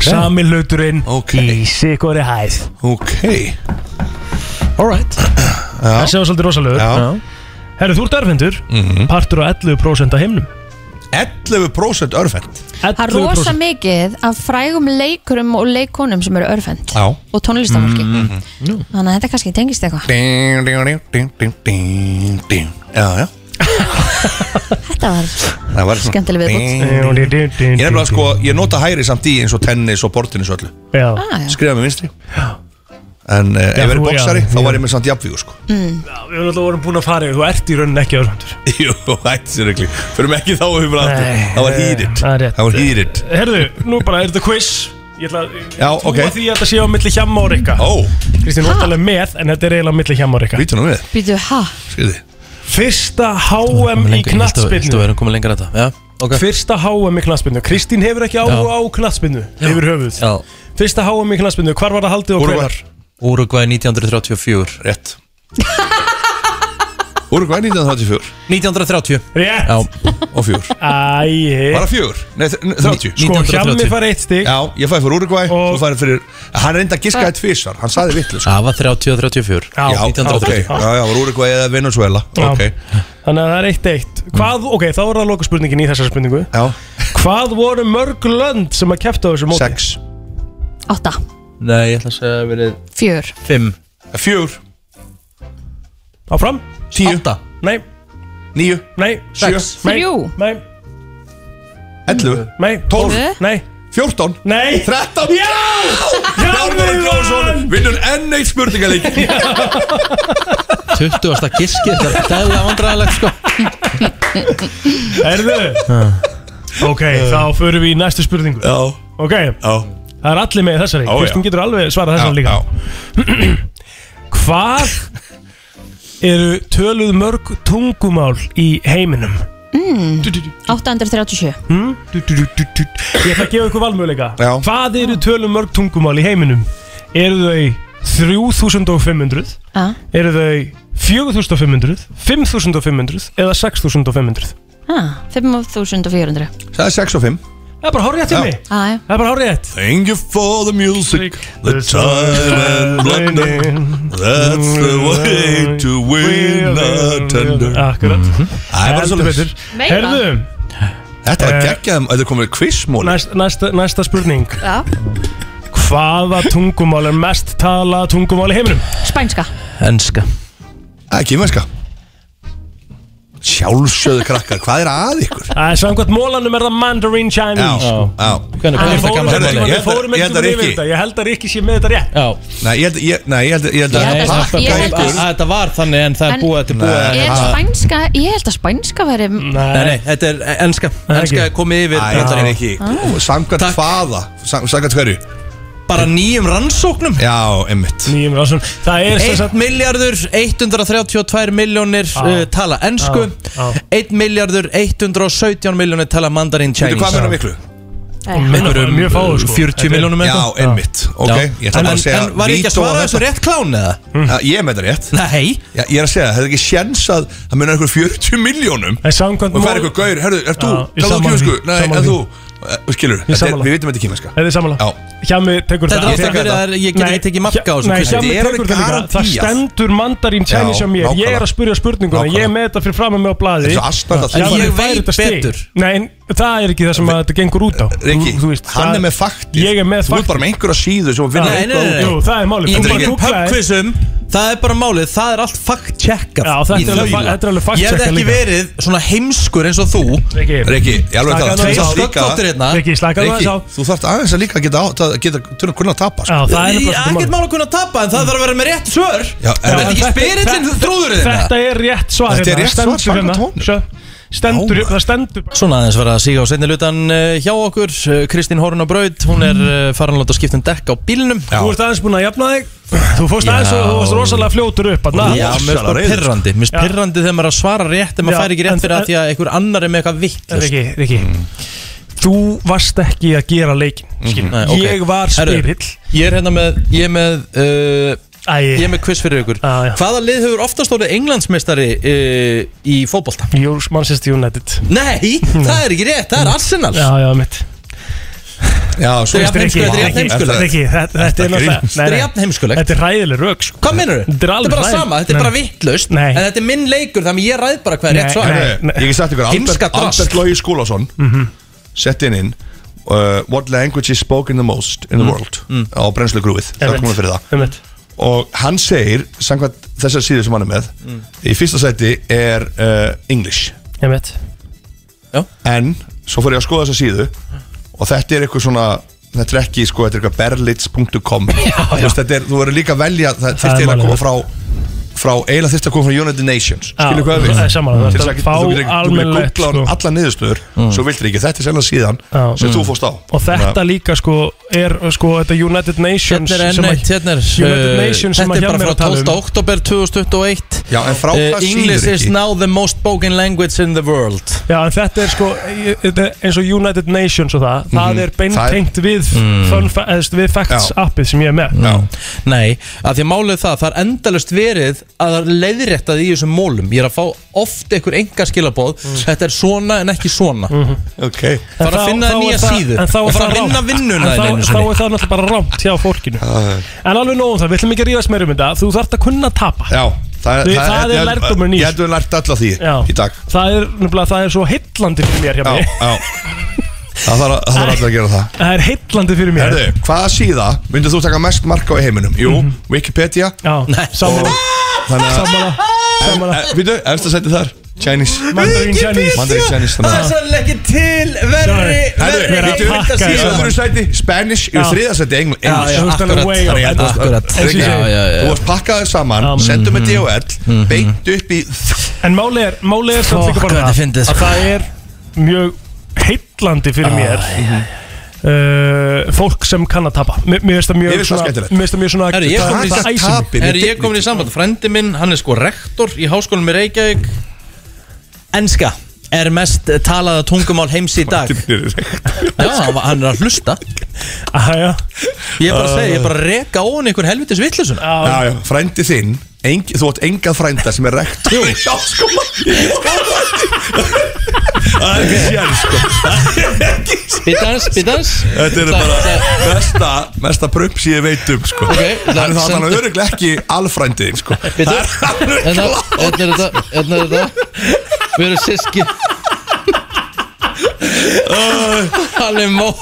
S4: Sami hluturinn okay. í sig ykkur hæð
S13: Ok
S4: Alright
S13: Það
S4: séu svolítið rosalegur Herru, þú ert erfendur
S13: Mhm.
S4: Partur á 11% af himnum
S13: 11% örfend
S2: Það er rosa mikið af frægum leikurum og leikonum sem eru örfend
S13: Já Mhm.
S2: og tónlistafólki
S13: Mm,
S2: Þannig að þetta kannski tengist eitthvað
S13: Ding, ding, ding, ding, ding, ding, ding. Já, já
S2: Þetta var
S13: Það var svona-
S2: Skemmtileg viðbót.
S13: Ding, ding, ding. Ég nefnilega sko, ég nota hæri samt í eins og tennis og bortinnis og öllu
S4: Já.
S2: Ah, já.
S13: Skrifa með vinstri En uh, ef
S4: Já,
S13: ég verið
S4: þú-
S13: boksari,
S4: já,
S13: þá
S4: já.
S13: var ég með samt jafnvíu sko
S2: mm.
S4: Já, Við höfum alltaf vorum búin að fara yfir, Þú ert í rauninni ekki örfendur
S13: Jú, hætti sér ekki Fyrir mig ekki þá um aftur
S4: Nei,
S13: Það var hýrit
S4: það er rétt.
S13: Það var hýrit
S4: Herðu, nú bara er þetta quiz Ég ætla að
S13: Já,
S4: trúa
S13: ok.
S4: því að þetta sé á milli hjamma og rikka
S13: Ó
S4: Kristín, þú ert alveg með En þetta er eiginlega á milli hjamma og rikka
S13: Vítu nú við
S2: Býtu, ha?
S13: Skriði
S4: Fyrsta HM í
S3: Þú
S4: knattspinnu
S3: erum komið lengra að þetta Já, ok
S4: Fyrsta HM í knattspinnu Kristín hefur ekki áhuga á knattspinnu Yfir höfuð
S3: Já
S4: Fyrsta HM í knattspinnu Hvar var það haldið og hvenar?
S3: Úrugvæ 1934
S13: Rétt Úrugvæ 1934
S3: 1930
S4: Rétt
S3: Já
S13: Og fjör
S4: Æi
S13: Var það fjör? Nei, þ- n- 30
S4: Sko, Hjammi fær eitt stig
S13: Já, ég fæði fyrir Úrugvæ Svo fæði fyrir Hann reynda að giska eitt fyrst Hann saði vitlu
S3: Það var 30 og 34
S13: Já, ok
S3: 1930
S13: Já, já, var Úrugvæ eða Venezuela
S4: Já.
S13: Ok
S4: Þannig að það er eitt eitt Hvað, ok, þá er það loka spurningin í þessari spurningu
S13: Já
S4: Hvað voru mörg lönd sem að kæfta þessu móti?
S13: Sex
S2: Átta
S3: Nei, ég ætla að segja að verið
S2: Fjör
S3: 5
S13: Fjör
S4: Áfram
S13: 10
S3: 8
S4: Nei
S13: 9
S4: Nei
S13: Sjö.
S4: Nei.
S2: Þrjú.
S4: Nei
S13: 11
S4: Nei
S13: 12
S4: Nei
S13: 14
S4: Nei
S13: 13
S4: Já
S13: Hjálmar Grósson vinnur enn eitt spurningalík
S3: 20. giski Það er dæðilega vandræðilegt sko
S4: Erðu Ok, þá förum við í næstu spurningu
S13: Já
S4: Ok
S13: Já
S4: Það er allir með í þessari
S13: Ó, já.
S4: Kristín getur alveg svarað þessari líka Hvað eru töluð mörg tungumál í heiminum?
S2: mm. 837
S4: Hm? Du, du, du, du, du. Ég ætla að gefa ykkur valmöguleika
S13: Já.
S4: Hvað eru töluð mörg tungumál í heiminum? Eru þau 3500?
S2: Já.
S4: Eru þau 4500? 5500? Eða 6500?
S2: ah, 5400
S13: Það er 6 og 5
S4: Það er bara hárið til mig
S2: ah, já.
S4: Það er bara hárið rétt
S13: Thank you for the music The time and wonder That's the way to win a tender
S4: Akkurat
S13: Það er bara
S4: Heldur
S13: svolítið
S4: betur. Meira. Herðu,
S13: Þetta var
S4: Eh,
S13: geggjað Þetta er komið quizmóli
S4: næst, næsta, næsta spurning
S2: Já.
S4: Hvaða tungumál er mest talað tungumál í heiminum?
S2: Spænska
S3: Enska
S13: Það er kýmverska Sjálfsöðu krakkar Hvað er að ykkur?
S4: Það er samkvæmt mólanum er það Mandarin
S13: Já,
S4: Chinese sko.
S13: já
S3: Hvernig
S4: Við fórum
S13: Herðu,
S4: einhvern
S13: ég
S4: tímann-
S13: held
S4: Ah, við fórum hérna
S13: að- Ég held að Rikki
S4: einhvern tímann yfir þetta Ég held að Rikki sé með þetta rétt
S3: Já
S13: Nei, ég held ég- nei, ég held- ég held
S3: Nei,
S13: að
S3: það-
S13: pakka
S3: það-
S13: ykkur
S3: að- Þetta var þannig en það er
S2: En-
S3: búið Þetta er búið
S13: Nei.
S2: Er
S3: að-
S2: spænska, ég held að spænska væri
S3: Nei, nei, þetta er eh, enska Enska er komið yfir
S13: Æ, Ah.
S3: Þetta
S13: það
S3: er
S13: er ekki Samkvæmt hvaða Sam- Samkvæmt hverju
S3: bara nýjum rannsóknum
S13: Já, einmitt
S4: Nýjum rannsóknum Það er sem
S3: 1
S4: sagt-
S3: miljardur 132 miljónir
S4: Á.
S3: uh, tala ennsku
S4: Á, á.
S3: 1 miljardur 117 miljónir tala mandarin
S13: Veitu,
S3: Chinese um
S13: hvað munar um miklu?
S4: Um
S3: Einhverjum,
S13: Mjög fáu, sko.
S3: 40 miljónum
S13: Já, einmitt, ok. Ég ætla
S3: En,
S13: bara að segja
S3: en var ég ekki að
S13: vító á
S3: svara
S13: þetta.
S3: þessu rétt klán eða?
S13: Já, Ég með þetta rétt
S3: Nei
S13: Já, Ég er að segja, það hefði ekki sjens að það munar um einhver 40 miljónum
S4: Það er samkvæmt
S13: Og fær eitthvað gaur, herðu, er þú,
S4: Já, ég
S13: talaðu
S4: sammála
S13: kjósku
S4: því,
S13: Nei,
S4: sammála
S13: er
S4: því.
S13: þú, Eh, skilur
S4: Ég
S13: þetta er-
S4: sammála.
S13: Við vitum þetta ekki mennska
S4: Þetta er samanlega Hjami tekur
S3: Þetta er ástæðan
S4: Ég tek
S3: fyrir
S4: þetta.
S3: að ég get ekki
S4: Nei,
S3: tekið mark á þessu,
S4: Nei,
S3: Kristi.
S4: Hjami
S3: Þetta er
S4: tekur þetta líka Það
S3: alveg garantíð.
S4: stendur mandarín Chinese
S3: Já,
S4: hjá mér Ég
S3: nákvæmlega.
S4: er að spurja spurninguna Ég er með þetta fyrir framum með á blaði
S13: Þetta er svo asnalegt að
S4: Hjami
S13: þú- Ég
S4: fær
S13: veit
S4: þetta stig.
S13: betur.
S4: Nei, en það er ekki það sem að þetta gengur út á
S13: Riki,
S4: Þú- þú veist,
S13: hann
S4: það-
S13: er með faktir
S4: Ég er með
S13: Þú ert
S4: faktir
S13: bara með einhverja síðu sem vinna
S4: Nei,
S13: eitthvað
S4: nei,
S13: út
S4: nei.
S13: úr.
S4: Jú, það er málið.
S13: Þetta
S4: Þú
S13: er
S4: bara
S13: ekki-
S4: googlaðir.
S3: pubquizum Það er bara málið, það er allt fact-checkað
S4: Já, þetta
S3: í
S4: er alveg
S3: þaula.
S4: fa- þetta er alveg fact-checkað
S3: Ég hef ekki
S4: líka.
S3: verið svona heimskur eins og þú
S4: Riki,
S13: Riki, ég alveg
S3: Slakaðu
S13: tala
S3: aðeins á. Sköllóttir hérna. Riki, slakaðu aðeins á.
S13: Þú þarft aðeins að líka geta, á- að geta, geta kunna að tapa sko.
S3: Ég er ekkert mál að kunna tapa en það þarf að vera með rétt svör
S13: Já, en-
S3: Þetta er ekki spyrillin þrúðurinn
S4: Þetta er rétt svar
S3: hérna.
S4: hérna,
S3: Þetta er rétt svar, samkvæmt honum.
S4: Stendur, það stendur
S3: Svona aðeins var að síga á seinni lutan eh, hjá okkur Eh, Kristín Horun og Braut, hún er eh, farin að láta skipta um dekk á bílnum
S4: Þú ert aðeins búin að jafna þig Þú fórst aðeins og þú varst rosalega fljótur upp þarna.
S3: Já, mér finnst bara pirrandi Mér finnst pirrandi þegar maður er að svara rétt en maður
S4: Já,
S3: fær ekki
S4: en-
S3: rétt fyrir að því að einhver annar er með eitthvað
S4: Riki,
S3: vitt
S4: Riki Þú varst ekki að gera leikin mm
S3: Mhm. Nei, ok.
S4: Ég var
S3: Herru,
S4: spyrill
S3: Ég er hérna með Ég er með, uh,
S4: ég
S3: er með quiz fyrir ykkur Hvaða lið hefur oftast orðið englandsmeistari uh, í fótbolta?
S4: Júls Manchester United
S3: Nei, það er ekki rétt, það er Arsenal
S4: Mm. Já, já, mitt
S13: Já,
S3: svo
S4: Þetta er ekki- þetta er ekki heimskulegt. Riki, þetta- þetta er náttúrulega- nei,
S3: Þetta er
S4: nei.
S3: jafn heimskulegt
S4: Þetta er ræðileg rög sko.
S3: Hvað mennur þau?
S4: Þetta er alveg
S3: bara
S4: hræðilegt.
S3: sama, þetta er
S4: Nei.
S3: bara vittlaust
S4: Nei.
S3: En þetta er minn leikur, þannig að ég ræð bara hvað er rétt svar
S13: Herru, Ég get sagt ykkur
S3: Heimska
S13: Albert, Albert
S3: drast
S13: Lógi Skúlason
S4: Mhm.
S13: Sett inn inn uh, What language is spoken the most in the world
S3: Mm.
S13: Á brennslu grúið Það er
S4: Mhm. Einmitt.
S13: komið fyrir það
S4: Einmitt.
S13: Og hann segir, samkvæmt þessar síðu sem hann er með
S4: Mm.
S13: Í fyrsta sæti er uh, English
S4: Ég veit
S13: En svo fór ég að skoða þessa síðu Og þetta er eitthvað svona Þetta er ekki, sko, þetta er eitthvað berlitz.com Þú veist, þetta er, þú verður líka að velja Það
S4: er
S13: þyrfti eiginlega að koma
S4: málið.
S13: frá Frá, eiginlega þyrfti að koma frá United Nations Skilu hvað við
S4: það er sammála, það er
S13: Til þess að geta-
S4: að fá
S13: Þú getur þú getur
S4: almennilegt,
S13: googlað
S4: sko.
S13: alla niðurstöður Svo viltir ekki, þetta er sérlega síðan
S4: Já.
S13: Sem þú
S4: Mm.
S13: fórst á
S4: Og þetta líka sko er sko þetta United Nations
S3: Hérna er
S4: sem
S3: enn
S4: að-
S3: eitt, hérna er
S4: United
S3: uh,
S4: Nations sem
S3: Þetta
S4: að
S3: er
S4: hjá
S3: bara
S4: mér
S3: frá
S4: að tala
S3: 12.
S4: um
S3: oktober 2021
S13: Já, en frá
S3: Eh,
S13: hvað síður,
S3: English is
S13: Riki?
S3: now the most spoken language in the world
S4: Já, en þetta er sko ég- þetta er eins og United Nations og það Það
S3: Mhm.
S4: er
S3: Það er-
S4: beintengt við
S3: Mm.
S4: fun fa- eða, þú veist, við facts
S3: Já.
S4: appið sem ég er með
S3: Nei, að því að málið er það, það er endalust verið að það er leiðréttað í þessum mólum Ég er að fá oft einhver enga skilabóð Þetta er svona en ekki svona
S13: Mm. Ok
S3: Það er að finna þér nýja síðu
S4: En Mhm. þá
S3: og
S4: er
S3: fara að vinna
S4: rangt.
S3: vinnuna
S4: En
S3: þína
S4: þá,
S3: einu
S4: þá
S3: sinni.
S4: er það náttúrulega bara rámt hjá fólkinu En alveg nóg um það, við ætlum ekki að rífast meira um þetta Þú þarft að kunna að tapa
S13: Já, það,
S4: Því það er
S13: ég-
S4: lærdómurinn í
S13: Ég hefði lært alla því
S4: Já.
S13: í dag
S4: Það er nefnilega, það er svo heitlandi fyrir mér hjá
S13: Já,
S4: mér
S13: já Það þarf að- það þarf allir að gera það
S4: Það er heitlandi fyrir mér
S13: Herðu, hvaða síða myndir þú taka mest mark á í heiminum? Jú, Wikipedia
S4: Mhm. Já, sammála Sammála
S13: Sammála Vítu, eftir að setja þar Chinese
S4: Mandarin Chinese.
S13: Mandarin Chinese
S4: Það er
S3: sannlega ekki til verri
S13: Herðu, vítu, í öðru sæti Spanish, í
S4: Já.
S13: þriða sæti Engl-
S4: Já,
S13: English
S4: já, akkurat,
S13: Þannig að þetta-
S4: akkurat.
S13: Riki,
S4: Já, já, já.
S13: Þú varst pakkaðið saman, sendum með
S3: Mhm.
S13: DHL Beint upp í
S4: En máli er, máli er samt
S13: Fuck,
S4: líka bara
S13: hvað þið fyndið,
S4: það að
S13: sko.
S4: það er mjög heitlandi fyrir
S3: Ah,
S4: mér uh, fólk sem kann að tapa Mér mér finnst það mjög svona- Mér finnst það mjög svona
S3: Herri, ég
S4: það
S3: komin
S4: það
S3: í
S4: æsir mig.
S3: samband Herri, ég komin í samband Frendi minn, hann er sko rektor í háskólanum í Reykjavík Enska er mest talaða tungumál heims í dag Já, hann var- hann er að hlusta
S4: Aja.
S3: Ég er bara að segja, ég er bara að reka ofan í einhver helvitis vittlusun
S13: Uh. Já, já, frændi þinn eng, Þú átt engað frænda sem er rektor Jú, já, sko Það er ekki sér, sko
S3: sko. Spitans, spitans
S13: Þetta er bara mesta, mesta prump sem ég veit um, sko
S3: Ok,
S13: Það er
S3: sendu-
S13: þannig að öruglega ekki alfrændið, þinn, sko
S3: Bittu, hérna hérna er þetta, hérna er þetta Við erum síski Hann er mó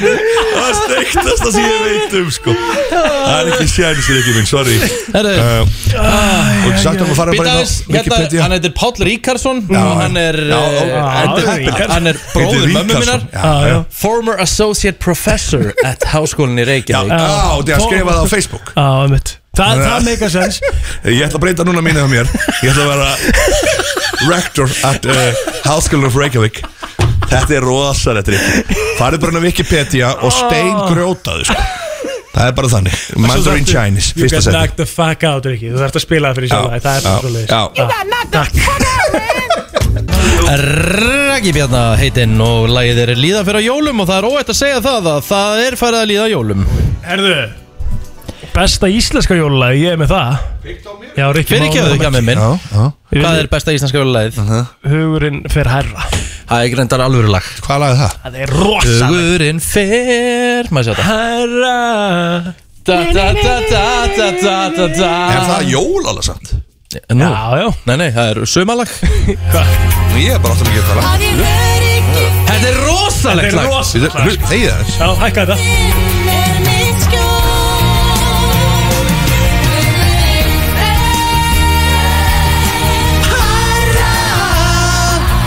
S13: Það er steiktasta sem ég veit um, sko Það er ekki sér, ekki minn, sorry
S3: Herru.
S13: Uh, Og sagt um að fara bara inn á
S3: Bíddu aðeins, hérna,
S13: Wikipedia
S3: Hann heitir Páll Ríkarsson
S13: Já,
S3: og hann er
S13: já, já,
S3: eh,
S13: já,
S3: hann er-
S13: já, já, já.
S3: Hann er
S13: Heitir
S3: bróður mömmu
S13: Ríkarsson,
S3: minnar
S13: já, já.
S3: Former Associate Professor at Háskólinni í Reykjavík
S13: Já, já, og þegar skrifaði það á Facebook.
S4: Já, einmitt. Það, það meika sens
S13: Ég ætla að breyta núna mínu á mér Ég ætla að vera Rector at uh, Háskólan of Reykjavík Þetta er rosalegt trikk Farðu bara inn á Wikipedia og stein
S3: Ah.
S13: grjótaðu sko. Það er bara þannig Mandarin Chinese,
S4: You
S13: fyrsta
S4: got
S13: seti
S4: knocked the fuck out, Rikki Þú þarfst að spila það fyrir sjálf Það er bara svo leiðis
S13: já.
S3: Raggi Bjarna heitinn og lagið er líða fyrir á jólum og það er óætt að segja það að það er farið að líða á jólum
S4: Herðu Besta íslenska jólulag, ég er með það Byggt á mér Já, Rikki
S3: Fyrirgefðu ekki að með minn Hvað er besta íslenska jólulegið?
S13: Uh-huh.
S4: Hugurinn fer herra
S3: Það er reyndar alvöru lag
S13: Hvað lag er það?
S4: Það er rosalegt.
S3: Hugurinn fer Má sjá þetta
S4: Herra
S3: Da da da da da da da da
S13: Er það jól alveg samt?
S3: Nú.
S13: Já,
S4: já
S3: Nei, nei, það er sumalag
S13: Ég er bara átt að mikið að
S3: Þetta er rosalegt lag
S13: Þegið það
S4: Já, hækka þetta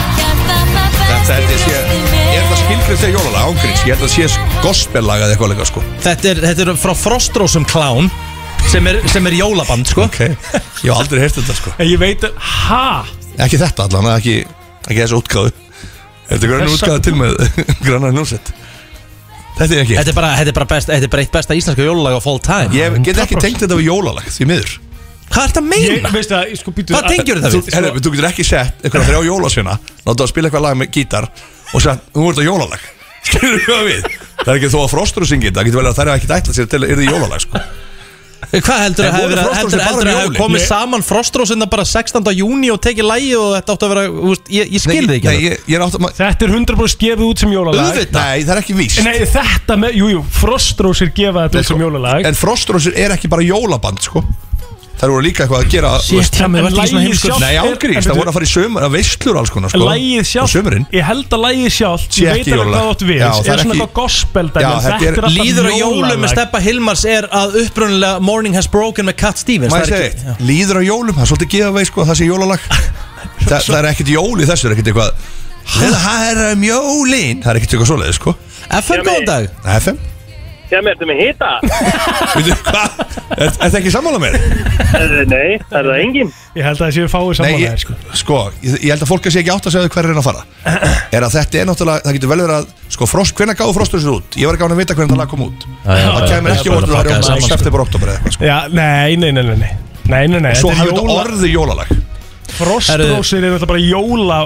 S13: Þetta held ég sé Ég held að skilgrið þegar jólalag ángríns Ég held að sé gospellag eða eitthvað leika sko
S3: Þetta er, þetta er frá Frostrósum Clown sem er, sem er jólaband sko okay.
S13: Ég hef aldrei heyrt þetta sko
S4: En ég veit að, ha?
S13: Ekki þetta allan, ekki, ekki þessu útgáðu Þetta er grannar
S3: Þessa-
S13: útgáðu til með grannar hljómsett Þetta er ekki
S3: Þetta er bara, þetta er bara best, þetta er bara eitt besta íslenska jólalag á full time
S13: Ég get ekki tengt þetta við jólalag, því miður
S3: Hvað ert að
S4: Ég
S3: meina?
S4: veist að, sko, býtu
S3: Hvað tengjur þetta við?
S13: Herra, þú getur ekki sett eitthvað þrjá jólasveina Náttu að spila eitthvað lag með gítar Og sagt, þú ert að jólalag Skilur þú hvað við? Það er ekki þó að Frostur syngi þetta Það getur vel að það er ekki ætlað sér til að yrði jólalag sko.
S3: Eh, Hvað heldur að
S13: En
S3: hafi
S13: voru
S3: verið-
S13: Frostrósir
S3: heldur-
S13: bara
S3: heldur að
S13: um
S3: hafi
S13: jólin?
S3: komið
S13: Nei.
S3: saman Frostrósina bara 16. júni og tekið lægi og þetta átti að vera, úst, ég, ég skil þig ekki
S13: nei, ég, ég átt að
S4: Þetta er 100% gefið út sem jólalag
S3: Auðvitað.
S13: Nei, það er ekki víst sko,
S4: Nei, þetta með, jújú, jú, Frostrósir gefa þetta út sem jólalag
S13: En Frostrósir er ekki bara jólaband sko. Það voru líka eitthvað að gera
S4: Shit, Hemmi, varstu ekki svona heimskur?
S13: Nei, ángríns,
S4: En
S13: það
S4: veitu-
S13: voru að fara í sömur Að veislur og alls konar sko.
S4: Lægið
S13: Og
S4: sjálft,
S13: sömurinn
S4: ég held að lægið sjálft
S13: Sé
S4: Ég
S13: ekki
S4: veit alveg
S13: jólalag.
S4: hvað átt við
S13: Já,
S4: Er
S13: það er
S4: svona
S13: ekki-
S4: eitthvað gospel dæmi,
S13: Já,
S4: en
S13: þetta er-
S4: alltaf
S3: Líður á jólum
S4: jólalag.
S3: með Steppa Hilmars er að upprunalega Morning Has Broken með Cat Stevens
S13: Má ég
S3: Það er
S13: segja
S3: ekki-
S13: eitt, líður á jólum, það er svolítið gefa veið sko að það sé jólalag Þa, Það er ekkert jól í þessu, það er ekkert eitthvað "Hæ, Það er um jólin, það er ekkert eitthvað svoleiðið sko
S3: FM, góðan dag
S13: FM,
S16: Sem ertu með hita?
S13: veitu hvað, er er það ekki sammála mér?
S16: Herðu, Nei, það er það engin
S4: Ég held að það séu fáið
S13: Nei,
S4: saman
S13: ég,
S4: sko.
S13: sko, ég, ég held að fólk að sé ekki átt að segja hver er að fara Er að þetta er náttúrulega, það getur vel verið að Sko, frost, hvenær gáðu frostur þessu út? Ég var ekki án að vita hvernig það lag kom út
S4: Já, já,
S13: Það
S4: já,
S13: kemur
S4: já,
S13: ekki
S4: bara
S13: orður að
S4: pakkaði
S13: það
S4: saman,
S13: er
S4: sko.
S13: september, oktober eða eitthvað sko.
S4: Já, nei, nei, nei, nei Nei, nei, nei, nei
S13: Svo
S4: þetta er
S13: hafði þetta
S4: jóla-
S13: orðið jólalag
S4: Frostrósir eru náttúrulega bara jóla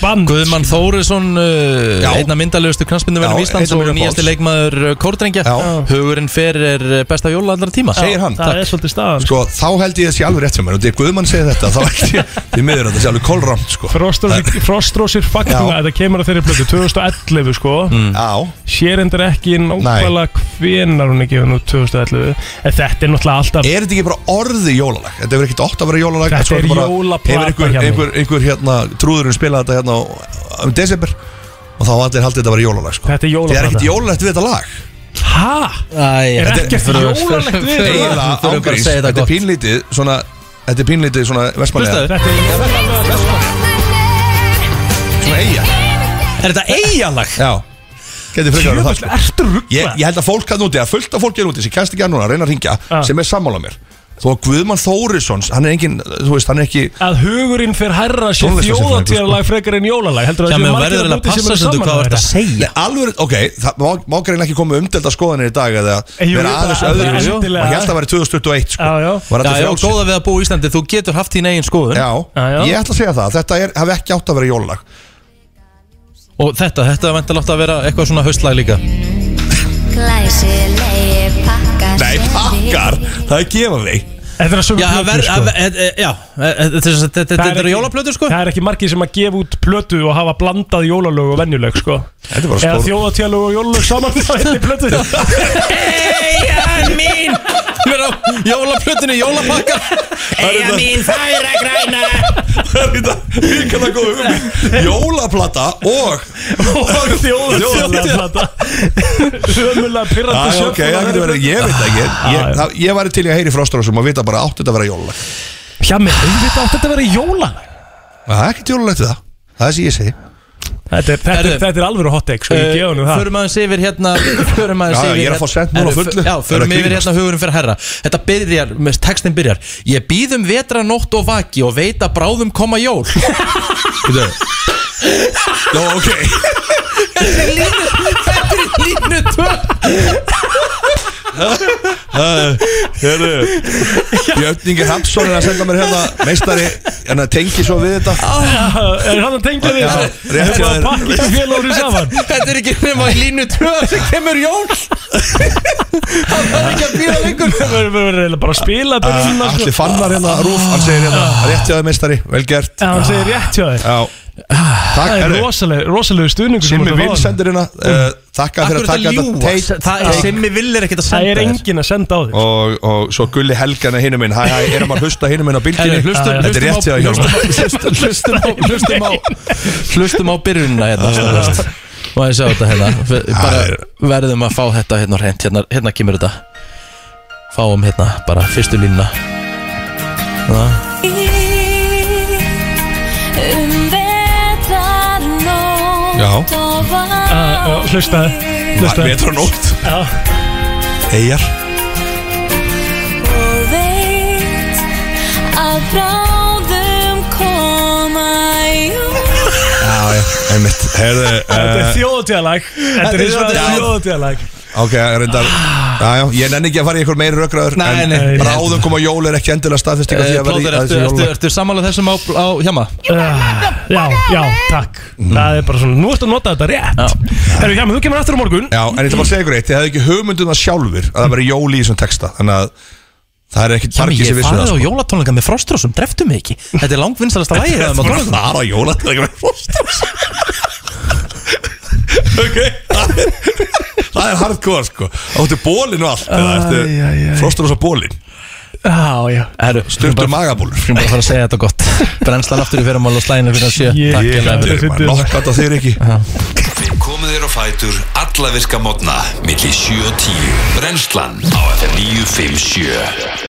S4: band
S3: Guðmann Þórisson, uh, einna myndalugustu
S13: Já,
S3: knastbynduverðum Íslands
S13: einna
S3: og
S13: mínum
S3: nýjasti
S13: uppáhalds.
S3: leikmaður uh, Kórdrengja Hugurinn fer er uh, besta jóla allra tíma
S13: Segir hann
S4: er svolítið staðan
S13: Sko, þá held ég að sé alveg rétt hjá mér Og þegar Guðmann segir þetta, þá held ég Þið miður að það sé alveg kolramt, sko
S4: Frostrósir, Frostrósir faktum að það kemur að þeirri plötu 2011 sko
S3: Mm.
S13: Já
S4: Sér endur ekki nákvæmlega hvenar hún er gefin út 2011 En þetta er náttúrulega alltaf
S13: Er þetta ekki bara orðið jólalag? Þetta hefur ekkert ótt að vera jólalag
S4: Þetta
S13: en svo
S4: er
S13: sko, bara- Hefur
S4: jólaplata
S13: einhver,
S4: hjá mér.
S13: einhver, einhver hérna, trúðurinn spilað þetta hérna á- um desember Og þá var allir haldið þetta að vera jólalag, sko
S4: Þetta
S13: Það
S4: er
S13: er
S4: jólaplata.
S13: ekkert jólalegt við þetta lag
S4: Hæ?
S3: Æ,
S4: Er
S13: þetta
S4: ekkert jólalegt við þetta?
S13: Eiginlega,
S4: Þurfum bara að
S13: ángríns,
S4: segja þetta
S13: Þetta er
S4: gott.
S13: pínlítið svona Þetta er pínlítið svona Vestmanlega
S3: Hlustaðu.
S13: Svona eiga
S3: Er þetta eigalag?
S13: Já Getur frekar verið það sko.
S4: Djöfull, ertu rugglað?
S13: Ég, ég held að fólk hann úti, að fullt af fólk er úti sem kæst ekki að núna, reyna að ringja, sem er sammála mér Þó að Guðmann Þórissons, hann er engin, þú veist, hann er ekki
S4: Að hugurinn fer herra sé
S13: Tónlistarsamfélag, sko.
S4: þjóðatíðarlag frekar en jólalag Heldur það
S13: segja Alveg, ok, það má, má greina ekki koma umdelda skoðanir í dag eða
S4: Eh, jú,
S13: vera
S4: jú,
S13: aðeins
S4: bara-
S13: öðru
S4: bara endilega.
S13: Ég held að það væri 2021 sko. já, já. Var
S3: Já, já,
S13: þetta
S3: góða við að búa í Íslandi, þú getur haft þín eigin skoðun
S13: Já, Ég ætla að segja það, þetta er, hafi ekki átt að vera jólalag
S3: Og þetta, þetta er vantilega átt að vera eitthvað svona haustlag líka
S2: Glæsilegi pakkar
S13: Nei, pakkar, það er gefa mig
S4: Þetta er að sömu
S3: Já,
S4: plötu,
S3: ver-
S4: sko.
S3: að- e- e- já, e- e- þetta er- þetta- þetta
S4: Það
S3: eru
S4: ekki-
S3: jólaplötur sko
S4: Það er ekki margir sem að gefa út plötu og hafa blandað jólalög og venjulög sko
S13: Þetta er bara
S4: Eða
S13: stór-
S4: þjóðatíðalög og jólalög saman á einni plötu
S3: Eyjan mín Mér á jólaplötunni, jólapakka
S13: Eyjan mín,
S3: færa græna
S13: Það er þetta, líka það góð hugmynd Jólaplata og
S4: Og þjóðatíðarplata Sömulega
S13: Æ,
S4: pirrandi
S13: Ah, ok, það getur verið, ég veit það ekki Ég, það, ég væri til í að heyri fróstarásum og vita bara átt þetta að vera jólalag
S4: Hjá mig, auðvitað átt þetta að vera jólalag
S13: Það er ekkert jólalegt við það, það er sem ég segi
S4: Þetta er, þetta er,
S3: Herðu.
S4: þetta er alveg hot take sko,
S13: Eh,
S4: ég gefa hennu það
S3: Eh, Förum aðeins yfir hérna Förum aðeins
S13: Já, já,
S3: yfir
S13: ég er að fá sent núna
S3: Herru,
S13: fullu.
S3: f- Já,
S13: Er
S3: förum
S13: að
S3: yfir
S13: grínast?
S3: hérna hugurinn fyrir herra Þetta byrjar, með textin byrjar um Ég býðum vetranótt og vaki og veit að bráðum koma jól
S13: Veitu, Nó, ok
S9: Þetta er línu Þetta er línu tvö
S13: Hérðu Björningi Hapsson er að senda mér hérna Meistari, hérna tengi svo við þetta
S4: Er hann að tengja því?
S13: Já, rétt hjá þér.
S4: Pakki sem félagur í saman
S17: Þetta er ekki nema í línu 2 sem kemur Jón Hann var ekki að býra lengur
S4: Við erum við erum bara að spila byrjunina, sko.
S13: Allir Ah, fannar
S4: Ah.
S13: hérna, Rúf, hann segir hérna Rétt hjá þið meistari, vel gert
S4: Já, hann segir rétt hjá þér Ah,
S13: Já Takk,
S4: Það er
S13: herru.
S4: rosaleg- rosalegu stuðningur sem
S13: Simmi
S4: þú ert að fá Mm.
S13: Vil
S4: þarna.
S13: sendir hérna uh, Takka fyrir að taka þetta take- Ah. take.
S4: vill er ekkert að senda þér Það er enginn að senda á þig
S13: og, og svo Gulli Helgan er hinum minn Hæ, hæ, erum að hlusta hinum minn á bylginni
S3: Herru, hlustum-
S13: Þetta er
S3: hlustum
S13: rétt hjá
S3: á-
S13: þér Hjálmar.
S3: hlustum- hlustum á- hlustum á hlustum á byrjunina hérna sem sagt. og ég sjá þetta hérna Við bara verðum að fá þetta hérna á hreint hérna, hérna kemur þetta fáum hérna bara fyrstu línuna Ná.
S9: Um vetar
S3: Já.
S9: nótt og
S4: Ah, já, Hlustaði Hlustaði
S13: Vetur og nótt.
S4: Já
S13: Ah, Eyjar
S9: Og veit að bráðum koma jól
S13: Já, já, einmitt Herðu
S4: Þetta er
S13: eh,
S4: þjóðtíðalag Þetta er þjóðtíðalag
S13: Ok, reyndar Já, já, ég nenni ekki að fara í einhver meiri rökraður
S3: Nei,
S13: en
S3: nei.
S13: Ráðum koma jól er ekki endilega staðfesting af því
S3: Eh,
S13: að vera í
S3: Plóter, ertu,
S13: þessu
S3: ertu,
S13: jól
S3: ertu samanlega þessum á, á hjama?
S4: Já, já, takk Það er bara svona Nú ertu að nota þetta rétt Herru, hjá mig, þú kemur aftur á morgun
S13: Já, en ég ætla bara að segja ykkur eitt Ég hefði ekki hugmyndum það sjálfur að það veri jól í þessum texta Þannig að það er ekkit margir sem
S3: Ég
S13: vissu það
S3: farið á
S13: sko.
S3: jólatónleika með frostrósum, dreftu mig ekki Þetta er langvinnsalasta lagið
S13: Þetta er
S3: þegar maður
S13: bara að
S3: tónleikum.
S13: fara á jólatónleika með frostrósum Ok, það er- það er hardcore sko Áttu bólin og allt eða
S3: Æ, æ, æ.
S13: Ertu frostrósa bólin
S4: Já, já
S3: Herru,
S13: Sturtur magabólur
S3: Ég bara að fara að segja þetta gott Brennslan aftur í fyrramál og slæðinu fyrir að sjö
S13: Ég-
S3: Takk
S13: Ég-
S3: hérna
S13: Þetta er bara nokkat á þér ekki
S17: Við komum þér á fætur alla virka mótna milli 7 og 10 Brennslan á FM 957